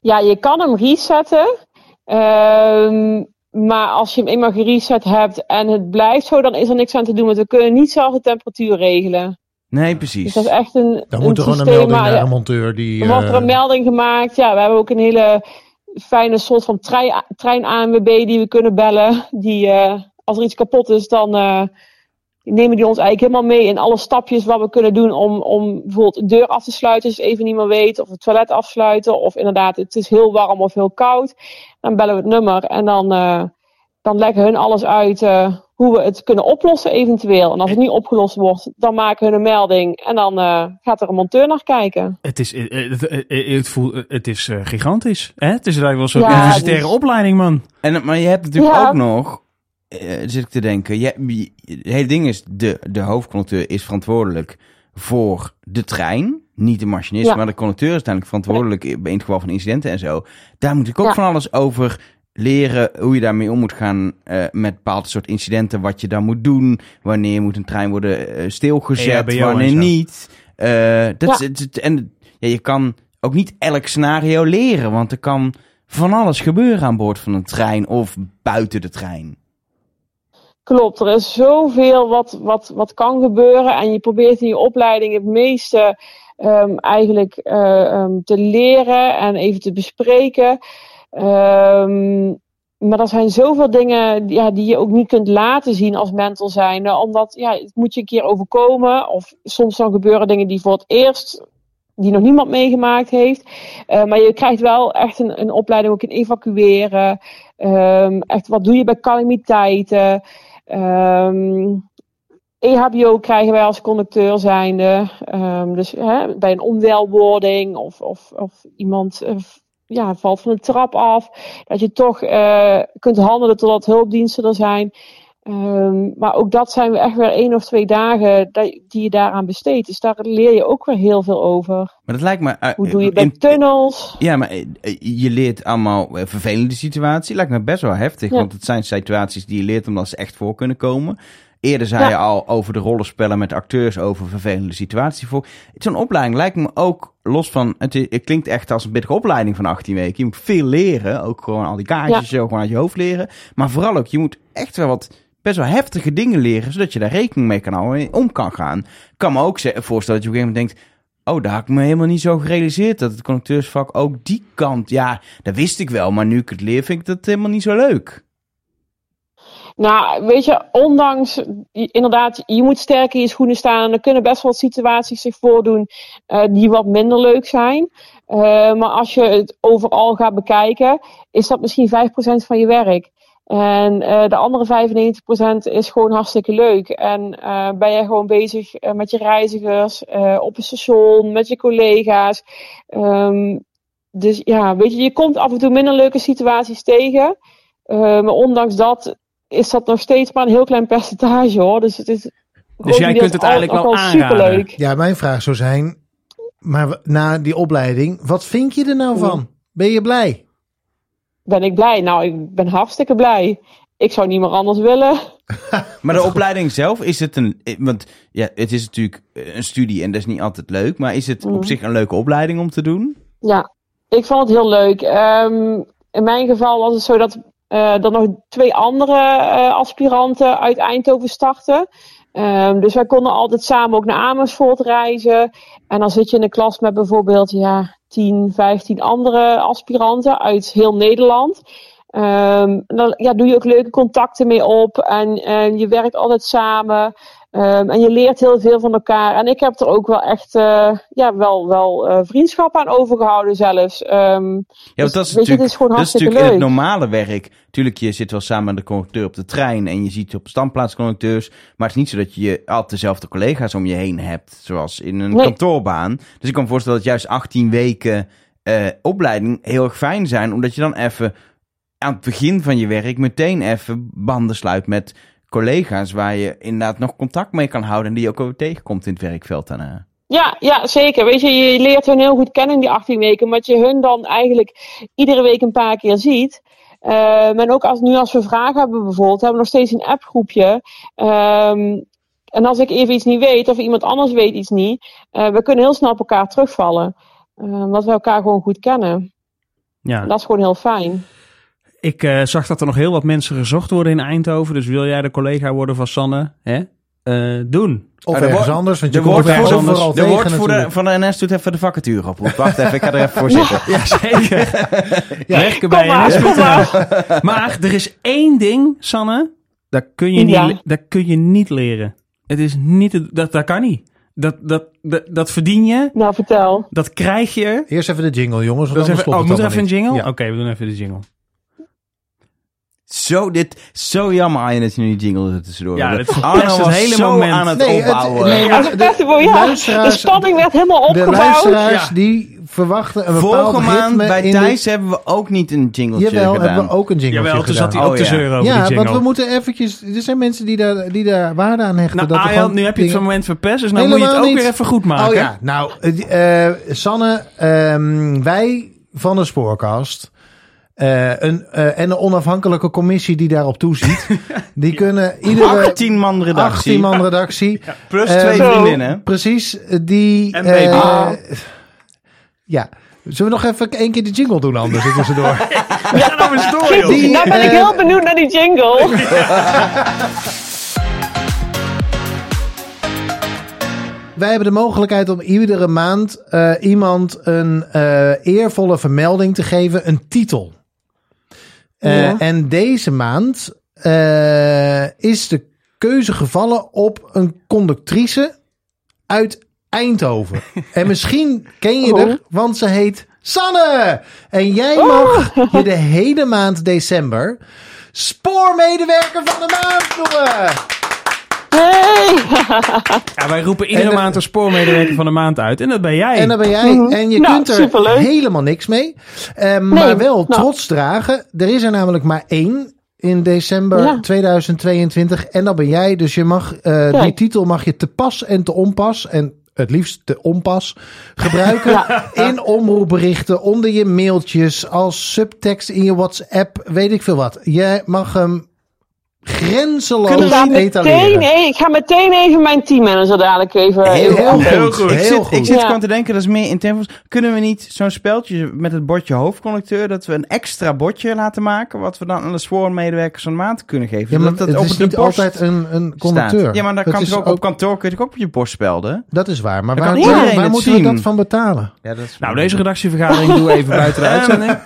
S6: Ja, je kan hem resetten. Ehm, maar als je hem eenmaal gereset hebt en het blijft zo, dan is er niks aan te doen. Want we kunnen niet zelf de temperatuur regelen.
S1: Nee, precies.
S6: Dus dat is echt een.
S3: Dan
S6: een
S3: moet er gewoon een
S6: systeem
S3: melding
S6: waar-
S3: naar een monteur die...
S6: Er wordt er
S3: eh,
S6: een melding gemaakt. Ja, we hebben ook een hele fijne soort van trein, trein ANWB die we kunnen bellen. Die, eh, als er iets kapot is, dan eh, nemen die ons eigenlijk helemaal mee in alle stapjes wat we kunnen doen om, om bijvoorbeeld de deur af te sluiten als je het even niet meer weet. Of het toilet afsluiten. Of inderdaad, het is heel warm of heel koud. Dan bellen we het nummer en dan, eh, dan leggen hun alles uit eh, hoe we het kunnen oplossen eventueel. En als het niet opgelost wordt, dan maken hun een melding en dan eh, gaat er een monteur naar kijken.
S2: Het is, eh, het, eh, het, voelt- het is eh, gigantisch. Hè? Het is eigenlijk wel zo'n
S6: Ja,
S2: universitaire
S6: dus-
S2: opleiding, man.
S1: En, maar je hebt natuurlijk
S6: Ja.
S1: ook nog, eh, zit ik te denken, je, je- het hele ding is, de, de hoofdconducteur is verantwoordelijk voor de trein. Niet de machinist,
S6: Ja.
S1: maar de conducteur is uiteindelijk verantwoordelijk in in het geval van incidenten en zo. Daar moet ik ook
S6: Ja.
S1: van alles over leren, hoe je daarmee om moet gaan eh, met bepaalde soort incidenten, wat je daar moet doen, wanneer moet een trein worden eh, stilgezet,
S2: EHBO en
S1: wanneer
S2: zo.
S1: niet. Eh, dat,
S6: Ja.
S1: is het- het- en ja, je kan ook niet elk scenario leren, want er kan van alles gebeuren aan boord van een trein of buiten de trein.
S6: Klopt, er is zoveel wat, wat, wat kan gebeuren. En je probeert in je opleiding het meeste ehm, eigenlijk eh, ehm, te leren en even te bespreken. Ehm, maar er zijn zoveel dingen ja, die je ook niet kunt laten zien als mentor zijnde. Omdat ja, het moet je een keer overkomen. Of soms dan gebeuren dingen die voor het eerst die nog niemand meegemaakt heeft. Eh, maar je krijgt wel echt een, een opleiding ook in evacueren. Ehm, echt wat doe je bij calamiteiten. Ehm, EHBO krijgen wij als conducteur zijnde. Ehm, dus hè, bij een onwelwording of, of, of iemand eh, v- ja, valt van de trap af. Dat je toch eh, kunt handelen totdat hulpdiensten er zijn. Ehm, maar ook dat zijn we echt weer één of twee dagen dat- die je daaraan besteedt. Dus daar leer je ook weer heel veel over.
S1: Maar dat lijkt me... eh,
S6: Hoe doe je bij
S1: in-
S6: tunnels?
S1: Ja, maar eh, eh, je leert allemaal eh, vervelende situaties. Lijkt me best wel heftig,
S6: Ja.
S1: want het zijn situaties die je leert omdat ze echt voor kunnen komen. Eerder zei
S6: Ja.
S1: je al over de rollenspellen met acteurs over vervelende situaties. voor. Zo'n opleiding lijkt me ook, los van, het, i- het klinkt echt als een bittere opleiding van 18 weken. Je moet veel leren, ook gewoon al die kaartjes zo gewoon uit je hoofd leren. Maar vooral ook, je moet echt wel wat best wel heftige dingen leren, zodat je daar rekening mee kan houden en om kan gaan. Ik kan me ook ze- voorstellen dat je op een gegeven moment denkt, Oh, daar had ik me helemaal niet zo gerealiseerd dat het conducteursvak ook die kant. Ja, dat wist ik wel, maar nu ik het leer, vind ik dat helemaal niet zo leuk.
S6: Nou, weet je, ondanks, je- inderdaad, je moet sterk in je schoenen staan. En er kunnen best wel situaties zich voordoen eh, die wat minder leuk zijn. Eh, maar als je het overal gaat bekijken, is dat misschien 5% van je werk. En eh, de andere 95% is gewoon hartstikke leuk. En eh, ben je gewoon bezig eh, met je reizigers, eh, op het station, met je collega's. Ehm, dus ja, weet je, je komt af en toe minder leuke situaties tegen. Eh, maar ondanks dat is dat nog steeds maar een heel klein percentage hoor. Dus het is.
S2: jij kunt het eigenlijk wel aanraden?
S6: superleuk.
S3: Ja, mijn vraag zou zijn, maar w- na die opleiding, wat vind je er nou van? Ben je blij?
S6: Ben ik blij? Nou, ik ben hartstikke blij. Ik zou niet meer anders willen.
S1: Maar de opleiding zelf, is het een. eh, Want ja, het is natuurlijk eh, een studie en dat is niet altijd leuk. Maar is het op
S6: Mhm.
S1: zich een leuke opleiding om te doen?
S6: Ja, ik vond het heel leuk. Ehm, in mijn geval was het zo dat eh er nog twee andere eh, aspiranten uit Eindhoven startten. Ehm, dus wij konden altijd samen ook naar Amersfoort reizen. En dan zit je in een klas met bijvoorbeeld ja, 10, 15 andere aspiranten uit heel Nederland. Ehm, en dan ja, doe je ook leuke contacten mee op en, en je werkt altijd samen. Ehm, en je leert heel veel van elkaar. En ik heb er ook wel echt eh, ja, wel, wel eh, vriendschap aan overgehouden zelfs. Ehm,
S1: Ja, want
S6: Dus,
S1: dat is
S6: weet je, het
S1: natuurlijk,
S6: is gewoon
S1: dat is
S6: hartstikke
S1: natuurlijk in het
S6: leuk.
S1: normale werk. Tuurlijk, je zit wel samen met de conducteur op de trein en je ziet op standplaatsconducteurs. Maar het is niet zo dat je altijd dezelfde collega's om je heen hebt, zoals in een
S6: Nee.
S1: kantoorbaan. Dus ik kan me voorstellen dat juist 18 weken eh, opleiding heel erg fijn zijn, omdat je dan even aan het begin van je werk meteen even banden sluit met collega's waar je inderdaad nog contact mee kan houden en die je ook wel tegenkomt in het werkveld daarna.
S6: Ja, ja, zeker. Weet je, je leert hun heel goed kennen in die 18 weken, omdat je hun dan eigenlijk iedere week een paar keer ziet. Ehm, en ook als, nu als we vragen hebben bijvoorbeeld, hebben we nog steeds een appgroepje. Ehm, en als ik even iets niet weet, of iemand anders weet iets niet, eh, we kunnen heel snel op elkaar terugvallen. Ehm, omdat we elkaar gewoon goed kennen.
S2: Ja.
S6: En dat is gewoon heel fijn.
S2: Ik eh, zag dat er nog heel wat mensen gezocht worden in Eindhoven. Dus wil jij de collega worden van Sanne? Hè? Eh, doen.
S3: Of
S1: Ah, de
S3: ergens
S1: wo-
S3: anders, want je
S1: De
S3: komt er
S1: woordvoerder
S3: overal
S1: de
S3: tegen
S1: woordvoerder
S3: natuurlijk.
S1: van de NS doet even de vacature op. Wacht even, ik ga er even voor zitten.
S2: Jazeker. Werken
S6: Kom
S2: bij
S6: maar,
S2: NS
S6: kom maar.
S2: Maar er is één ding, Sanne. Dat kun je niet,
S6: Ja.
S2: le- dat kun je niet leren. Het is niet, te- dat, dat kan niet. Dat, dat, dat, dat verdien je.
S6: Nou, vertel.
S2: Dat krijg je.
S3: Eerst even de jingle, jongens. Want
S2: Dat is
S3: anders
S2: even,
S3: klopt
S2: oh,
S3: het
S2: moet er
S3: allemaal
S2: even een
S3: niet.
S2: jingle?
S3: Ja.
S2: Oké, we doen even de jingle.
S1: Zo, dit, zo jammer Arjen dat je nu die jingle er tussendoor
S2: Ja,
S1: wilde.
S2: dat verpest
S1: Arno
S2: het
S1: was
S2: hele
S1: zo
S2: moment.
S1: aan het
S3: Nee, het-
S1: opbouwen.
S3: nee,
S6: Ja,
S3: de-
S6: dat- wel, ja, de
S3: luisteraars-
S6: spanning werd helemaal
S3: De
S6: opgebouwd.
S3: luisteraars
S2: Ja.
S3: die verwachten een bepaald
S1: Vorige maand
S3: ritme
S1: bij
S3: in de-
S1: Thijs hebben we ook niet een jingletje
S3: Jawel,
S1: gedaan.
S3: hebben we ook een jingle
S2: Jawel,
S3: gedaan.
S2: toen zat hij
S1: Oh,
S2: ook te
S1: ja.
S2: zeuren over
S3: ja,
S2: die
S3: want
S2: jingle.
S3: we moeten eventjes... Er zijn mensen die daar, die daar waarde aan hechten.
S2: nou,
S3: dat er
S2: Arjan,
S3: gewoon
S2: nu heb je het
S3: dingen-
S2: moment verpest, dus nou moet je het ook
S3: Helemaal
S2: weer
S3: niet.
S2: even goed maken.
S3: Oh ja, nou, eh, eh, Sanne, ehm, wij van de Spoorkast eh, een, eh, en een onafhankelijke commissie die daarop toeziet, die kunnen iedere
S1: 18 man redactie.
S3: 18 man redactie,
S1: Plus
S3: Eh,
S1: twee
S6: zo.
S1: vriendinnen.
S3: precies, eh, die...
S2: En baby.
S3: eh,
S6: Ah.
S3: ja, zullen we nog even één keer de jingle doen anders er tussendoor?
S2: Ja, nou is het door, joh.
S3: Die-
S6: Nou ben ik
S3: eh,
S6: heel benieuwd naar die jingle.
S3: Wij hebben de mogelijkheid om iedere maand eh, iemand een eh, eervolle vermelding te geven, een titel. Eh,
S6: Ja.
S3: En deze maand eh, is de keuze gevallen op een conductrice uit Eindhoven. en misschien ken je haar, want ze heet Sanne. En jij mag je de hele maand december spoormedewerker van de maand noemen.
S6: Hey.
S2: Ja, wij roepen iedere
S3: En de-
S2: maand een spoormedewerker van de maand uit. En dat ben jij.
S3: En dan ben jij.
S6: Mhm.
S3: En je
S6: Nou,
S3: kunt er
S6: superleuk.
S3: helemaal niks mee. Eh, maar wel
S6: nou.
S3: trots dragen. Er is er namelijk maar één in december
S6: Ja.
S3: 2022. En dan ben jij. Dus je mag, eh, die
S6: Kijk.
S3: titel mag je te pas en te onpas. En het liefst te onpas gebruiken in omroepberichten, onder je mailtjes, als subtekst in je WhatsApp, weet ik veel wat. Jij mag hem
S6: Ik
S3: grenzeloos
S6: ga meteen,
S3: etaleren.
S6: e- ik ga meteen even mijn teammanager dadelijk even...
S1: Heel
S3: Heel
S2: Heel
S3: goed,
S2: goed.
S1: Ik
S3: heel
S1: zit, ik
S3: goed.
S1: zit
S6: Ja.
S1: gewoon te denken, dat is meer in termen van- Kunnen we niet zo'n speldje met het bordje hoofdconducteur... dat we een extra bordje laten maken... wat we dan aan de spoormedewerkers van de maand kunnen geven?
S3: Ja, maar
S1: Zodat
S3: het
S1: op
S3: is
S1: de
S3: niet
S1: borst
S3: altijd een, een
S1: staat.
S3: conducteur.
S1: Ja, maar dan
S3: Dat
S1: kan
S3: is
S1: toch ook, op kantoor kun je toch ook op je borst spelden?
S3: Dat is waar, maar
S1: Dan
S3: waar,
S1: kan iedereen
S3: waar
S1: het
S3: moeten
S1: zien.
S3: we dat van betalen?
S4: Ja, dat is
S2: Nou, deze redactievergadering doen we even buiten de uitzending.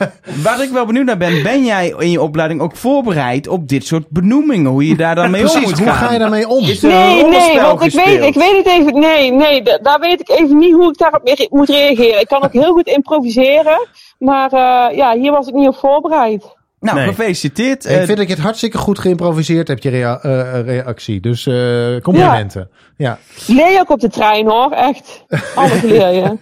S1: Waar ik wel benieuwd naar ben, ben jij in je opleiding ook voorbereid op dit soort benoemingen? Hoe je daar dan mee om
S3: Precies,
S1: moet
S3: hoe
S1: gaan?
S3: ga je daarmee om?
S1: Is er een
S6: Nee,
S1: rollenspel
S6: nee, want ik weet,
S1: gespeeld?
S6: ik weet het even. Nee, nee, da- daar weet ik even niet hoe ik daarop mee re- moet reageren. Ik kan ook heel goed improviseren. Maar eh, ja, hier was ik niet op voorbereid.
S1: Nou,
S2: Nee.
S1: gefeliciteerd.
S3: ik
S1: Eh,
S3: vind dat je het hartstikke goed geïmproviseerd hebt, je rea- eh, eh, reactie. Dus eh, complimenten. Ja.
S6: Leer je ook op de trein hoor, echt. Alles leer je.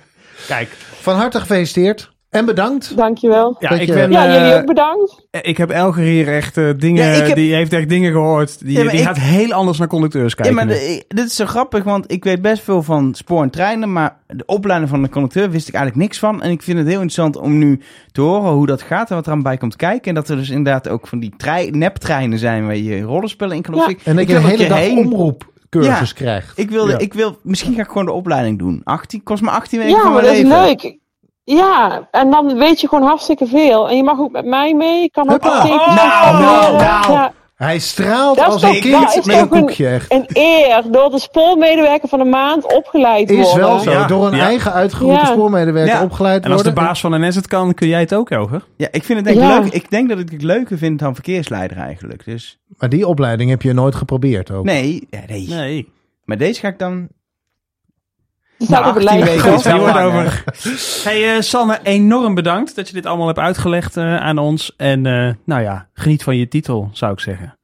S2: Kijk,
S3: Van harte gefeliciteerd en bedankt.
S6: Dankjewel.
S2: ja,
S3: Dat
S2: ik,
S3: je-
S2: ben,
S6: Ja, jullie
S2: eh,
S6: ook bedankt.
S2: ik heb Elger hier echt eh, dingen...
S1: Ja, ik heb-
S2: Die heeft echt dingen gehoord. Die,
S1: Ja, maar
S2: die
S1: ik-
S2: gaat heel anders naar conducteurs
S1: ja,
S2: kijken.
S1: maar
S2: nu.
S1: de- eh, dit is zo grappig, want ik weet best veel van spoor en treinen, maar de opleiding van de conducteur wist ik eigenlijk niks van. En ik vind het heel interessant om nu te horen hoe dat gaat en wat er aan bij komt kijken. En dat er dus inderdaad ook van die trein, neptreinen zijn waar je rollenspellen in kan
S6: Ja.
S1: opzetten.
S3: En dat je
S1: wil
S3: een
S1: dat
S3: hele
S1: je
S3: dag
S1: heen-
S3: omroepcursus
S1: Ja.
S3: krijgt.
S1: Ik wilde,
S3: Ja.
S1: ik wil, misschien ga ik gewoon de opleiding doen. 18, kost me 18 weken
S6: Ja,
S1: van
S6: maar
S1: mijn
S6: dat is
S1: leven.
S6: leuk. Ja, en dan weet je gewoon hartstikke veel. En je mag ook met mij mee. Ik kan ook
S3: Hoppa.
S6: wat tekenen.
S3: Nou, nou, nou.
S6: Ja,
S3: Hij straalt
S6: Dat is
S3: als een
S6: toch- dat
S3: kind
S6: is
S3: met een
S6: toch een-
S3: koekje echt.
S6: een eer door de spoormedewerker van de maand opgeleid worden.
S3: Is wel zo.
S2: Ja.
S3: Door een
S2: Ja.
S3: eigen uitgeroepen
S6: Ja.
S3: spoormedewerker
S1: Ja.
S3: opgeleid
S2: En als de
S3: worden.
S2: baas van NS het kan, kun jij het ook, Elger?
S1: Ja, ik vind het denk ik
S6: Ja.
S1: leuk. Ik denk dat ik het leuker vind dan verkeersleider eigenlijk. Dus
S3: Maar die opleiding heb je nooit geprobeerd ook.
S1: nee, ja, nee.
S2: Nee.
S1: Maar deze ga ik dan.
S6: Die staat op het lijstje.
S1: weken.
S6: hoor.
S1: is wel
S2: Die wordt
S1: lang,
S2: over. Hey eh, Sanne, enorm bedankt dat je dit allemaal hebt uitgelegd eh, aan ons. En eh, nou ja, geniet van je titel, zou ik zeggen.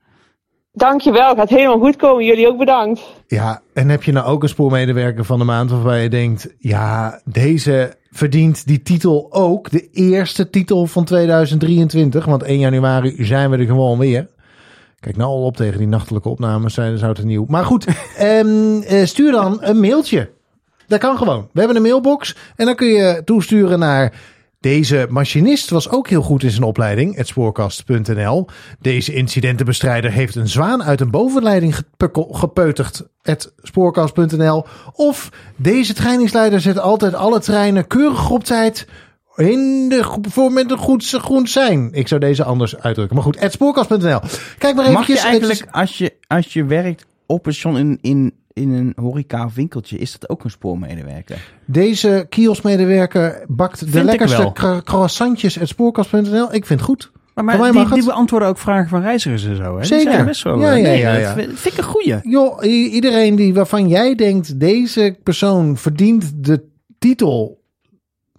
S6: Dankjewel, gaat helemaal goed komen. Jullie ook bedankt.
S3: Ja, en heb je nou ook een spoormedewerker van de maand waarbij je denkt, ja, deze verdient die titel ook, de eerste titel van 2023, want 1 januari zijn we er gewoon weer. Kijk nou al op tegen die nachtelijke opnames, zijn ze oud en nieuw. Maar goed, ehm, eh, stuur dan een mailtje. Dat kan gewoon. We hebben een mailbox en dan kun je toesturen naar deze machinist was ook heel goed in zijn opleiding, het spoorkast.nl. Deze incidentenbestrijder heeft een zwaan uit een bovenleiding gepukkel- gepeutigd, het spoorkast.nl. Of deze trainingsleider zet altijd alle treinen keurig op tijd in de gro- voor met een goed groen zijn. Ik zou deze anders uitdrukken. Maar goed, het spoorkast.nl. Kijk maar
S1: Mag je
S3: eventjes.
S1: eigenlijk, als je, als je werkt op een station in, in, in een horeca winkeltje, is dat ook een spoormedewerker?
S3: Deze kioskmedewerker bakt de
S2: ik wel.
S3: lekkerste cro- croissantjes het spoorkast.nl. Ik vind het goed.
S2: Maar,
S3: Voor mij
S2: die,
S3: mag het.
S2: die beantwoorden ook vragen van reizigers en zo. Hè? Die
S3: Zeker.
S2: zijn best wel,
S3: Ja,
S2: eh,
S3: ja,
S2: nee,
S3: ja,
S2: dat
S3: ja.
S2: vind vind ik een goeie.
S3: Joh, i- iedereen die waarvan jij denkt deze persoon verdient de titel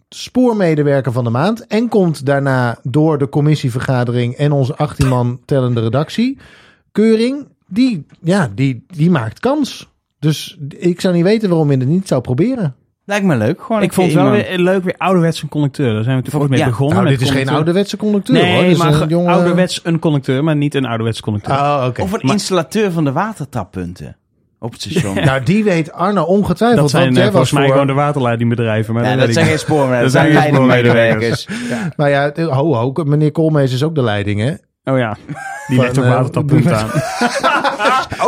S3: spoormedewerker van de maand. En komt daarna door de commissievergadering en onze 18 man tellende redactie. Keuring, die, ja, die, die maakt kans. Dus ik zou niet weten waarom je het niet zou proberen.
S1: Lijkt me leuk. Gewoon
S2: Ik vond het wel weer leuk, weer ouderwets een conducteur. Daar zijn we natuurlijk ook mee
S1: Ja.
S2: begonnen.
S3: Nou,
S2: met
S3: dit is geen
S2: conducteur.
S3: ouderwetse conducteur hoor.
S2: Nee,
S3: Dit is
S2: maar
S3: een
S2: ge-
S3: jonge-
S2: ouderwets een conducteur, maar niet een ouderwets conducteur.
S3: Oh, oké.
S1: Of een
S2: Maar-
S1: installateur van de watertappunten op het station. Ja,
S3: Nou, die weet Arno ongetwijfeld.
S2: dat zijn
S3: want
S2: eh,
S3: jij was
S2: volgens mij
S3: voor-
S2: gewoon de waterleidingbedrijven. Maar dat
S1: dat
S2: weet
S1: zijn
S2: ik
S1: geen spoormen, dat
S2: Dat
S1: zijn
S2: zijn geen
S1: leidingmedewerkers.
S3: Nou ja, het- ho, ho, meneer Koolmees is ook de leiding, hè?
S2: niet. Oh ja, die legt
S3: Van,
S2: ook
S3: eh,
S2: watertappunt aan.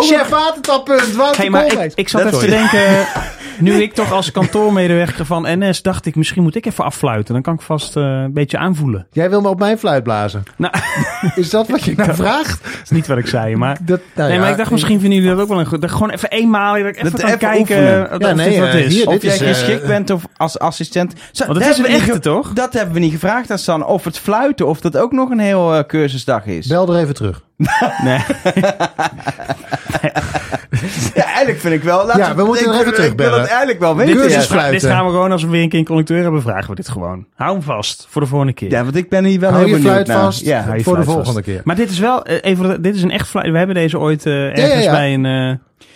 S3: Chef Watertappunt, Wouter
S2: Hey, maar ik,
S3: Koolmees.
S2: ik zat even te denken, nu ik toch als kantoormedewerker van NS dacht ik, misschien moet ik even affluiten. Dan kan ik vast eh, een beetje aanvoelen.
S3: Jij wil me op mijn fluit blazen.
S2: Nou,
S3: Is dat wat je nou vraagt?
S2: dat is niet wat ik zei, maar...
S3: Dat, nou
S2: nee,
S3: ja,
S2: maar ik dacht misschien vinden jullie dat ook wel een goed... dat Gewoon even eenmaal, dat ik even
S1: Dat
S2: kan
S1: even
S2: kijken
S1: oefenen.
S2: eh, of
S3: Ja,
S2: dit
S3: nee,
S2: wat
S3: eh,
S2: is.
S3: hier,
S2: Of-
S1: Of
S3: Dit
S1: jij
S3: is, eh,
S1: dus geschikt bent of als assistent. Zo,
S2: Dus, Want
S1: dat,
S2: dat is een
S1: hebben we niet
S2: echte, toch?
S1: ge- dat hebben we niet gevraagd aan San. Of het fluiten, of dat ook nog een heel eh, cursusdag is.
S3: Bel er even terug.
S2: Nee.
S1: Ja, eigenlijk vind ik wel. laten
S3: Ja, we moeten
S1: ik
S3: er even
S1: wil- Ik wil
S3: terugbellen.
S1: het eigenlijk wel
S2: Dit,
S1: weten.
S2: is
S1: ja.
S2: een vra- dit
S3: fluiten.
S2: gaan we gewoon, als we weer een keer een conducteur hebben, vragen we dit gewoon. Hou hem vast, voor de volgende keer.
S1: Ja, want ik ben hier wel
S3: Hou
S1: heel
S3: je
S1: benieuwd
S3: fluit
S1: naar.
S3: vast.
S1: Ja.
S2: Hou je
S3: Voor de
S2: fluit vast.
S3: volgende keer.
S2: Maar dit is wel, eh, even, dat- dit is een echt fluit. We hebben deze ooit eh, ergens
S3: ja.
S2: bij een, eh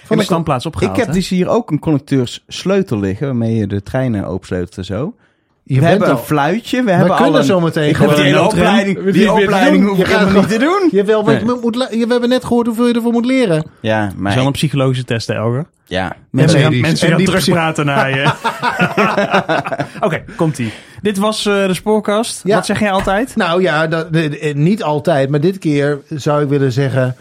S2: van
S3: de-
S2: de standplaats
S1: Ik
S2: opgehaald.
S1: heb
S2: hè?
S1: dus hier ook een conducteursleutel liggen, waarmee je de treinen opsleutelt en zo.
S3: Je
S1: we
S3: bent
S1: hebben
S3: al-
S1: een fluitje, we
S3: We
S1: hebben al
S3: kunnen
S1: een...
S3: zo meteen
S1: Ik heb
S3: gewoon...
S1: die hele
S2: noodrem.
S1: opleiding,
S3: Die
S1: die
S3: weer te
S1: opleiding
S3: doen.
S1: hoef
S3: Je
S1: ik
S3: gaat
S1: helemaal niet te doen.
S3: Jawel, want
S2: Nee.
S3: je moet la- je- we hebben net gehoord hoeveel je ervoor moet leren.
S1: Ja,
S2: Dat
S1: maar...
S2: is wel een psychologische test, hè, Elger?
S1: Ja,
S2: Mensen
S3: Ja,
S2: gaan,
S3: medisch.
S2: mensen
S3: En
S2: gaan
S3: die
S2: terugpraten naar je. Oké, komt-ie. Dit was eh, de spoorkast.
S3: Ja.
S2: Wat zeg jij altijd?
S3: Nou ja, dat, de- de- niet altijd. Maar dit keer zou ik willen zeggen...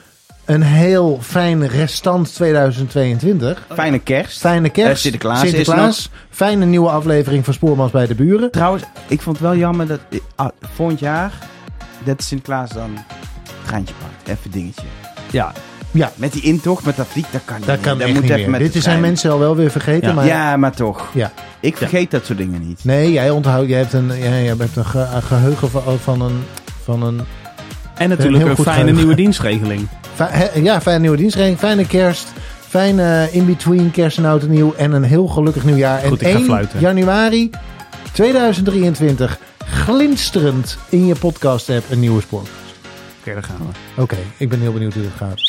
S3: Een heel fijn restant 2022.
S1: fijne kerst.
S3: Fijne kerst.
S1: Eh, Sinterklaas is
S3: Sinterklaas. Fijne nieuwe aflevering van Spoormans bij de buren.
S1: Trouwens, ik vond het wel jammer dat eh, ah, volgend jaar dat Sinterklaas dan treintje pakt. Even dingetje.
S2: Ja.
S1: Met die intocht, met dat lied, dat kan
S3: Dat
S1: niet.
S3: kan echt
S1: moet
S3: niet
S1: even
S3: meer.
S1: met de
S3: Dit zijn
S1: trein.
S3: mensen al wel weer vergeten.
S2: Ja.
S3: Maar
S1: Ja, maar toch.
S3: Ja.
S1: Ik vergeet dat soort dingen niet.
S3: Nee, jij onthoudt, jij hebt een, jij, jij hebt een ge- een geheugen van, van een, van een
S2: En
S3: Een
S2: natuurlijk
S3: heel
S2: een
S3: goed
S2: fijne
S3: geheugen.
S2: nieuwe dienstregeling.
S3: fi- he- ja, fijne nieuwe dienstregeling, fijne kerst, fijne in-between kerst en oud en nieuw en een heel gelukkig nieuwjaar.
S2: Goed, ik
S3: en
S2: ga
S3: 1
S2: fluiten.
S3: januari 2023 glinsterend in je podcast app een nieuwe spoor.
S2: Oké, daar gaan we.
S3: Oké, ik ben heel benieuwd hoe dit gaat.